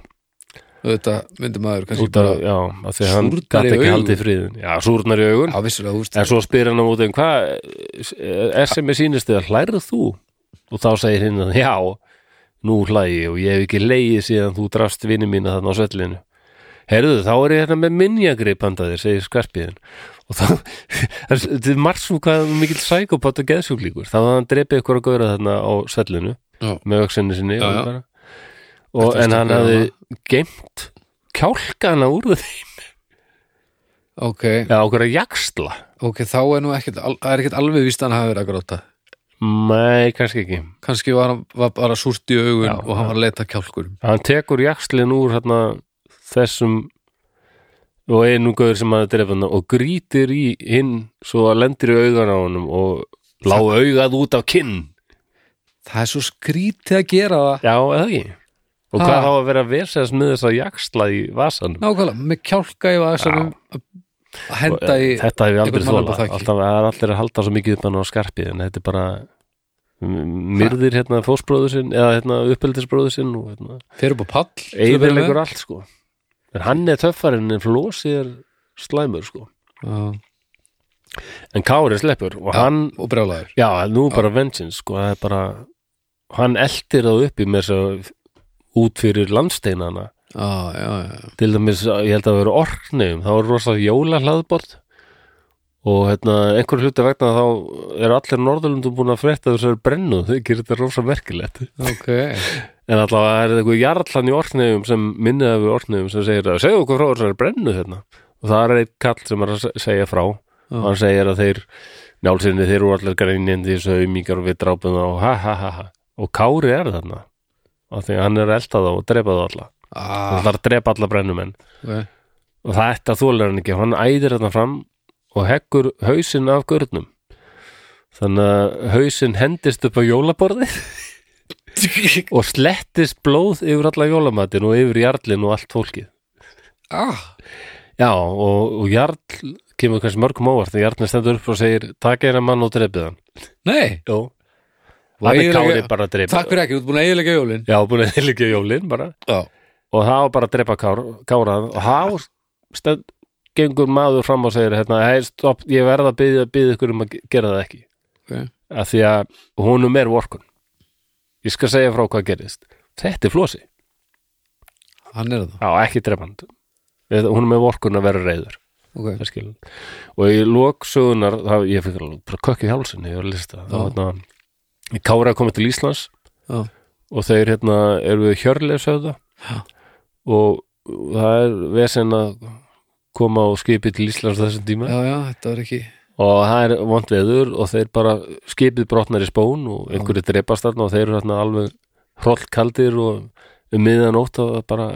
Speaker 2: Þetta myndi maður kannski
Speaker 1: út af,
Speaker 2: bara
Speaker 1: já, af því að hann
Speaker 2: Súrnar
Speaker 1: gæti
Speaker 2: í
Speaker 1: ekki
Speaker 2: augun.
Speaker 1: haldið friðin. Já, súrnar í augun.
Speaker 2: Já, vissulega, þú veist
Speaker 1: En svo spyr hann á móti, hvað eh, er sem er sýnist eða hlærðu þú? Og þá segir hinn að já, nú hlægi og ég hef ekki leiði síðan þú drast vinni mína þarna á söllinu. herðu þá er ég hérna með minjagrip handaði, segir skarpiðin og þá, það er margt svo hvað hann er mikill sækópat og geðsjúklíkur þá hafði hann drepið ykkur að góra þarna á sellinu
Speaker 2: Já.
Speaker 1: með öksinni sinni
Speaker 2: Já,
Speaker 1: og
Speaker 2: já.
Speaker 1: bara. og
Speaker 2: Þetta er
Speaker 1: en hann
Speaker 2: stökkur,
Speaker 1: hafði geimt kjálkana úr þeim
Speaker 2: ok,
Speaker 1: eða okkur að jaksla
Speaker 2: ok, þá er nú ekkert al- það er ekkert alveg víst að hann hafi verið að gróta
Speaker 1: nei, kannski ekki
Speaker 2: kannski var hann var bara súrt í augun
Speaker 1: Já,
Speaker 2: og hann var að leita að kjálkurum
Speaker 1: hann tekur jakslin úr hérna, þessum og einu gauður sem hann er drefna og grítir í hinn svo að lendir í augan á honum og lá augað út af kinn
Speaker 2: það er svo skrítið að gera það
Speaker 1: já, eða ekki og
Speaker 2: Ha.
Speaker 1: hvað þá að vera að vesast með þess að jaksla í vasanum
Speaker 2: nákvæmlega, með kjálka í vasanum að að henda í
Speaker 1: þetta hef ég aldrei
Speaker 2: einhvern mann upp á
Speaker 1: þóla
Speaker 2: þaki.
Speaker 1: alltaf það er allir að halda svo mikið upp hann á skarpið en þetta er bara m- myrðir hérna fósbróður sinn eða hérna uppeldisbróður sinn og hérna
Speaker 2: fyrir upp á pall til að byrja með.
Speaker 1: eðilegur allt sko en hann er töffarinn en flósi er slæmur sko
Speaker 2: Já,
Speaker 1: en Kári sleppur og hann
Speaker 2: og brjálæður
Speaker 1: já, nú bara vengeance sko það er bara hann eldir það uppi með þess að út fyrir landsteinana
Speaker 2: Já, Ah, já, já,
Speaker 1: til dæmis, ég held að það vera orknum þá er rosa jóla hlaðbort og hérna, einhver hluta vegna þá er allir norðurlundum búin að frétta þess að er brennu, þau gerir þetta rosa merkilegt
Speaker 2: ok
Speaker 1: en allavega er eitthvað jarlann í orknum sem minniða við orknum sem segir að segja okkur frá þess að er brennu hérna og það er einn kall sem er að se- segja frá og hann segir að þeir njálsinni þeir eru allir greinjandi þessu aumingar og við drápum þá ha ha ha ha og Kári er þarna af því að hann er að elda þá og drepa þá alla
Speaker 2: ah,
Speaker 1: hann þarf að drepa alla brennumenn
Speaker 2: okay.
Speaker 1: og það þetta þólar hann ekki, hann æðir þarna fram og heggur hausinn af görnum þannig að hausinn hendist upp á jólaborðið og slettist blóð yfir alla jólamatinn og yfir jarlinn og allt fólkið
Speaker 2: ah,
Speaker 1: Já, og, og Jarl kemur kannski mörgum óvart þegar Jarlinn stendur upp og segir takk eina mann og dreipið hann
Speaker 2: Nei,
Speaker 1: Jó Það er
Speaker 2: eiginlega-
Speaker 1: Kári bara að dreipa
Speaker 2: takk fyrir ekki, þú ert búin að eiginlega jólin
Speaker 1: Já, búin að heilugja jólin bara
Speaker 2: Já,
Speaker 1: og það var bara að dreipa kár, Kára og það stend, gengur maður fram og segir hérna, hei, stopp, ég verð að byggja, byggja ykkur um að ge- gera það ekki
Speaker 2: Ok.
Speaker 1: af því að honum er vorkun Ég skal segja frá hvað gerist Þetta er flosi,
Speaker 2: hann er það
Speaker 1: á ekki dreipand Honum er vorkun að vera reyður
Speaker 2: okay.
Speaker 1: Það skilur. og í lóksögunar það, ég fyrir alveg bara kökk í hálsin ég var að lista þá
Speaker 2: Já.
Speaker 1: hérna í Kára komið til Íslands
Speaker 2: Já.
Speaker 1: og þeir hérna eru við Hjörleifshöfða
Speaker 2: Já.
Speaker 1: og það er vesen að koma á skipi til Íslands á þessum tíma
Speaker 2: Já, já, þetta var ekki
Speaker 1: og það er vond veður og þeir bara skipið brotnar í spón og einhverju dreipast þarna og þeir eru hérna alveg hrollkaldir og um miðan ótt og bara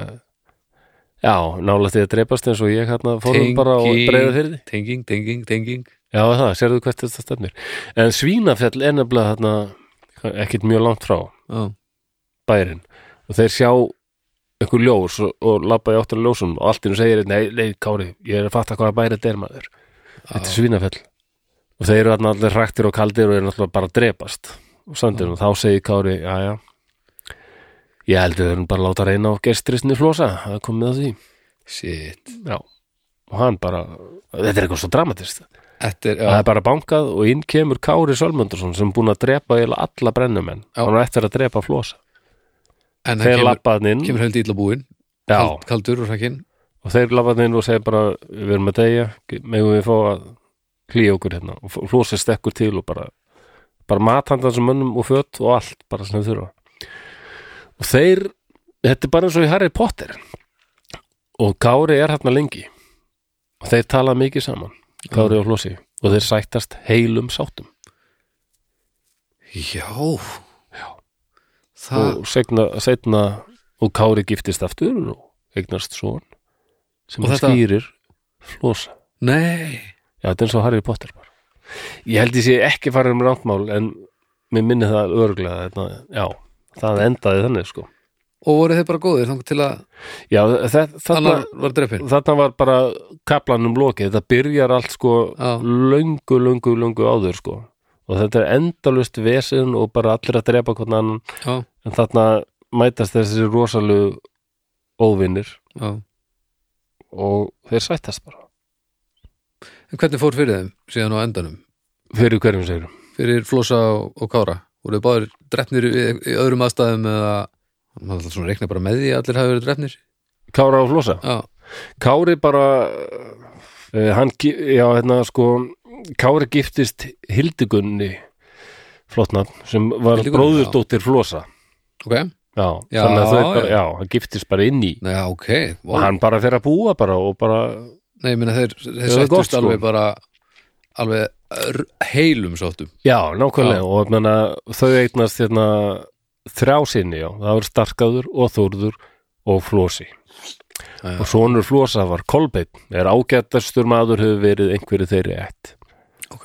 Speaker 1: já, nála því að dreipast eins og ég hérna fórum bara og
Speaker 2: Tengi-
Speaker 1: breyða fyrir því
Speaker 2: Tenging, tenging, tenging
Speaker 1: Já, það, sérðu hvert þetta stefnir. En Svínafjall er nefnilega þarna ekkit mjög langt frá
Speaker 2: Já,
Speaker 1: bærin og þeir sjá einhver ljós og, og labba í áttur ljósum og allt innu segir, þeir, nei, nei, Kári, ég er að fatta hvaða bæri þetta er maður. Þetta er Svínafjall. Og þeir eru þarna allir hraktir og kaldir og eru náttúrulega bara að drepast og sandinu og þá segir Kári, já, já, ég heldur þeir bara að láta reyna á gestrisni flosa, það er komið að því.
Speaker 2: shit
Speaker 1: Já, og hann bara, þetta er eitthvað svo dramatist.
Speaker 2: Þetta er,
Speaker 1: það
Speaker 2: já,
Speaker 1: er bara bankað og inn kemur Kári Sölmundursson sem er búin að drepa eiginlega alla brennumenn
Speaker 2: Já.
Speaker 1: hann er eftir að drepa flosa
Speaker 2: en hann
Speaker 1: þeir
Speaker 2: kemur,
Speaker 1: labbaðan inn
Speaker 2: kemur höldi illa búin
Speaker 1: já,
Speaker 2: Kald, Kaldur og hrakinn
Speaker 1: og þeir labbaðan inn og segja bara við erum að deyja, megum við fá að hlýja okkur hérna og flosi stekkur til og bara, bara mathandan sem mönnum og fött og allt bara sem þeir þurfa og þeir, þetta er bara eins og í Harry Potter og Kári er hérna lengi og þeir tala mikið saman Kári og flosi og þeir sættast heilum sátum
Speaker 2: Já, já Það,
Speaker 1: og segna, segna og Kári giftist aftur og eignast son sem
Speaker 2: Og
Speaker 1: hann
Speaker 2: þetta-
Speaker 1: skýrir flosa.
Speaker 2: nei
Speaker 1: Já, þetta er eins og Harry Potter bara. Ég held ég sé ekki farið um randmál en mér minni það örglega þetta, já, það endaði þannig sko.
Speaker 2: Og voru þeir bara góðir þangar til að
Speaker 1: Já, það, þarna,
Speaker 2: annar var drefin
Speaker 1: þarna var bara kaplanum lokið, þetta byrjar allt sko
Speaker 2: Já.
Speaker 1: löngu, löngu, löngu áður sko og þetta er endalust vesinn og bara allir að drepa hvernig annan
Speaker 2: Já,
Speaker 1: en þarna mætast þessi rosalegu óvinnir
Speaker 2: já
Speaker 1: og þeir sættast bara
Speaker 2: En hvernig fór fyrir þeim síðan á endanum?
Speaker 1: fyrir hverjum segur
Speaker 2: Fyrir Flosa og, og Kára? Voru þeir báðir drefnir í, í öðrum aðstæðum eða maður alltaf svona reikna bara með því að allir hafi verið drefnir?
Speaker 1: Kára og Flosa
Speaker 2: Já,
Speaker 1: Kári bara uh, hann, gi- já, hérna sko Kári giftist Hildigunni flottnafn sem var
Speaker 2: Hildigunni,
Speaker 1: bróðurdóttir Flosa
Speaker 2: ok,
Speaker 1: já,
Speaker 2: Já,
Speaker 1: þannig að þau bara,
Speaker 2: já.
Speaker 1: já, hann giftist bara inn í
Speaker 2: já, ok
Speaker 1: og
Speaker 2: wow.
Speaker 1: hann bara fer að búa bara og bara,
Speaker 2: nei, ég meina þeir, þeir
Speaker 1: er gott,
Speaker 2: sættust
Speaker 1: sko.
Speaker 2: alveg bara alveg r- heilum sáttum
Speaker 1: já, nákvæmlega og menna, þau eignast hérna þrjá sinni, já, það var starkaður og þórður og Flosi
Speaker 2: Já.
Speaker 1: og sonur Flosa var Kolbeinn er ágættastur maður hefur verið einhverju þeirri ett
Speaker 2: ok,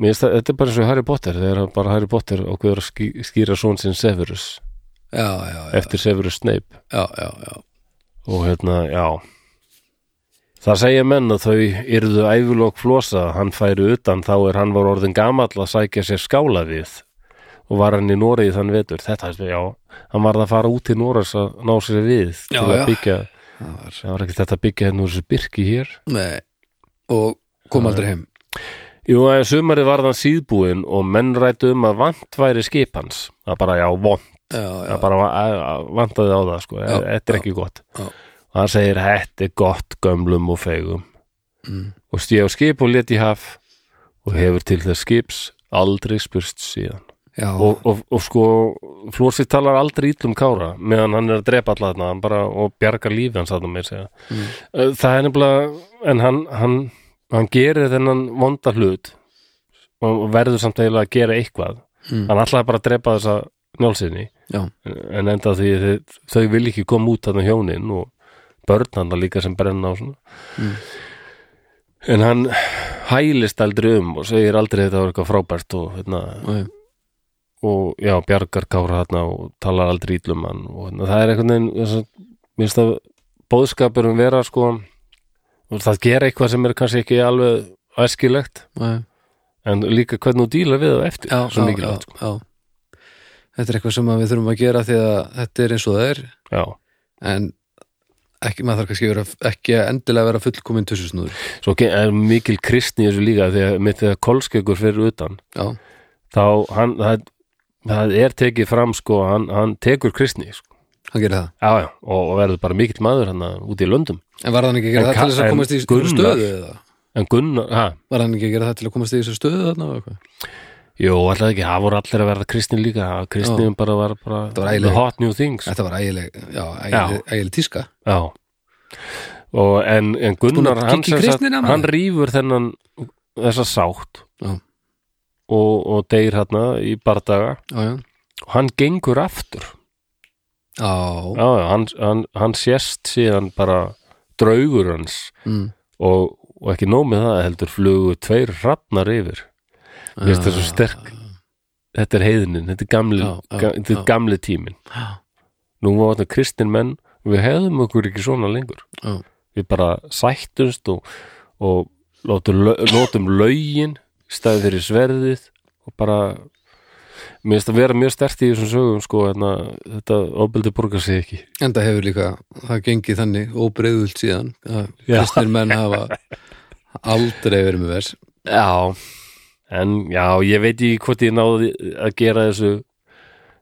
Speaker 1: Mér finnst það, þetta er bara eins og Harry Potter þegar hann bara Harry Potter og hver að ský- skýra són sinn Severus,
Speaker 2: já, já, já,
Speaker 1: eftir Severus Snape
Speaker 2: já, já, já.
Speaker 1: og hérna, já Það segja menn að þau yrðu æfulokk flosa, hann færi utan þá er hann var orðin gamall að sækja sér skála við og var hann í Noregi þann vetur, þetta, já hann varð að fara út til Noregs að ná sér við
Speaker 2: Já,
Speaker 1: til að
Speaker 2: já.
Speaker 1: byggja,
Speaker 2: Það var,
Speaker 1: það var ekki þetta að byggja hérna úr þessu byrki hér
Speaker 2: nei, og kom aldrei heim
Speaker 1: Jú, að sumarið varð hann síðbúinn og menn rættu um að vant væri skipans að bara, já, vont
Speaker 2: já, já,
Speaker 1: það bara va- að- að- vantaði á það sko,
Speaker 2: Já,
Speaker 1: þetta er
Speaker 2: já,
Speaker 1: ekki gott
Speaker 2: já.
Speaker 1: og hann segir, þetta er gott gömlum og feigum
Speaker 2: Mm.
Speaker 1: og stíð á skip og let í haf og hefur til þess skips aldrei spurst síðan
Speaker 2: já,
Speaker 1: og, og, og sko, Flósi talar aldrei illum kára meðan hann er að drepa alla þarna hann bara, og bjarga lífi hans þarna meir segja
Speaker 2: Mm.
Speaker 1: Eh, það er nefnilega en hann, hann, hann gerir þennan vonda hlut og verður samt eiginlega að gera eitthvað
Speaker 2: Mm.
Speaker 1: hann ætlaði bara að drepa þessa njálsinni
Speaker 2: Já.
Speaker 1: en enda því þau, þau vil ekki koma út þarna hjónin og börn hann líka sem brenna á svona
Speaker 2: Mm.
Speaker 1: en hann hælist aldrei um og segir aldrei þetta var eitthvað frábært og, hérna,
Speaker 2: Nei.
Speaker 1: og já, bjargar kára þarna og talar aldrei ítlum hann og hérna, það er einhvern veginn þess að- mér finnst að bóðskapurum vera sko og það gera eitthvað sem er kannski ekki alveg æskilegt
Speaker 2: nei
Speaker 1: en líka hvernig þú dílar við það eftir
Speaker 2: já,
Speaker 1: svo
Speaker 2: já, já,
Speaker 1: mikilvægt sko.
Speaker 2: já. þetta er eitthvað sem að við þurfum að gera því að þetta er eins og það er
Speaker 1: já.
Speaker 2: en ekki, maður þarf kannski að vera, ekki að endilega vera fullkomin tussusnúður
Speaker 1: svo ge- er mikil kristni í þessu líka þegar mitt þegar kolskegur fyrir utan
Speaker 2: já,
Speaker 1: þá hann það, það er tekið fram sko hann, hann tekur kristni sko.
Speaker 2: hann gerir það
Speaker 1: já, já, og, og verður bara mikill maður hann út í löndum
Speaker 2: en var hann ekki að
Speaker 1: En
Speaker 2: gera það
Speaker 1: Ka-
Speaker 2: til þess að
Speaker 1: en
Speaker 2: komast í
Speaker 1: Gunnar-
Speaker 2: stöðu eða?
Speaker 1: en Gunnar, ha,
Speaker 2: var hann ekki að gera það til að komast í þessu stöðu þarna og eitthvað?
Speaker 1: jú, alltaf ekki það voru allir að verða kristni líka það- kristni bara var bara
Speaker 2: Þetta var ægileg.
Speaker 1: the hot new things
Speaker 2: þetta var ægileg, já, ægileg, ægileg tíska
Speaker 1: já og en, en
Speaker 2: Búin
Speaker 1: Gunnar
Speaker 2: að kikka
Speaker 1: hann,
Speaker 2: í
Speaker 1: sem sagt-
Speaker 2: kristnina, Sko, maður?
Speaker 1: hann rýfur þennan þessa sátt
Speaker 2: Já.
Speaker 1: og, og deyr hérna í bardaga
Speaker 2: já, já,
Speaker 1: og hann gengur aftur
Speaker 2: já,
Speaker 1: já, já, hann, hann, hann sést síðan bara draugur hans
Speaker 2: mm,
Speaker 1: og, og ekki nóg með það heldur flugu tveir hrafnar yfir Mér finnst það svo sterk þetta er heiðnin, þetta er gamli,
Speaker 2: Ah. Já, já,
Speaker 1: ga, þetta
Speaker 2: já.
Speaker 1: er gamli tímin
Speaker 2: já,
Speaker 1: nú var þetta kristin menn og við hefðum okkur ekki svona lengur
Speaker 2: Já.
Speaker 1: við bara sættumst og, og látum, lö- notum lögin stæði fyrir sverðið og bara mér finnst að vera mjög stert í þessum sögum sko, hérna, þetta ofbeldi borgar sig ekki
Speaker 2: en það hefur líka það gengið þannig óbreiðult síðan að
Speaker 1: Já.
Speaker 2: kristnir menn hafa aldrei verið með vers
Speaker 1: Já En já, ég veit ekki hvort ég náði að gera þessu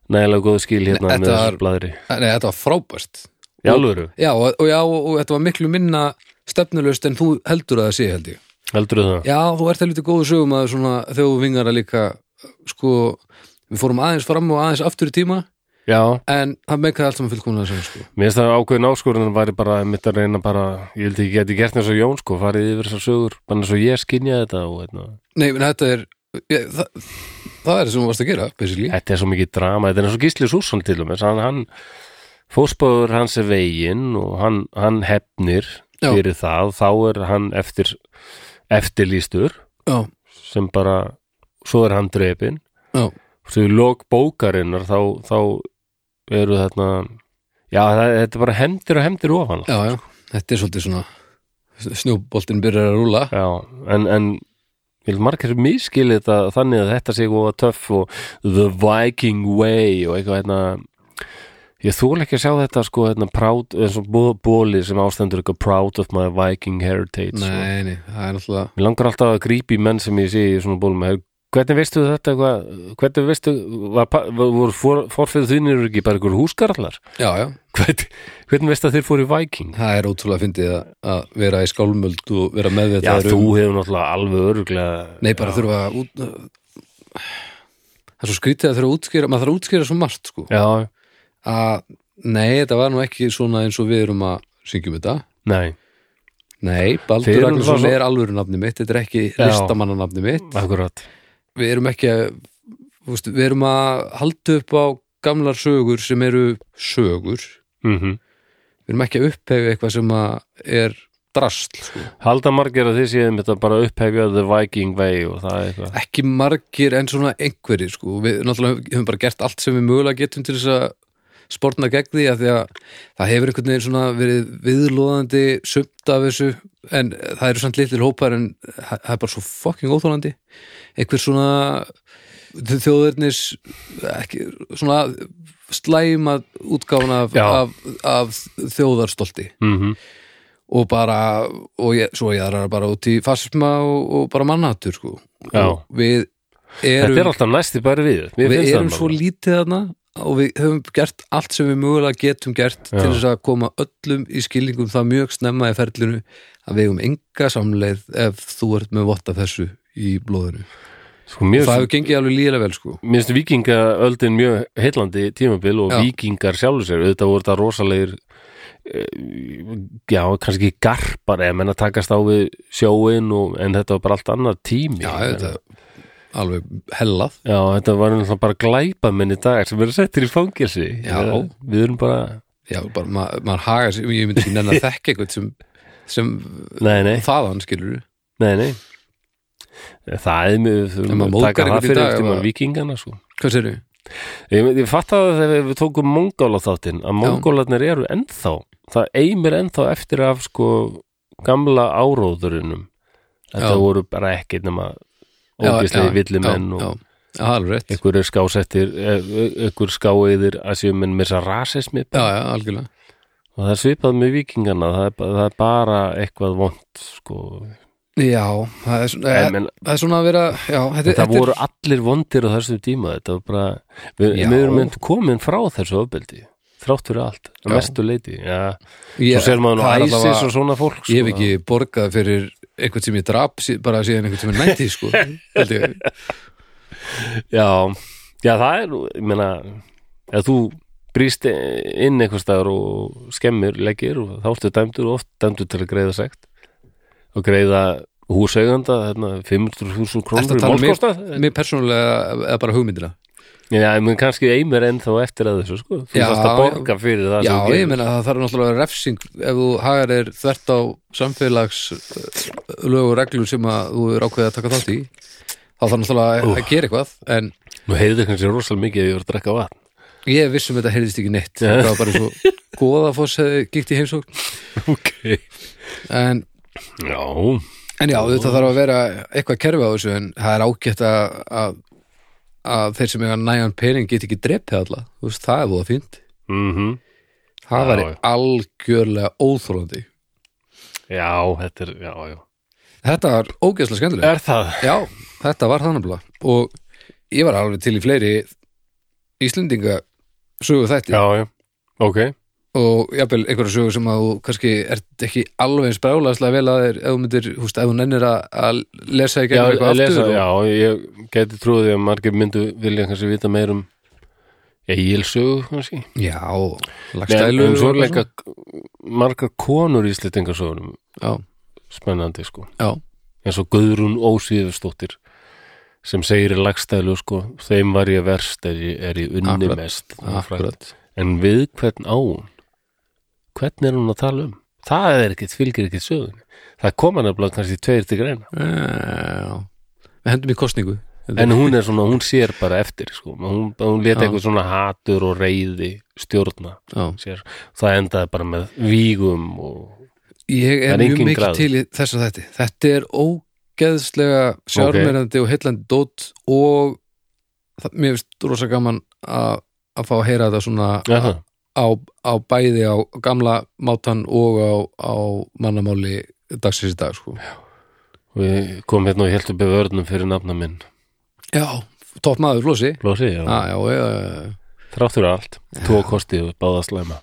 Speaker 1: nægilega góð skil hérna
Speaker 2: Nei,
Speaker 1: með
Speaker 2: þetta var-
Speaker 1: þessu blæðri
Speaker 2: nei, þetta var frábært
Speaker 1: Já, alvöru,
Speaker 2: Já, og, og, já, og, og þetta var miklu minna stefnulöst en þú heldur að það sé held ég.
Speaker 1: heldur það
Speaker 2: Já, þú ert að lítið góðu sögum að svona, þegar þú vingar að líka sko, við fórum aðeins fram og aðeins aftur í tíma
Speaker 1: Já,
Speaker 2: en það meikaði allt saman fullkomlega sem sko.
Speaker 1: mér finnst það ákveðin áskorun væri bara mitt að reyna bara ég held ekki geti gert þess að Jón sko farið yfir þessar sögur bara eins og ég skinja þetta og hérna
Speaker 2: Nei, en þetta er ég, það, það er það sem þú varst að gera basically.
Speaker 1: Þetta er svo mikið drama, þetta er eins og Gísli Sússon til og með, hann, hann fósbáður hans er veginn og hann, hann hefnir
Speaker 2: Já.
Speaker 1: fyrir það, þá er hann eftir eftirlýstur
Speaker 2: Já.
Speaker 1: sem bara, svo er hann drepin
Speaker 2: Já.
Speaker 1: svo í lok bókarinnar þá, þá eru þarna já, það, þetta er bara hemdir og hemdir ofan
Speaker 2: Já, já, þetta er svolítið svona snjóboltin byrjar að rúla
Speaker 1: já en, en vil margir miskilið þetta þannig að þetta sé góða töff og the viking way og eitthvað hérna ég þúl ekki að sjá þetta sko hérna proud, eins og bó- bólið sem ástendur eitthvað proud of my viking heritage og
Speaker 2: Nei, nei, það er náttúrulega
Speaker 1: mér langar alltaf að grípi menn sem ég sé í svona bólum Her, hvernig veistu þetta eitthvað hvernig veistu, var, var, voru for, forfið þínir ekki bara ykkur húskarlar
Speaker 2: Já, já,
Speaker 1: Hvern, hvernig veist að þeir fóru í Viking?
Speaker 2: Það er ótrúlega fyndið að- að vera í skálmöld og vera
Speaker 1: Já,
Speaker 2: meðvitaður
Speaker 1: þú
Speaker 2: um
Speaker 1: hefur náttúrulega alveg öruglega
Speaker 2: Nei, bara þurfa að út... Það er svo skrítið að þurfa að útskýra maður þarf að útskýra svo margt sko
Speaker 1: Já,
Speaker 2: að nei, þetta var nú ekki svona eins og við erum að syngjum þetta
Speaker 1: nei,
Speaker 2: Nei,
Speaker 1: Þið
Speaker 2: Baldur
Speaker 1: eruð
Speaker 2: Ragnarsson
Speaker 1: svo-
Speaker 2: er alvöru nafni mitt, þetta er ekki
Speaker 1: Já.
Speaker 2: listamannanafni mitt
Speaker 1: akkurat
Speaker 2: Við erum ekki að þú veist, við erum að halda upp á gamlar sögur sem eru sögur
Speaker 1: mm
Speaker 2: Við erum ekki að upphefa eitthvað sem að er drasl sko.
Speaker 1: Halda margir að þið séðum þetta bara upphefja The Viking Way og það er eitthvað
Speaker 2: Ekki margir en svona einhverjir sko. Við náttúrulega höfum bara gert allt sem við mögulega getum til þess að spórna gegn því að því að það hefur einhvern veginn svona verið viðlóðandi sumt af þessu en það eru samt litil hópar en það það er bara svo fucking óþólandi einhver svona þjóðurnis ekki, svona slæma útgáfuna af,
Speaker 1: Já.
Speaker 2: af, af þjóðarstolti
Speaker 1: mm
Speaker 2: og bara og ég, svo ég er bara út í fasma og, og bara mannatur sko
Speaker 1: Já.
Speaker 2: og við
Speaker 1: Þetta er
Speaker 2: erum,
Speaker 1: alltaf næsti bara við Mér
Speaker 2: við
Speaker 1: finnst það
Speaker 2: erum svo
Speaker 1: alveg.
Speaker 2: lítið þarna og við höfum gert allt sem við mögulega getum gert
Speaker 1: Já.
Speaker 2: til þess að koma öllum í skilningum það mjög snemma í ferlinu að við eigum enga samleið ef þú ert með votta þessu í blóðinu
Speaker 1: Sko,
Speaker 2: það
Speaker 1: mér finnst-
Speaker 2: hefur gengið alveg líðilega vel sko
Speaker 1: mér finnst vikingaöldin mjög heillandi tímabil og
Speaker 2: Já.
Speaker 1: vikingar sjálfur sér auðvitað voru þetta rosalegir eh, já, kannski garpar ef menn að takast á við sjóin og, en þetta var bara allt annar tími
Speaker 2: já, þetta er alveg hellað
Speaker 1: Já, þetta var náttúrulega bara glæpa í dag sem eru settir í fangelsi
Speaker 2: Já.
Speaker 1: Ég- Við erum bara,
Speaker 2: já, bara ma- maður hagar sér, ég myndi ekki nenn að þekka eitthvað sem, sem
Speaker 1: nei, nei
Speaker 2: þaðan skilur
Speaker 1: Nei, nei Það er mjög,
Speaker 2: En
Speaker 1: þurfum
Speaker 2: maður
Speaker 1: að taka
Speaker 2: móðgar
Speaker 1: það
Speaker 2: einhvern í
Speaker 1: fyrir
Speaker 2: dag,
Speaker 1: eftir
Speaker 2: eða?
Speaker 1: mann vikingana sko.
Speaker 2: hvað serðu?
Speaker 1: Ég, ég fatt að þegar við tókum mongóla þáttinn að mongólarnir eru ennþá það eimir ennþá eftir af sko gamla áróðurinnum Þetta
Speaker 2: Já.
Speaker 1: voru bara ekki nema ógislega villimenn
Speaker 2: já,
Speaker 1: og
Speaker 2: já, alveg rétt já,
Speaker 1: einhverju skásettir eh, einhverju skáiðir að séu menn með þess að rasismi
Speaker 2: já, algjörlega
Speaker 1: og það er svipað með vikingana það er, ba- það er bara eitthvað vond sko.
Speaker 2: Eh, já, það er svona, eh,
Speaker 1: en, en
Speaker 2: það er svona að vera já, þetta,
Speaker 1: þetta
Speaker 2: þetta er-
Speaker 1: voru allir vondir á þessu tíma þetta var bara, við,
Speaker 2: Já.
Speaker 1: við erum mynd komin frá þessu ofbeldi þrátt fyrir allt, að
Speaker 2: Já.
Speaker 1: mestu leiti já.
Speaker 2: ég, sko.
Speaker 1: svo sér maður
Speaker 2: það er
Speaker 1: nú
Speaker 2: allavega-
Speaker 1: æsis og svona fólk sko.
Speaker 2: ég hef ekki borgað fyrir einhvern sem ég drap sí- bara síðan einhvern sem ég nætti sko, held ég.
Speaker 1: já, já, það er, ég meina ef þú brýst inn einhvers staðar og skemmir leggir og þá ertu dæmdur og oft dæmdur til að greiða sekt og greiða húsauganda hérna, 500.000
Speaker 2: Ertu
Speaker 1: krónur
Speaker 2: að
Speaker 1: í
Speaker 2: tala um mig-
Speaker 1: málkostnað
Speaker 2: mér persónulega eða bara hugmyndina
Speaker 1: Já, ég mun kannski eimur ennþá eftir að þessu, sko. Þú
Speaker 2: Já,
Speaker 1: þarfst að borga fyrir það
Speaker 2: já,
Speaker 1: sem þú
Speaker 2: ég
Speaker 1: gerir.
Speaker 2: meina að það þarf náttúrulega að vera refsing ef þú hagar er þvert á samfélags uh, lög og reglur sem að þú er ákveðið að taka þátt í þá þarf náttúrulega að, að gera eitthvað en
Speaker 1: Nú heyrðu kannski rosalega mikið ef ég voru að drekka vatn.
Speaker 2: ég vissum þetta heyrðist ekki neitt þetta var bara svo góðafoss gíkt í heimsókn
Speaker 1: Ok.
Speaker 2: en,
Speaker 1: Já,
Speaker 2: en já, þetta þarf að vera eitthvað kerfi á þessu en það er ágætt að, að, að þeir sem eiga nægan pening get ekki drepið alla Þú veist, það er voða fínt
Speaker 1: mhm.
Speaker 2: það
Speaker 1: Já,
Speaker 2: væri
Speaker 1: já.
Speaker 2: algjörlega óþólandi
Speaker 1: Já, þetta er, já, já.
Speaker 2: þetta var ógeðslega skemmtilega
Speaker 1: Er það?
Speaker 2: já, þetta var þannig blá og ég var alveg til í fleiri Íslendinga sögu þætti
Speaker 1: Já, já. Ok.
Speaker 2: og jafnvel einhverja sögur sem að þú kannski ert ekki alveg eins brálaðslega vel að þér ef þú myndir, húst, ef þú nennir að, að lesa í
Speaker 1: Já,
Speaker 2: gegnum eitthvað
Speaker 1: ég lesa,
Speaker 2: aftur og,
Speaker 1: já, ég geti trúið því að margir myndu vilja kannski vita meir um eigilsögu, kannski.
Speaker 2: já, og
Speaker 1: En,
Speaker 2: lagstælu
Speaker 1: en svo
Speaker 2: og
Speaker 1: er
Speaker 2: eitthvað
Speaker 1: leika margar konur í slittingasögunum
Speaker 2: svona.
Speaker 1: spennandi, sko.
Speaker 2: já,
Speaker 1: eins og Guðrún Ósíðustóttir sem segir í lagstælu sko, þeim var ég verst er ég, er ég unni
Speaker 2: Akkurat,
Speaker 1: mest
Speaker 2: já, akkurat
Speaker 1: en við hvern á hún hvern er hún að tala um það er ekkit, fylgir ekkit sögun það koma nefnilega kannski tveir til greina
Speaker 2: Eh, já, við hendum í kostningu
Speaker 1: en hún er svona, hún sér bara eftir sko. hún, hún leta
Speaker 2: Já.
Speaker 1: eitthvað svona hatur og reyði stjórna
Speaker 2: já.
Speaker 1: sér. það endaði bara með vígum og
Speaker 2: ég er
Speaker 1: Það er
Speaker 2: mjög
Speaker 1: engin
Speaker 2: mikið
Speaker 1: gráður.
Speaker 2: til í þess að þetta þetta er ógeðslega sjármerandi og heillandi dót og það, mér finnst rosa gaman að að fá að heyra þetta svona
Speaker 1: Aha.
Speaker 2: á, á bæði á gamla mátan og á, á mannamáli dagsins í dag sko.
Speaker 1: og ég kom hérna og held upp í vörnum fyrir nafna minn
Speaker 2: Já, topp maður, Flósi
Speaker 1: Lósi, já,
Speaker 2: Já, já, já, já.
Speaker 1: þráttur allt, tvo kosti og báða slæma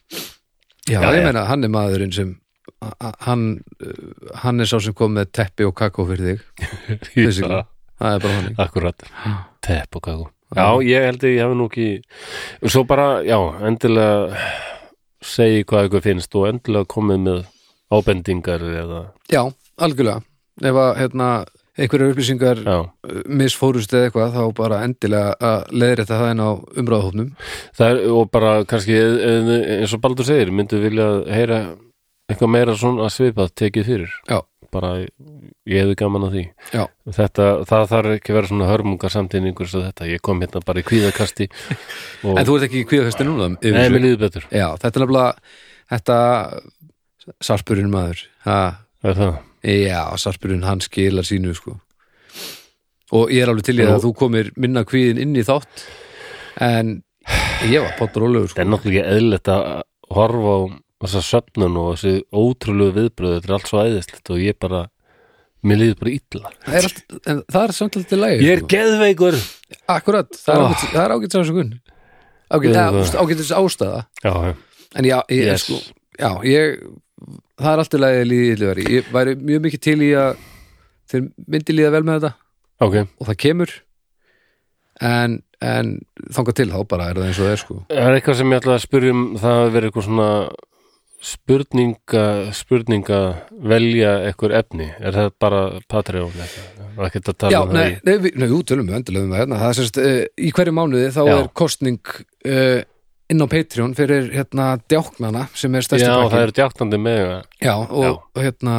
Speaker 4: Já,
Speaker 1: Já,
Speaker 2: ég
Speaker 1: já.
Speaker 2: meina, hann er maðurinn sem a- a- hann, uh, hann er sá sem kom með teppi og kakó fyrir þig Basically. það er bara þannig
Speaker 1: Akkurat, tepp og kakó Mm. Já, ég held að ég hef nú ekki og svo bara, já, endilega segi hvað ykkur finnst og endilega komið með ábendingar eða,
Speaker 2: já, algjörlega ef að hérna, einhverjar upplýsingar uh,
Speaker 1: já
Speaker 2: misfórust eða eitthvað þá bara endilega að leiðri þetta það inn á umræðahófnum
Speaker 1: Það er, og bara kannski eð- eð- eins og Baldur segir, myndu vilja heyra eitthvað meira svona svipað tekið fyrir
Speaker 2: Já.
Speaker 1: bara ég hefði gaman að því
Speaker 2: Já.
Speaker 1: þetta, það þarf ekki að vera svona hörmungar samtíningur svo þetta, ég kom hérna bara í kvíðakasti og
Speaker 2: en þú ert ekki í kvíðakösti núna yfir
Speaker 1: Nei,
Speaker 2: þessu?
Speaker 1: mér líður betur,
Speaker 2: já, þetta er nefnilega þetta sarpurinn maður ha,
Speaker 1: er það
Speaker 2: já, sarpurinn hann skilar sínu sko og ég er alveg til í
Speaker 1: Nú-
Speaker 2: að þú komir minna kvíðin inn í þátt en ég var pottur og lögur
Speaker 1: Það
Speaker 2: sko
Speaker 1: er náttúrulega ekki eðlilegt að horfa á þessa söfnun og þessi ótrúlegu viðbröð þetta er allt svo æðislegt og ég bara mér líður bara illa
Speaker 2: Það er allt, en það er samt alltaf lægir
Speaker 1: Ég er geðveikur Já,
Speaker 2: sko. Akkurat, það er
Speaker 1: Ah.
Speaker 2: ágætis- það er ágætis ásökun Ágætis,
Speaker 1: Auðvitað.
Speaker 2: eða, þú veist, ágætis ástæða
Speaker 1: já,
Speaker 2: En já, ég,
Speaker 1: Yes.
Speaker 2: sko, já, ég það er alltaf lægir líðið líðari Ég væri mjög mikið til í að þeir myndi líða vel með þetta
Speaker 1: ok
Speaker 2: og það kemur en, en þangað til þá bara er það eins og það er sko
Speaker 1: Það er eitthvað sem ég ætla að spyrja um það að vera eitthvað svona spurninga spurninga velja eitthvað efni er það bara Patreon eitthvað? Það er ekki að tala
Speaker 2: Já,
Speaker 1: um það
Speaker 2: nei,
Speaker 1: í-
Speaker 2: nei, við- nei, jú, tölum við endilega um það hérna. Það er sérst, uh, í hverju mánuði þá
Speaker 1: Já.
Speaker 2: er kostning uh, inn á Patreon fyrir hérna djáknana sem er stærsti
Speaker 1: Já,
Speaker 2: pakkin.
Speaker 1: það eru djáttandi með það.
Speaker 2: Já, og
Speaker 1: Já.
Speaker 2: og hérna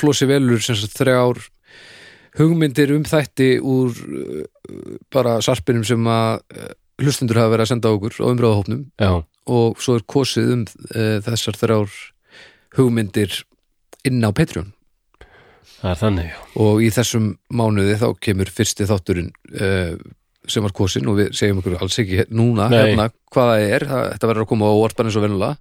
Speaker 2: Flósi Velur sem sagt þrjár hugmyndir um þætti úr uh, bara sarpinum sem að uh, hlustundur hafa verið að senda á okkur og umræðahópnum
Speaker 1: Já,
Speaker 2: og svo er kosið um uh, þessar þrjár hugmyndir inn á Patreon
Speaker 1: það er þannig já.
Speaker 2: og í þessum mánuði þá kemur fyrsti þátturinn uh, sem var kosin og við segjum okkur alls ekki he- núna
Speaker 1: Nei.
Speaker 2: hérna hvað það er, það, þetta verður að koma á orðbann eins og venulega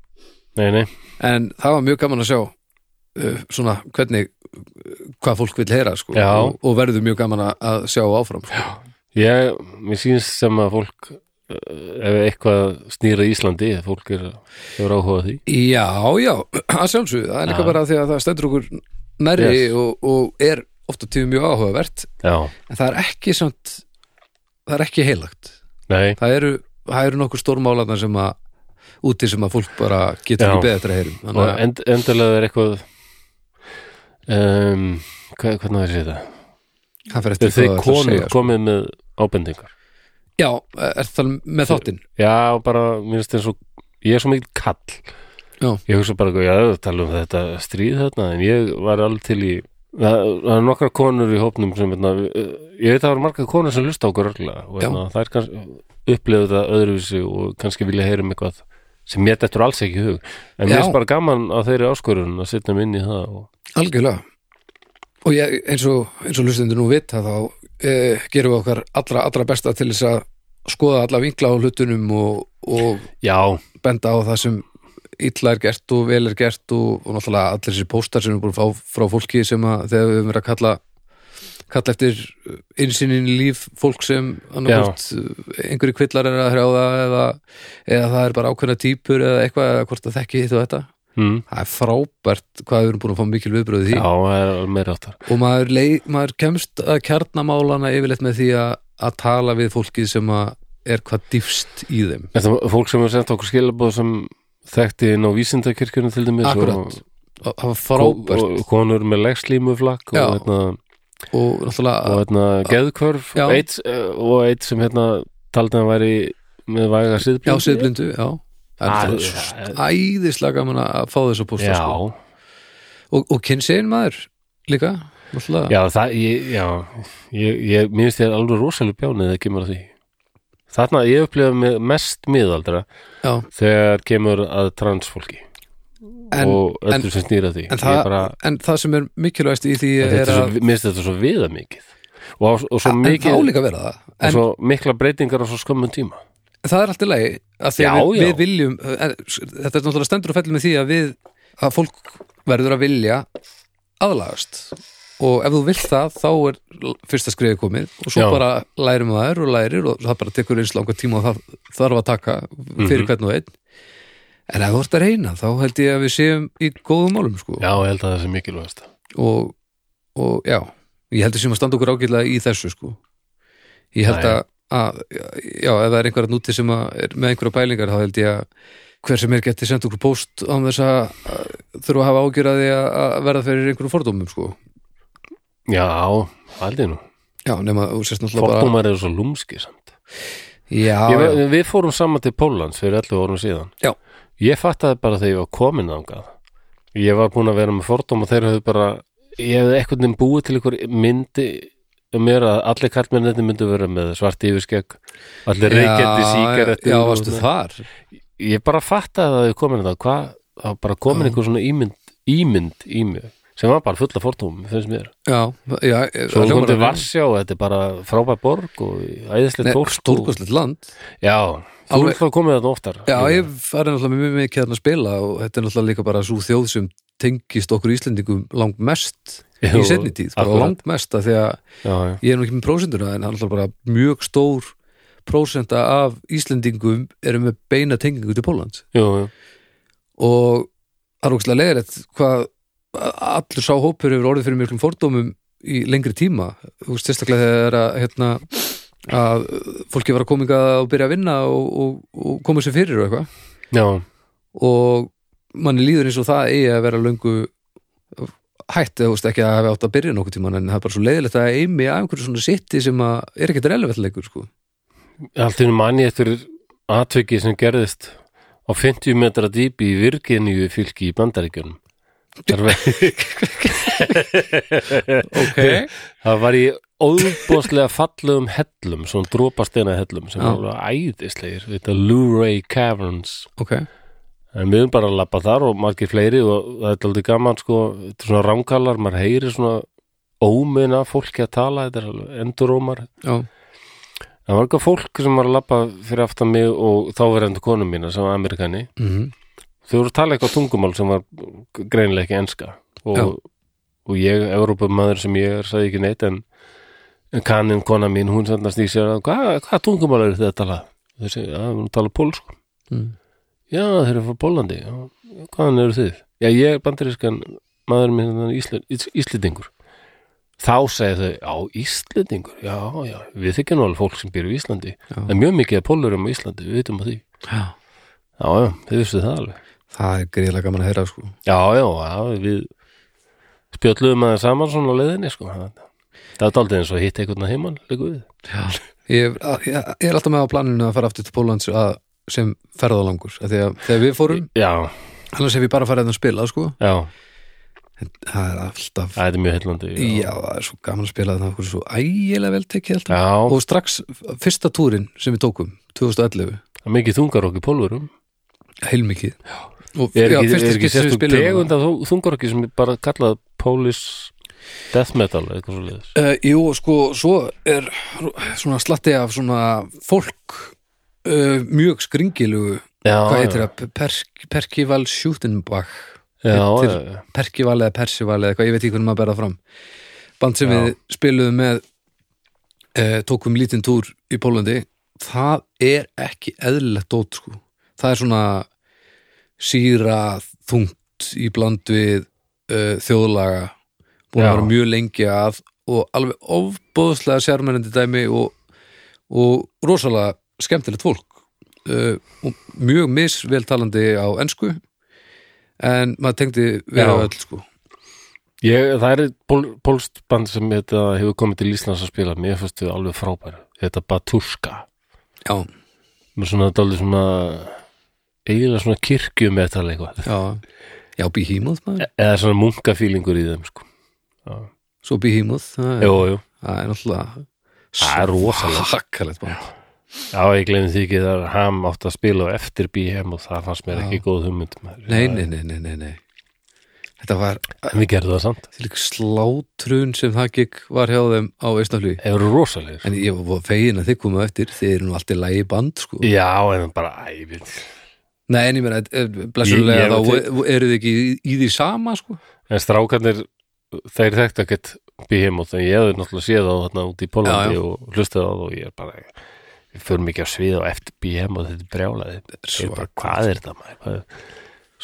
Speaker 1: Nei, nei,
Speaker 2: en það var mjög gaman að sjá uh, svona hvernig uh, hvað fólk vil heyra sko
Speaker 1: Já.
Speaker 2: og, og verður mjög gaman að- að sjá áfram sko.
Speaker 1: ég, mér sýnst sem að fólk eh, ef eitthvað snýra Íslandi fólk er, hefur áhuga á því
Speaker 2: já, já, að sjálfsögðu það er
Speaker 1: Já.
Speaker 2: líka bara því að það stendur okkur nærri
Speaker 1: Yes.
Speaker 2: og, og er oft og tíðum mjög áhugavert
Speaker 1: Já,
Speaker 2: en það er ekki samt það er ekki heilagt
Speaker 1: nei,
Speaker 2: það eru, það eru nokkur stórmálarnar sem að úti sem að fólk bara getur
Speaker 1: Já.
Speaker 2: ekki beðið eftir að heyrum
Speaker 1: og
Speaker 2: þannig að
Speaker 1: end, endilega er eitthvað um, hva, hvernig það sé þetta?
Speaker 2: hann fer
Speaker 1: Þegar
Speaker 2: eftir
Speaker 1: þeir
Speaker 2: hvað það
Speaker 1: konur
Speaker 2: segja sko.
Speaker 1: komið með ábendingar
Speaker 2: já, er það með þáttinn
Speaker 1: Já, bara, mér finnst eins og ég er svo mikil kall
Speaker 2: Já.
Speaker 1: Ég hugsa bara, já, við talum um þetta stríð þarna, en ég var alveg til í Það, það er nokkra konur í hópnum sem, veitna, ég veit að það eru margar konur sem lusta á okkur örgulega og
Speaker 2: Já.
Speaker 1: veitna, það er kannski upplifðu það öðruvísi og kannski vilja heyra um eitthvað sem mér dettur alls ekki í hug en mér
Speaker 2: Já.
Speaker 1: finnst bara gaman á þeirri áskorun að setja mig inn í það og
Speaker 2: Algjörlega og ég, eins og, eins og hlustendur nú vita þá eh, gerum við okkar allra, allra besta til þess að skoða alla vinkla á hlutunum og, og
Speaker 1: Já,
Speaker 2: benda á það sem illa er gert og vel er gert og, og náttúrulega allir þessi póstar sem við búin að fá frá fólki sem að þegar við höfum verið að kalla kalla eftir innsýnin í líf fólk sem annarkvort einhverju kvillar er að hrjáða eða, eða það er bara ákveðna týpur eða eitthvað eða hvort það þekki hitt og þetta
Speaker 1: mm,
Speaker 2: það er frábært hvað við erum búin að fá mikil viðbröðu því
Speaker 1: já, það er alveg meira áttar
Speaker 2: og maður, leið, maður kemst að kjarnamálana yfirleitt með því að, að tala við fólkið sem að er hvað dýfst í þeim
Speaker 1: Þetta var fólk sem hefur sendt okkur skilabóð sem þekkti inn á vísindakirkjunum til dæmis
Speaker 2: Akkurat, og það var frábært
Speaker 1: og, og konur með legslímuflakk og,
Speaker 2: Já.
Speaker 1: hérna,
Speaker 2: og
Speaker 1: og
Speaker 2: náttúrulega
Speaker 1: hérna geðkvörf
Speaker 2: Já.
Speaker 1: eitt, og eitt sem hérna taldi hann væri með væga
Speaker 2: já,
Speaker 1: síðblindu
Speaker 2: siðblindu, já Það er
Speaker 1: Æ,
Speaker 2: svo æðislega gaman að fá þess að
Speaker 1: Ah, Já,
Speaker 2: posta sko. og, og kynsegin maður líka náttúrulega,
Speaker 1: já, það ég, já, ég, ég mér finnst ég alveg rosalega bjánið þegar kemur að því Þarna ég upplifa mig mest miðaldra
Speaker 2: já.
Speaker 1: þegar kemur að transfólki
Speaker 2: En,
Speaker 1: og
Speaker 2: en-
Speaker 1: öllu sem snýra því
Speaker 2: en, það,
Speaker 1: Ég bara,
Speaker 2: en það sem er mikilvægst í því er
Speaker 1: Þetta er
Speaker 2: að
Speaker 1: svo, mér finnst þetta svo viða mikið og, á- og svo
Speaker 2: en
Speaker 1: mikið
Speaker 2: þá líka vera það
Speaker 1: og
Speaker 2: en
Speaker 1: svo mikla breytingar á svo skömmun tíma
Speaker 2: það er alltaf lægi að því að
Speaker 1: Já,
Speaker 2: við,
Speaker 1: já.
Speaker 2: við viljum en, þetta er náttúrulega stendur og fellur með því að við að fólk verður að vilja aðlagast og ef þú vilt það þá er l- fyrsta skriði komið og svo
Speaker 1: Já.
Speaker 2: bara lærir maður
Speaker 1: Mhm.
Speaker 2: og lærir og það bara tekur eins langar tíma og það þarf að taka fyrir hvern og einn en ef þú ert að reyna þá held ég að við séum í góðum málum sko.
Speaker 1: Já, ég held að það sé mikilvægast
Speaker 2: og, og já ég held að séum að standa okkur ágætlega í þessu sko. ég held
Speaker 1: Já,
Speaker 2: að, að já, ef það er einhverja núti sem að er með einhverja pælingar þá held ég að hver sem er geti sendt okkur post án þess að að þurfa að hafa ágjörði að að verða fyrir einhverjum fordómum sko.
Speaker 1: Já, held ég nú
Speaker 2: já, nema þú sérst náttúrulega bara
Speaker 1: Fordómar eru svo lúmski samt
Speaker 2: já,
Speaker 1: ég,
Speaker 2: já,
Speaker 1: Við fórum saman til Pólans fyrir 11 árum síðan
Speaker 2: Já.
Speaker 1: Ég fattaði bara þegar ég var komin þangað Ég var búin að vera með fordóm og þeir höfðu bara Ég hefði eitthvað nefn búið til ykkur myndi um mér að allir karlmennandi myndu vera með svart yfirskegg allir reykjandi síkarettur
Speaker 2: já,
Speaker 1: og
Speaker 2: varstu
Speaker 1: svona.
Speaker 2: þar
Speaker 1: ég bara fattaði að þau komin það hvað, það var bara komin einhver svona ímynd ímynd í mig sem var bara fulla fórtum, finnst mér
Speaker 2: já, já,
Speaker 1: Svo
Speaker 2: það
Speaker 1: hún kom
Speaker 2: hljómar
Speaker 1: til
Speaker 2: að-
Speaker 1: Varsjá, þetta er bara frábær borg og æðislega
Speaker 2: Nei,
Speaker 1: fólk og-
Speaker 2: stórkostlegt land
Speaker 1: Já, þú
Speaker 2: Alveg-
Speaker 1: er þá komið þetta oftar
Speaker 2: Já, ég farið náttúrulega mjög mikið þarna að spila og þetta er náttúrulega líka bara svo þjóð sem tengist okkur Íslendingum langt mest
Speaker 1: Jú,
Speaker 2: í setni tíð, bara
Speaker 1: akkurat.
Speaker 2: langt mest af því að
Speaker 1: já, já.
Speaker 2: ég er nú ekki með prósenduna en hann er náttúrulega bara mjög stór prósenda af Íslendingum eru með beina tengingu til Pólans
Speaker 1: Jú, jú.
Speaker 2: og það er ógæslega leiðrætt hvað allur sá hópur hefur orðið fyrir miklum fordómum í lengri tíma þú veist sérstaklega þegar það er að, hérna, að fólki var að kominga og byrja að vinna og, og, og koma sér fyrir og eitthvað
Speaker 1: já,
Speaker 2: og manni líður eins og það eigi að vera löngu hætt eða þú veist, ekki að hafa átt að byrja nokkuð tíman en það er bara svo leiðilegt að eimi af einhverju svona sitti sem að er ekkert relevantleikur sko.
Speaker 1: allt í einu manni eftir atvikið sem gerðist á 50 metra dýpi í Virginíu fylki í Bandaríkjunum Þar var-
Speaker 2: okay.
Speaker 1: Það var í óbúðslega fallegum hellum, svona dropasteina hellum sem
Speaker 2: Já.
Speaker 1: var alveg æðislegir þetta Luray Caverns
Speaker 2: ok,
Speaker 1: En við erum bara að labba þar og margir fleiri og það er aldrei gaman sko, þetta er svona ránkallar, maður heyri svona ómuna fólki að tala, þetta er alveg endurómar.
Speaker 2: já,
Speaker 1: Það var eitthvað fólk sem var að labba fyrir aftan mig og þáverandi konum mína sem var amerikani.
Speaker 2: mm
Speaker 1: Þau voru að tala eitthvað tungumál sem var greinilega ekki enska
Speaker 2: Já.
Speaker 1: og, og ég, Evrópumæður sem ég er, sagði ekki neitt en, en kanin kona mín, hún sendast í sér að hvað hva tungumál eru þið að tala? Þau segja, að við erum að tala pólsk.
Speaker 2: Mm.
Speaker 1: Já, þeir eru frá Pólandi. Já, Hvaðan eru þið? Já, ég er bandarískan maður minn hérna Ísl- Ís- Íslendingur. Þá segja þau, já, Íslendingur, já, já, við þykjum nú alveg fólk sem býr í Íslandi.
Speaker 2: Já.
Speaker 1: Það er mjög mikið að pólurum á Íslandi, við vitum að því.
Speaker 2: já
Speaker 1: Já, já, þið vissu það alveg.
Speaker 2: það er greiðlega gaman að heyra sko.
Speaker 1: Já, já, já við spjöldluðum að það saman svona á leiðinni, sko. Það er daldið eins og hitt einhvern að heimann, líka við.
Speaker 2: ég, að, ég, ég er alltaf með á planinu að fara aftur til Pólans að, sem ferðalangur að því að þegar við fórum,
Speaker 1: Já,
Speaker 2: annars hef ég bara farið að spila sko.
Speaker 1: já,
Speaker 2: það er alltaf
Speaker 1: það er mjög heillandi.
Speaker 2: Já, það er svo gaman að spila þannig að svo ægilega vel tekið alltaf
Speaker 1: já,
Speaker 2: og strax fyrsta túrin sem við tókum 2011,
Speaker 1: það er mikið þungar okkur pólurum.
Speaker 2: heilmikið og
Speaker 1: er ekki,
Speaker 2: já, fyrsta
Speaker 1: er ekki
Speaker 2: skipt sem við
Speaker 1: sérstök
Speaker 2: spilum
Speaker 1: tegund af þungarokki sem er bara kallað Polish Death Metal eitthvað svo leiðis
Speaker 2: uh, Jú, sko, svo er svona slatti af svona fólk uh, mjög skringilugu
Speaker 1: já,
Speaker 2: hvað heitir það? Perk, Perkival Schutenbach
Speaker 1: já, já,
Speaker 2: heitir-
Speaker 1: já,
Speaker 2: Perkival eða Persival eða eitthvað, ég veit ekki hvernig maður berða fram band sem
Speaker 1: Já.
Speaker 2: við spiluðum með uh, tókum lítinn túr í Pólandi það er ekki eðlilegt dót sko. það er svona síra þungt í bland við uh, þjóðlaga búin
Speaker 1: Já.
Speaker 2: að vera mjög lengi að og alveg ofbóðslega sérmennandi dæmi og, og rosalega skemmtilegt fólk uh, og mjög misveltalandi á ensku en maður tengdi vera
Speaker 1: Já.
Speaker 2: öll sko
Speaker 1: Ég, það er pól, pólst band sem þetta hefur komið til Íslands að spila mér fyrst þau alveg frábæri þetta Batuska
Speaker 2: já,
Speaker 1: með svona dálítið svona eiginlega svona kirkjumetal eitthvað
Speaker 2: já, já Behemoth maður,
Speaker 1: E- eða svona munkafílingur í þeim sko.
Speaker 2: svo Behemoth það
Speaker 1: jú,
Speaker 2: er-
Speaker 1: jú,
Speaker 2: það er náttúrulega
Speaker 1: það er rosalega
Speaker 2: svakkalegt band
Speaker 1: já, ég glemði því ekki þar ham átt að spila á eftir BM og það fannst mér ekki góð hugmynd maður.
Speaker 2: nei, nei, nei, nei, nei, nei þetta var
Speaker 1: en við gerðum það samt,
Speaker 2: til ykkur slátrun sem það gekk var hjá þeim á veistnaflug
Speaker 1: þeir eru rosalegir
Speaker 2: en ég var fegin að þið komu á eftir þið eru nú allt í lægi band sko
Speaker 1: Já, en bara æfið
Speaker 2: nei, en ég meina, eh,
Speaker 1: Ég- ég
Speaker 2: blessulega
Speaker 1: var
Speaker 2: þá
Speaker 1: til-
Speaker 2: eru þið ekki í, í því sama sko
Speaker 1: En strákarnir, þeir þekktu ekkert Behemoth, en ég hefði náttúrulega séð þá þarna út í
Speaker 2: Já,
Speaker 1: Pólandi
Speaker 2: já.
Speaker 1: og hlustið á það og ég er bara við förum ekki á svið á eftir BM og þetta er brjálaði Þetta er bara, hvað er þetta maður Hvað er-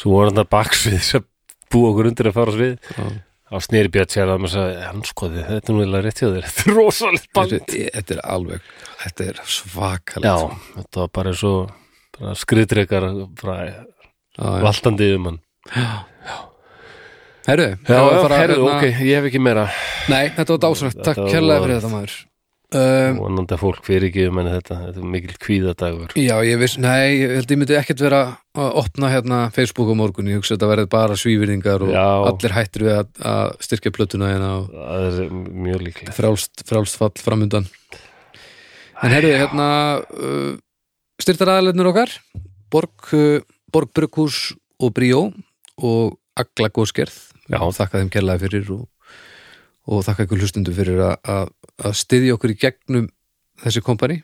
Speaker 1: svo voru hann það baksvið sem búa okkur undir að fara á svið
Speaker 2: Já.
Speaker 1: á snýri björn sér að maður sagði hann skoði, þetta er nú eða rétt hjá þér þetta er rosalegt band
Speaker 2: Þetta er- þetta er alveg, þetta er
Speaker 1: já,
Speaker 2: svakalegt
Speaker 1: þetta var bara svo bara skriðdrekar bara
Speaker 2: Já, já.
Speaker 1: valtandi um hann
Speaker 2: Herru,
Speaker 1: já,
Speaker 2: það var
Speaker 1: já,
Speaker 2: bara,
Speaker 1: herðu,
Speaker 2: hérna-
Speaker 1: ok, ég hef ekki meira
Speaker 2: Nei, þetta var dásanlegt,
Speaker 1: Þetta
Speaker 2: takk kærlega
Speaker 1: var-
Speaker 2: fyrir þetta maður um,
Speaker 1: vonandi að fólk fyrir ekki um henni þetta þetta er mikil kvíðadagur
Speaker 2: Já, ég viss, nei, ég held ég myndi ekkert vera að opna hérna Facebook á morgun ég hugsa að þetta verði bara svífyrðingar og
Speaker 1: Já.
Speaker 2: allir hættir við að, að styrkja plötuna hérna og
Speaker 1: það er mjög líklega
Speaker 2: frálst, frálst fall framundan En herru, hérna uh, styrtaraðalennir okkar Borg, uh, Borg Brukhús og Bríó og Agla Góskerð
Speaker 1: Já.
Speaker 2: og þakka þeim kærlega fyrir og, og þakka ykkur hlustundu fyrir að- að að styðja okkur í gegnum þessi kompani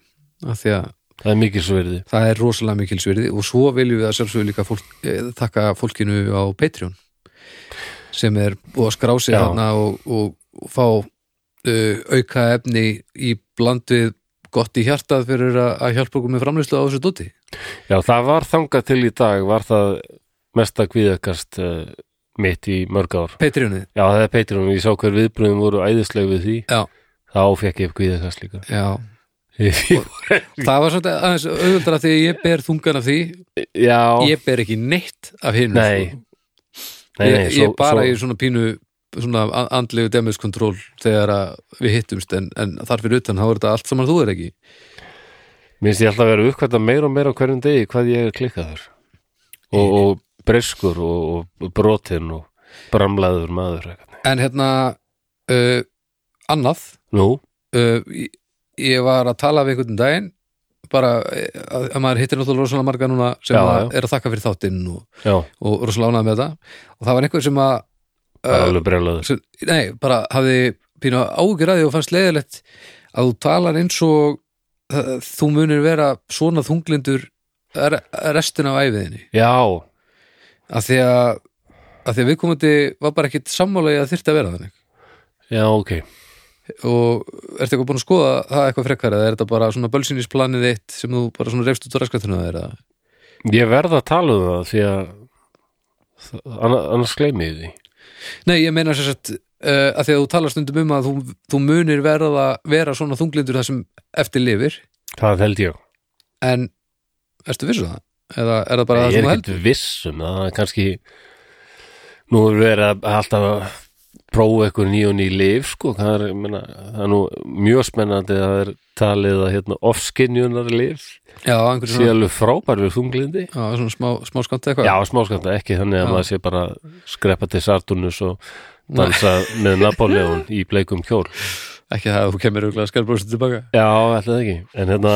Speaker 2: af því að
Speaker 1: það er mikil svo verið
Speaker 2: það er rosalega mikilsverði og svo viljum við að sjálfsögur líka fólk, eh, þakka fólkinu á Patreon sem er og að skrá sig
Speaker 1: Já.
Speaker 2: þarna og, og, og fá uh, auka efni í blandið gott í hjartað fyrir að, að hjálpa okkur með framlýslu á þessu dóti
Speaker 1: já, það var þangað til í dag var það mesta kvíðakast uh, mitt í mörg ár
Speaker 2: Patreonið,
Speaker 1: já, það er Patreon, ég sá hver viðbröðum voru æðisleg við því
Speaker 2: Já.
Speaker 1: þá fekk ég kvíðakast líka
Speaker 2: já
Speaker 1: já,
Speaker 2: það var svolítið aðeins auðvöldar af því að ég ber þungan af því ég ber ekki neitt af hinn
Speaker 1: nei nei, nei,
Speaker 2: sko. ég, ég bara í svona pínu svona a- andlegu demiskontról þegar að við hittumst en, en þar fyrir utan þá er þetta allt saman þú er ekki
Speaker 1: Mér finnst ég alltaf að vera uppkvæmta meira og meira á hverjum degi hvað ég er klikkaður og, og breskur og, og brotinn og bramlaður maður eitthvað.
Speaker 2: En hérna uh, annað
Speaker 1: Nú,
Speaker 2: uh, ég- ég var að tala við einhvern daginn bara eh, að, að maður hittir náttúrulega rosalega marga núna sem
Speaker 1: Já,
Speaker 2: að,
Speaker 1: já.
Speaker 2: er að þakka fyrir þáttinn og,
Speaker 1: já,
Speaker 2: og rosalega ánað með þetta og það var einhver sem að
Speaker 1: það er
Speaker 2: uh,
Speaker 1: alveg brjálaður
Speaker 2: sem, nei, bara hafði pínu ágjur að því og fannst leiðilegt að þú talar eins og uh, þú munir vera svona þunglindur re- restina af æfiðinni
Speaker 1: Já,
Speaker 2: af því að, að því að viðkomandi var bara ekkit sammála í að þyrfti að vera þannig
Speaker 1: já, ok
Speaker 2: og ertu eitthvað búin að skoða það eitthvað frekar eða er þetta bara svona bölsinnisplanið þitt sem þú bara svona reyfst út á raskatuna þér eða?
Speaker 1: Ég verð að tala um það því að það- anna- annars gleymi ég því
Speaker 2: Nei, ég meina sér sett uh, að því að þú talar stundum um að þú, þú munir verða, vera svona þunglindur það sem eftir lifir
Speaker 1: Það held ég
Speaker 2: en ertu vissu það? Eða er það bara það sem
Speaker 1: Ég er
Speaker 2: þú heldur?
Speaker 1: ekkert viss um það, það er kannski nú er verið að alltaf að prófa eitthvað ný og ný lif sko, það er, ég meina, það er nú mjög spennandi að það er talið að hérna offskinjunar lif
Speaker 2: Já, einhver
Speaker 1: sé
Speaker 2: svona,
Speaker 1: alveg frábær við þunglindi
Speaker 2: já, svona smá, smá skant eitthvað
Speaker 1: Já, smáskanda, ekki þannig að
Speaker 2: Já.
Speaker 1: maður sé bara að skreppa til Saturnus og dansa með Napoleon í bleikum kjól
Speaker 2: Ekki það að þú kemur auðvitað skarbróðsum tilbaka
Speaker 1: Já, ætlaði ekki En hérna,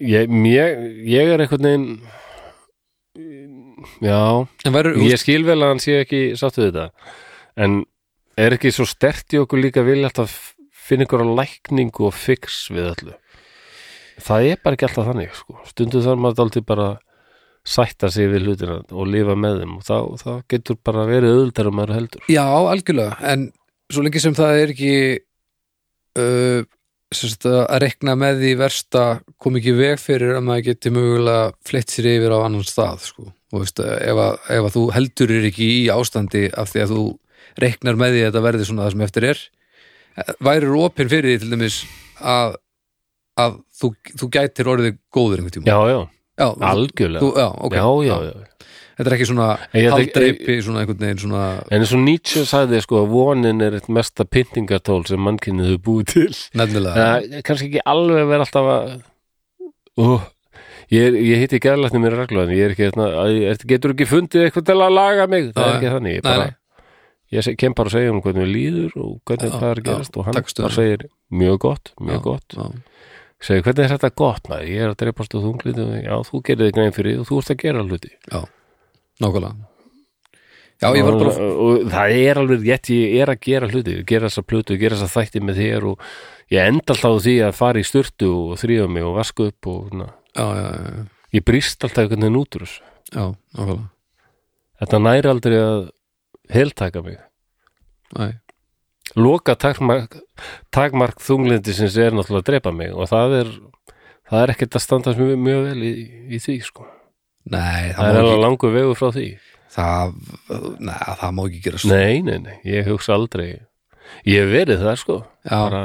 Speaker 1: ég, mér, ég er einhvern veginn Já,
Speaker 2: En væru,
Speaker 1: ég skil vel að hann sé ekki satt við þetta En er ekki svo stert í okkur líka vilja alltaf finna ykkur á lækningu og fix við öllu Það er bara ekki alltaf þannig sko. Stundu þar maður dálítið bara sætta sig við hlutina og lifa með þeim og þá, þá getur bara verið auðvitað um maður heldur
Speaker 2: Já, algjörlega, en svo lengi sem það er ekki uh, sérst, að rekna með því versta kom ekki í veg fyrir að maður geti mögulega fleitt sér yfir á annan stað sko. og veist, ef, að, ef að þú heldur er ekki í ástandi af því að þú reknar með því að þetta verði svona það sem eftir er værir opinn fyrir því til dæmis að, að þú, þú gætir orðið góður einhvern tíma
Speaker 1: Já, já,
Speaker 2: já,
Speaker 1: algjörlega
Speaker 2: þú, já, ok,
Speaker 1: já, já, já,
Speaker 2: þetta er ekki svona
Speaker 1: Ég ætla ekki-
Speaker 2: haldreipi svona einhvern veginn svona
Speaker 1: En eins og Nietzsche sagði sko að vonin er eitt mesta pyntingatól sem mannkynnið hefur búið til
Speaker 2: nefnilega
Speaker 1: Það er kannski ekki alveg verið alltaf að uh, ég, er- ég hitti gæðlætni mér reglu en ég er ekki þarna, að ég- ertu- getur ekki fundið eitthvað til að laga mig, það er
Speaker 2: Nei,
Speaker 1: ekki þannig ég,
Speaker 2: nei,
Speaker 1: bara, ég seg, kem bara að segja um hvernig við líður og hvernig
Speaker 2: Já,
Speaker 1: hvað er að
Speaker 2: já,
Speaker 1: gerast og hann
Speaker 2: takk stöðu.
Speaker 1: bara segir mjög gott, mjög
Speaker 2: Já,
Speaker 1: gott
Speaker 2: já.
Speaker 1: segir hvernig er þetta gott maður, ég er að dreipast og þunglið já, þú gerir þig grein fyrir því og þú ert að gera hluti
Speaker 2: Nákvæmlega Já, ég var bara
Speaker 1: og, og það er alveg rétt, ég er að gera hluti gera þessa plötu, gera þessa þætti með þér og ég enda alltaf á því að fara í styrtu og þrýfa mig og vaska upp og svona,
Speaker 2: Já, já, já, já,
Speaker 1: ég brýst alltaf einhvern veginn út úr þessu.
Speaker 2: já, nákvæmlega
Speaker 1: Þetta næri aldrei að heltaka mig.
Speaker 2: Nei,
Speaker 1: Loka takmark, takmark þunglindi sem er náttúrulega að drepa mig og það er það er ekkert að standa mjög, mjög vel í, í því sko.
Speaker 2: Nei,
Speaker 1: það
Speaker 2: það,
Speaker 1: er
Speaker 2: má,
Speaker 1: alveg langur vegu frá því
Speaker 2: ekki, það, neð, það má ekki gera svo
Speaker 1: nei, nei, nei, ég hugsa aldrei ég hef verið það sko
Speaker 2: Já,
Speaker 1: bara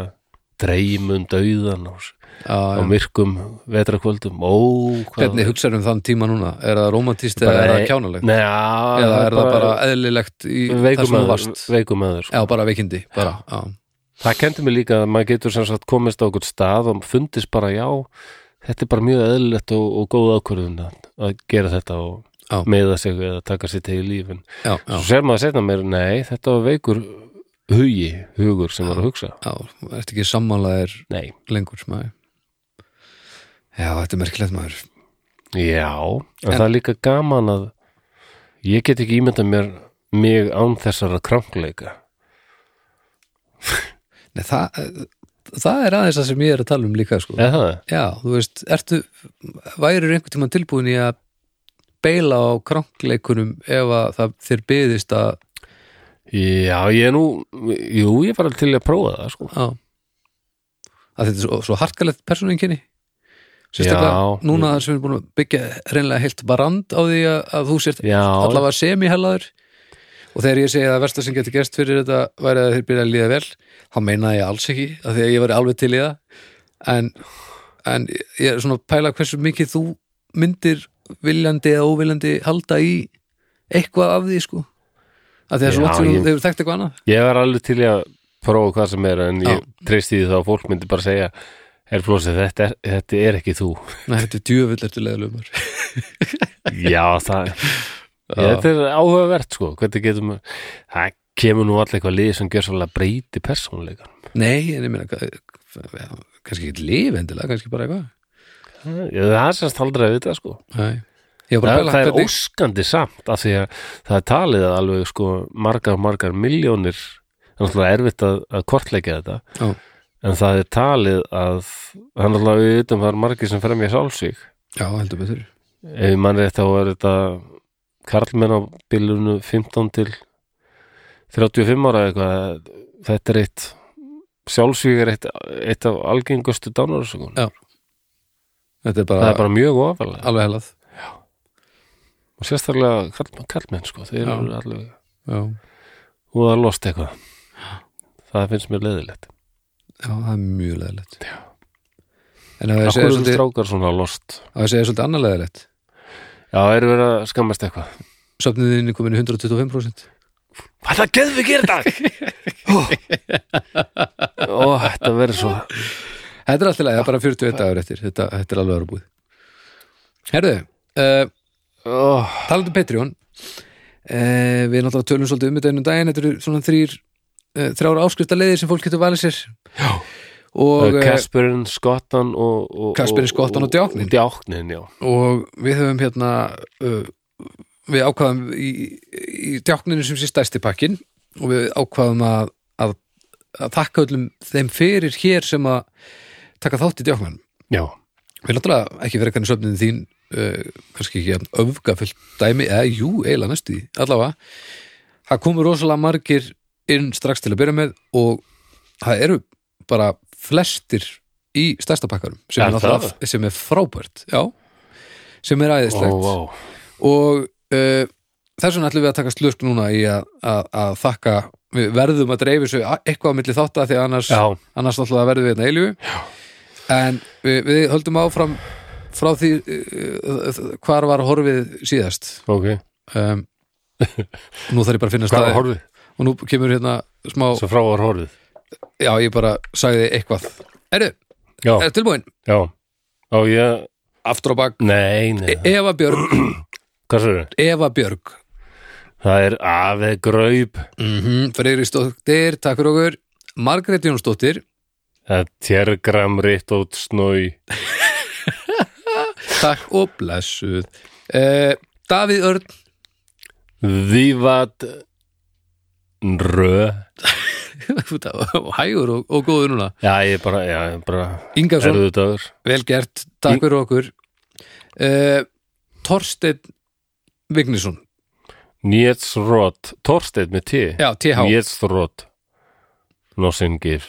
Speaker 1: dreym um dauðan og,
Speaker 2: já,
Speaker 1: á
Speaker 2: já.
Speaker 1: myrkum vetrakvöldum ó, hvað
Speaker 2: Hvernig hugsaður um þann tíma núna? Er það romantist eða
Speaker 1: Bara- e-
Speaker 2: er það kjánalegt?
Speaker 1: Nei, já,
Speaker 2: Eða er það bara eðlilegt í það sem þú
Speaker 1: veikumæður,
Speaker 2: varst?
Speaker 1: veikumæður sko.
Speaker 2: Já, bara veikindi, bara, já.
Speaker 1: það kendi mig líka að maður getur sem sagt komist á okkur stað og fundist bara já þetta er bara mjög eðlilegt og, og góð ákvörðun að, að gera þetta og
Speaker 2: Já.
Speaker 1: meða sig eða taka sér til í lífin
Speaker 2: Já, já,
Speaker 1: svo sér maður setna mér, nei, þetta var veikur hugi, hugur sem var að hugsa
Speaker 2: já, ertu ekki sammálaðir
Speaker 1: nei,
Speaker 2: lengur, maður Já, þetta er merkilegt maður
Speaker 1: já en, það er líka gaman að ég get ekki ímyndað mér mig án þessara krankleika
Speaker 2: Nei, það, eh, það er aðeins það sem ég er að tala um líka, sko
Speaker 1: eða það er
Speaker 2: Já, þú veist, ertu værir einhvern tímann tilbúin í að beila á krankleikunum ef að það þér byðist að
Speaker 1: Já, ég er nú, jú, ég var alveg til í að prófa það, sko.
Speaker 2: Já að þetta er svo, svo harkalegt persónuenginni sérstaklega
Speaker 1: Já.
Speaker 2: núna sem við erum búin að byggja hreinlega heilt barand á því að, að þú sért
Speaker 1: Já,
Speaker 2: allavega semi-hellaður og þegar ég segi að versta sem getur gerst fyrir þetta væri að þeir byrja að líða vel þá meina ég alls ekki, af því að ég væri alveg til í það en, en ég er svona að pæla hversu mikið þú myndir viljandi eða óviljandi halda í eitthvað af því sko af því að það er
Speaker 1: Já,
Speaker 2: svo langt sem
Speaker 1: ég-
Speaker 2: þeir eru þekkt eitthvað annað
Speaker 1: ég var alveg til í að prófa hvað sem er, en ég treysti því þá að fólk myndi bara segja, er flósið, þetta er, þetta er ekki þú.
Speaker 2: Nei, þetta er djöfull eftir leðalumar
Speaker 1: Já, það, þetta er áhugavert, sko, hvernig getum, það kemur nú allir eitthvað lið sem gjör svolítið breyti persónuleikan.
Speaker 2: Nei, en ég meina ka- ja, kannski ekki lif endilega, kannski bara eitthvað
Speaker 1: Ég, það er semst aldrei að vita, sko.
Speaker 2: Nei. Ég var bara að
Speaker 1: Það, það
Speaker 2: pæla
Speaker 1: er
Speaker 2: hvernig
Speaker 1: óskandi samt af því að það er talið að alveg sko margar, margar miljónir það er náttúrulega erfitt að, að kortleika þetta
Speaker 2: Já.
Speaker 1: en það er talið að hann náttúrulega við vitum það er margir sem fremja sálsík
Speaker 2: Já, heldur betur
Speaker 1: ef mann rétt þá er þetta karlmenn á bilunu 15 til 35 ára eða eitthvað þetta er eitt sjálfsvík er eitt, eitt af algengustu dánarsökun
Speaker 2: Já. Þetta er bara,
Speaker 1: það er bara mjög ofalega
Speaker 2: alveg helað
Speaker 1: og sérstaklega karlmenn, karlmenn sko þeir eru alveg
Speaker 2: Já.
Speaker 1: og það lost eitthvað það finnst mér leiðilegt
Speaker 2: Já, það er mjög leðilegt En að það
Speaker 1: Akkur
Speaker 2: segja
Speaker 1: eru
Speaker 2: svolítið,
Speaker 1: strákar svona lost
Speaker 2: að það segja svolítið annað leðilegt
Speaker 1: Já, eru verið að skammast eitthvað
Speaker 2: Söfniðinni komin í 125%
Speaker 1: Hvað það geðum við gera þetta? Ó, Ó, þetta verður svo
Speaker 2: Þetta er alltaf leið, það er bara 41 dagur eftir Þetta, þetta er alveg ára búið Herðu, uh,
Speaker 1: Ó,
Speaker 2: talandi um Patreon uh, Við náttúrulega tölum svolítið um þetta einu daginn Þetta eru svona þrýr uh, þrjára áskrifta sem fólk getur valið sér Já Og, eh,
Speaker 1: Kasperinn, Skottan og, og
Speaker 2: Kasperinn, Skottan og Djákninn.
Speaker 1: Djáknin, já
Speaker 2: og við höfum hérna uh, við ákvaðum í, í djákninu sem sé stæsti pakkin og við ákvaðum að, að, að þakka öllum þeim fyrir hér sem að taka þátt í djáknan
Speaker 1: Já,
Speaker 2: við erum náttúrulega ekki verið kannar söfnin þín uh, kannski ekki að öfgafullt dæmi eða jú, eiginlega næstu því, allavega það komur rosalega margir inn strax til að byrja með og það eru bara flestir í stærsta pakkarum sem,
Speaker 1: Er
Speaker 2: er, náttúrulega- sem er frábært já, sem er
Speaker 1: ó,
Speaker 2: æðislegt
Speaker 1: ó
Speaker 2: og uh, þess vegna ætlum við að taka slurk núna í að, að, að þakka við verðum að dreifu svo eitthvað á milli þátt að því að annars,
Speaker 1: Já,
Speaker 2: annars náttúrulega verðum við þetta eilju en við, við höldum áfram frá því uh, hvar var horfið síðast
Speaker 1: ok
Speaker 2: um, nú þarf ég bara að finna
Speaker 1: Hvað
Speaker 2: staði
Speaker 1: var horfið?
Speaker 2: og nú kemur hérna smá,
Speaker 1: Svo frá var horfið
Speaker 2: já ég bara sagði eitthvað, eru,
Speaker 1: Já,
Speaker 2: er tilbúin
Speaker 1: já Ó, ég,
Speaker 2: aftur á bak,
Speaker 1: nei, nei
Speaker 2: E- Eva Björg
Speaker 1: Hvað sér þau?
Speaker 2: Eva Björg
Speaker 1: Það er aðeð graup
Speaker 2: mm -hmm. Freyristóttir, takk fyrir okkur Margrét Jónsdóttir,
Speaker 1: Það er tjergram rétt út snói
Speaker 2: takk og blessuð uh, Davíð Örn
Speaker 1: Vivat Rö
Speaker 2: hægur og, og góður núna
Speaker 1: Já, ég bara, já, ég bara
Speaker 2: Ingason,
Speaker 1: Erðu dagur
Speaker 2: vel gert, takk fyrir okkur uh, Torsteinn Vignisson
Speaker 1: Njetsrot, Torsteinn með T
Speaker 2: já, TH,
Speaker 1: Njetsrot Nossingir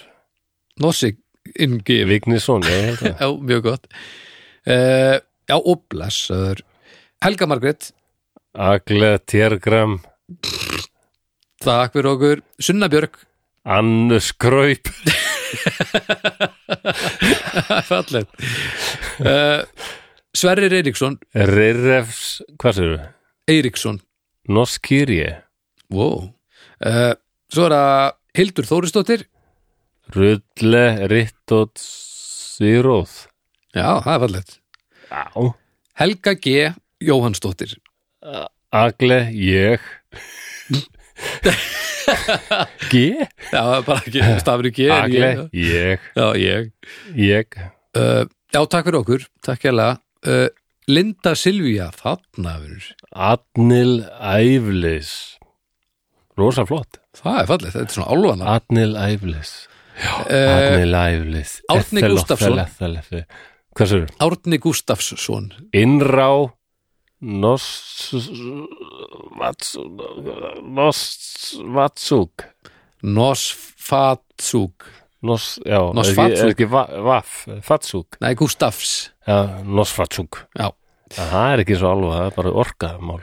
Speaker 2: Nossi
Speaker 5: inngif
Speaker 1: Vignisson, já, ég held að.
Speaker 5: já, mjög gott
Speaker 2: uh, já, og blessaður Helga Margrét,
Speaker 1: Agle, Tjergram,
Speaker 2: takk fyrir okkur Sunna Björk,
Speaker 1: Annus Kraup
Speaker 2: falleg uh, Sverrir Eiríksson
Speaker 1: Rirrefs, hvað sér þau?
Speaker 2: Eiríksson,
Speaker 1: Noskýrje
Speaker 2: wow uh, svo er það Hildur Þórisdóttir
Speaker 1: Rulle, Rittot Sýróð
Speaker 2: já, það er fallegt
Speaker 1: Já
Speaker 2: Helga G. Jóhannsdóttir
Speaker 1: Agle, ég G?
Speaker 2: já, það er bara ekki, stafur ekki
Speaker 1: Agle, ég
Speaker 2: já, ég
Speaker 1: Ég
Speaker 2: uh, já, takk fyrir okkur, takk hérlega uh, Linda Silvía, þarnaður
Speaker 1: Adnil Æflis Rosa flott
Speaker 2: það er fallegt, þetta er svona álfana
Speaker 1: Adnil Æflis
Speaker 2: uh,
Speaker 1: Adnil Æflis
Speaker 2: Árni
Speaker 1: Ethel,
Speaker 2: Gústafsson.
Speaker 1: Ethel, Ethel, Ethel. Hvað sér?
Speaker 2: Árni Gustafsson
Speaker 1: Innrá Nos Vats Nos Vatsúk
Speaker 2: Nosfatsúk
Speaker 1: Nos, já, er ekki-
Speaker 2: Nosfatsúk.
Speaker 1: er ekki va- vaff, fatsúk
Speaker 2: nei, Gustafs
Speaker 1: Já, nosfatsúk
Speaker 2: Já.
Speaker 1: Það er ekki svo alveg, það er bara orkaðamál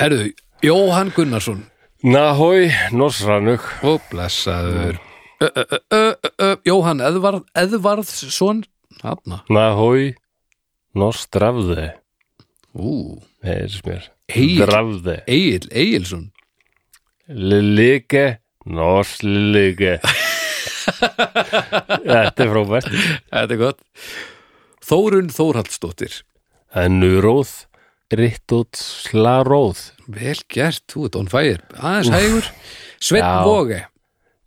Speaker 2: Herðu, Jóhann Gunnarsson
Speaker 1: Nahói, nosranug
Speaker 2: og blessaður Eh, ö, ö, ö, ö, ö, ö, eh, Jóhann Eðvarð, Eðvarðsson Hanna,
Speaker 1: Nahói Nostrafði
Speaker 2: ú
Speaker 1: Nei, þessi mér
Speaker 2: Egil,
Speaker 1: Drafði
Speaker 2: Egil, Egilson
Speaker 1: Lillike Noslillike Þetta er frábært
Speaker 2: Þetta er gott Þórun Þórhaldsdóttir
Speaker 1: Ennuróð Rittótt slaróð
Speaker 2: Vel gert, þú ert on fire Aðeins hægur Sveinn
Speaker 1: Já.
Speaker 2: Vóge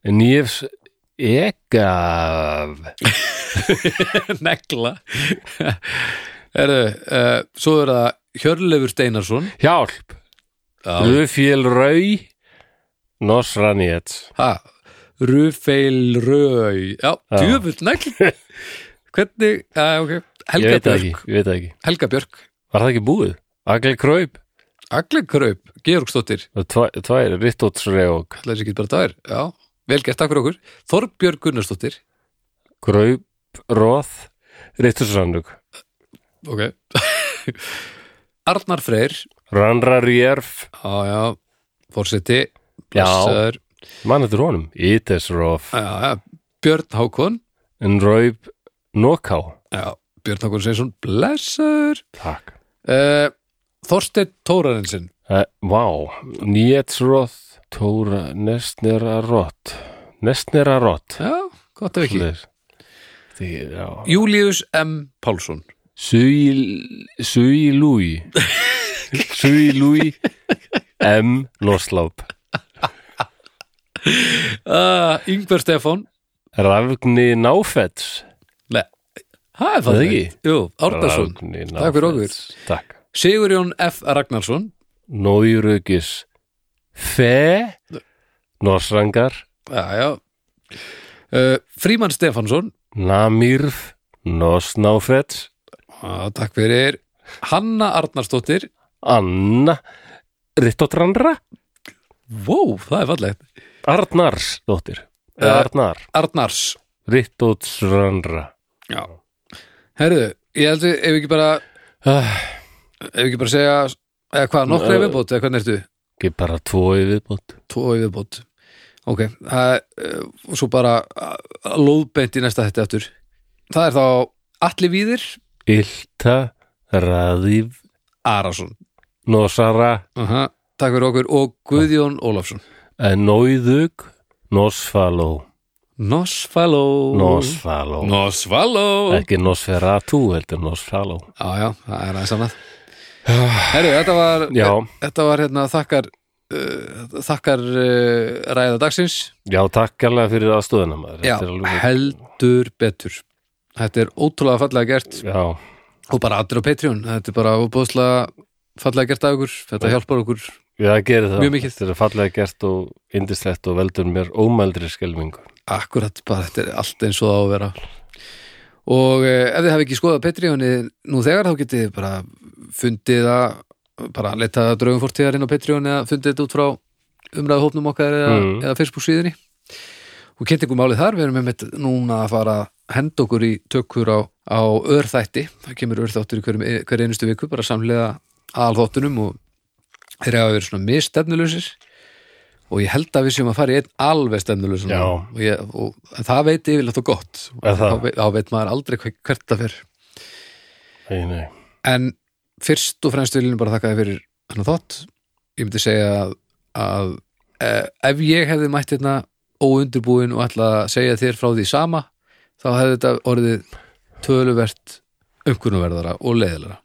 Speaker 1: Nýjefs Egaf
Speaker 2: Negla Herðu, uh, svo er það Hjörleifur Steinarsson
Speaker 1: Hjálp Lufjél Rau Nosranjets
Speaker 2: Ha, Rufeil Rau Já,
Speaker 1: Já.
Speaker 2: djöfull negl Hvernig, já, ok
Speaker 1: Ég
Speaker 2: Helga
Speaker 1: veit það
Speaker 2: Björk,
Speaker 1: ekki, ég veit það ekki
Speaker 2: Helga Björk
Speaker 1: Var það ekki búið? Agli Kraup
Speaker 2: Agli Kraup, Georgsdóttir
Speaker 1: og tvæ- Tvær, Rittótsreog
Speaker 2: Það er ekki bara tær, já Vel gert, takk fyrir okkur Þorbjörg Gunnarsdóttir
Speaker 1: Kraup, Róð Rittótsrannug
Speaker 2: Ok Arnar Freyr
Speaker 1: Rannrarjörf
Speaker 2: Já, já, fórseti
Speaker 1: Já.
Speaker 2: Blessaður
Speaker 1: Mann eftir honum Ítesróf
Speaker 2: já, já, Björn Hákon
Speaker 1: Enraup Nóká
Speaker 2: Já, Björn Hákon Sveinsson Blessaður
Speaker 1: Takk
Speaker 2: uh, Þorsteinn Tórarinsin
Speaker 1: Eh, Vá, Nýjetsróð Tóra Nestnerarótt Nestnerarótt
Speaker 2: Já, gott ef ekki
Speaker 1: Því, já
Speaker 2: Júlíus M. Pálsson
Speaker 1: Sui Lúi Sui Lúi M. Nosláp
Speaker 2: uh, Yngver Stefán
Speaker 1: Rafgni Náfets
Speaker 2: Það er
Speaker 1: Það
Speaker 2: fallegt.
Speaker 1: ekki?
Speaker 2: Jú, Árnarsson
Speaker 1: Ragni
Speaker 2: Takk fyrir okkur.
Speaker 1: Náfels. Takk
Speaker 2: Sigurjón F. Ragnarsson
Speaker 1: Nójurugis Fe Norsrangar
Speaker 2: Já, já uh, Frímann Stefansson
Speaker 1: Namirf Nosnáfets
Speaker 2: Já, Takk fyrir Hanna Arnarsdóttir
Speaker 1: Anna Rittotrandra
Speaker 2: Vó, það er fallegt
Speaker 1: Arnars dóttir
Speaker 2: Eh.
Speaker 1: Arnar
Speaker 2: Arnars
Speaker 1: Rittotrandra
Speaker 2: Já Herðu, ég held við, ef við ekki bara
Speaker 1: Ah,
Speaker 2: ef við ekki bara segja eða hvað, nokkra
Speaker 1: Eh.
Speaker 2: í viðbót, eða hvernig ertu?
Speaker 1: Ekki bara tvo í viðbót
Speaker 2: Tvo í viðbót Ok, það er eh, og svo bara eh, lóðbeint í næsta þetta aftur Það er þá Atli Víðir
Speaker 1: Ylta Raðív
Speaker 2: Arason
Speaker 1: Nosara
Speaker 2: Aha, Takk fyrir okkur og Guðjón Ólafsson
Speaker 1: Nóiðug eh, Nosfaló
Speaker 2: Nosfaló
Speaker 1: Nosfaló
Speaker 2: Nosfaló
Speaker 1: Ekki Nosferatu heldur Nosfaló
Speaker 2: Já, já, það er aðeins annað Herru, þetta var,
Speaker 1: Já,
Speaker 2: þetta var hérna, þakkar uh, þakkar uh, ræða dagsins
Speaker 1: já takk alveg fyrir aðstöðuna maður
Speaker 2: Já,
Speaker 1: Þetta er alveg-
Speaker 2: heldur betur Þetta er ótrúlega fallega gert
Speaker 1: Já,
Speaker 2: og bara allir á Patreon Þetta er bara óbúðslega fallega gert af ykkur Þetta hjálpar okkur
Speaker 1: já, það gerir það
Speaker 2: Mjög mikið.
Speaker 1: Þetta er fallega gert og indislegt og veldur mér ómældri skelmingu
Speaker 2: Akkurat bara, þetta er allt eins og það á að vera Og eh, ef þið hafi ekki skoðað Patreoni nú þegar þá getið þið bara fundið að bara letað að draugum fórtíðar inn á Patreon eða fundið þetta út frá umræðuhópnum okkar eða,
Speaker 1: Mm.
Speaker 2: eða Facebook síðinni og kynnt ykkur málið þar, við erum einmitt núna að fara að henda okkur í tökur á, á örþætti, það kemur örþáttur í hverjum, e, hver einustu viku, bara samlega alþáttunum og þeir hafa verið svona mistefnulusir og ég held að við séum að fara í einn alveg stefnulus
Speaker 1: Já.
Speaker 2: og, ég, og en það veit yfirlega þá gott
Speaker 1: Er það?
Speaker 2: Þá veit- þá veit maður aldrei hver- hvert það fer
Speaker 1: Nei, nei.
Speaker 2: en fyrst og fremst viljum bara þakka þér fyrir hennar þátt ég myndi segja að, að e, ef ég hefði mætt hérna óundurbúin og ætla að segja þér frá því sama þá hefði þetta orðið töluvert umkunnverðara og leiðilega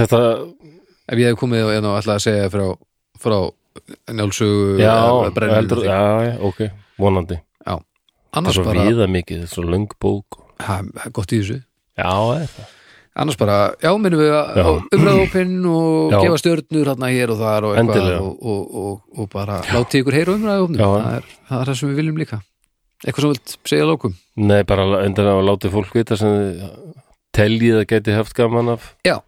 Speaker 1: Þetta,
Speaker 2: ef ég hefði komið og hérna og ætla að segja frá, frá njálsugu
Speaker 1: já,
Speaker 2: eða brennunni
Speaker 1: heldur,
Speaker 2: og því.
Speaker 1: já, já, ok, vonandi. Það er
Speaker 2: annars
Speaker 1: svo
Speaker 2: bara,
Speaker 1: viða mikið, þetta er svo löng bók.
Speaker 2: ha, gott í þessu
Speaker 1: Já, það er það.
Speaker 2: annars bara, já, minnum við að
Speaker 1: Já.
Speaker 2: umræðópin og
Speaker 1: Já.
Speaker 2: gefa stjörnur hérna hér og þar og eitthvað
Speaker 1: Endilega.
Speaker 2: og, og, og, og bara láti ykkur heyra umræðópin
Speaker 1: Já.
Speaker 2: það, er- það er það sem við viljum líka eitthvað sem við vilt segja að lókum
Speaker 1: Nei, bara endur að láti fólk vita sem þið teljið að geti haft gaman af
Speaker 2: Já.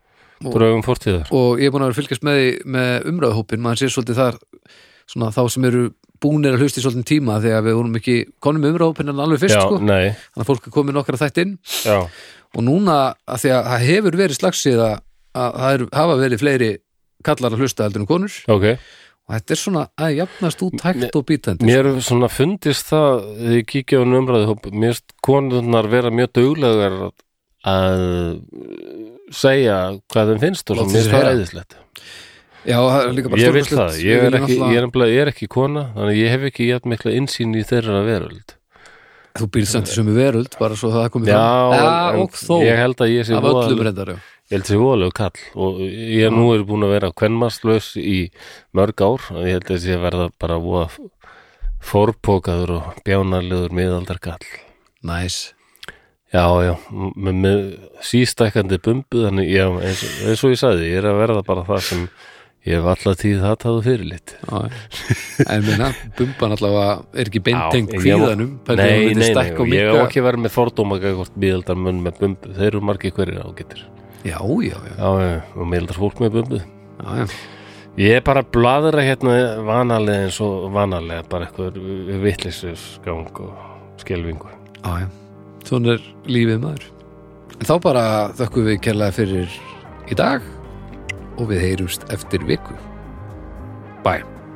Speaker 1: drögum fortíðar.
Speaker 2: og ég er búin að vera að fylgjast með, því- með umræðópin maður sér svolítið þar svona þá sem eru búnir að hlusta í svolítið tíma þegar við vorum ekki konum með umræðópin en alveg fyrst
Speaker 1: Já,
Speaker 2: sko,
Speaker 1: nei,
Speaker 2: þannig að fólk er komið nokkra þætt inn
Speaker 1: já,
Speaker 2: og núna að því að það hefur verið slagsíða að það er, hafa verið fleiri kallar að hlusta heldur en konur
Speaker 1: ok.
Speaker 2: og þetta er svona að jafnast út hægt og bítandi
Speaker 1: Mér hefur svona fundist það þegar ég kíkja á umræðuhóp mér finnst konurnar vera mjög duglegar að segja hvað þeim finnst og svo
Speaker 2: Láta
Speaker 1: mér
Speaker 2: sig
Speaker 1: finnst það
Speaker 2: heyra.
Speaker 1: æðislegt
Speaker 2: Já, það er líka bara
Speaker 1: ég vil
Speaker 2: stórkostlegt.
Speaker 1: það, ég
Speaker 2: Við viljum
Speaker 1: er, ekki, ég,
Speaker 2: náttúrulega-
Speaker 1: er nefnilega, ég er ekki kona þannig að ég hef ekki jætt mikla innsýn í þeirra veröld
Speaker 2: Þú býrst samt í sömu veröld, bara svo það komið
Speaker 1: Já,
Speaker 2: fram Já,
Speaker 1: en-
Speaker 2: og þó,
Speaker 1: ég held að ég sé
Speaker 2: af öllum
Speaker 1: voðalegur-
Speaker 2: reyndar já.
Speaker 1: ég held sé voðalegu kall og ég er nú er búin að vera kvenmastlaus í mörg ár og ég held að ég sé að verða bara voða fórpókaður og bjánarlegur miðaldar kall
Speaker 2: Næs,
Speaker 1: Já, já, m- með, með sístækandi bumbu þannig, já, eins, eins og ég sagði ég er að verða bara það sem ég hef alltaf tíð það taðu fyrir lit
Speaker 2: já En minna, bumban allavega er ekki beinteng
Speaker 1: Já, ég-
Speaker 2: kvíðanum pældi að hún
Speaker 1: Nei,
Speaker 2: myndi
Speaker 1: nei, nei,
Speaker 2: stækka og
Speaker 1: ég hef
Speaker 2: minnka.
Speaker 1: ekki verið með fordóma hvort miðaldar munn með bumbu, þeir eru margir hverjir ágættir
Speaker 2: Já, já, já,
Speaker 1: Já, já, og miðaldar fólk með bumbu
Speaker 2: já, já.
Speaker 1: Ég er bara að bladra hérna vanalega eins og vanalega bara eitthvað vitlissusgang og skelvingu
Speaker 2: já, já. Svona er lífið maður En þá bara þökkum við kærlega fyrir í dag og við heyrumst eftir viku Bye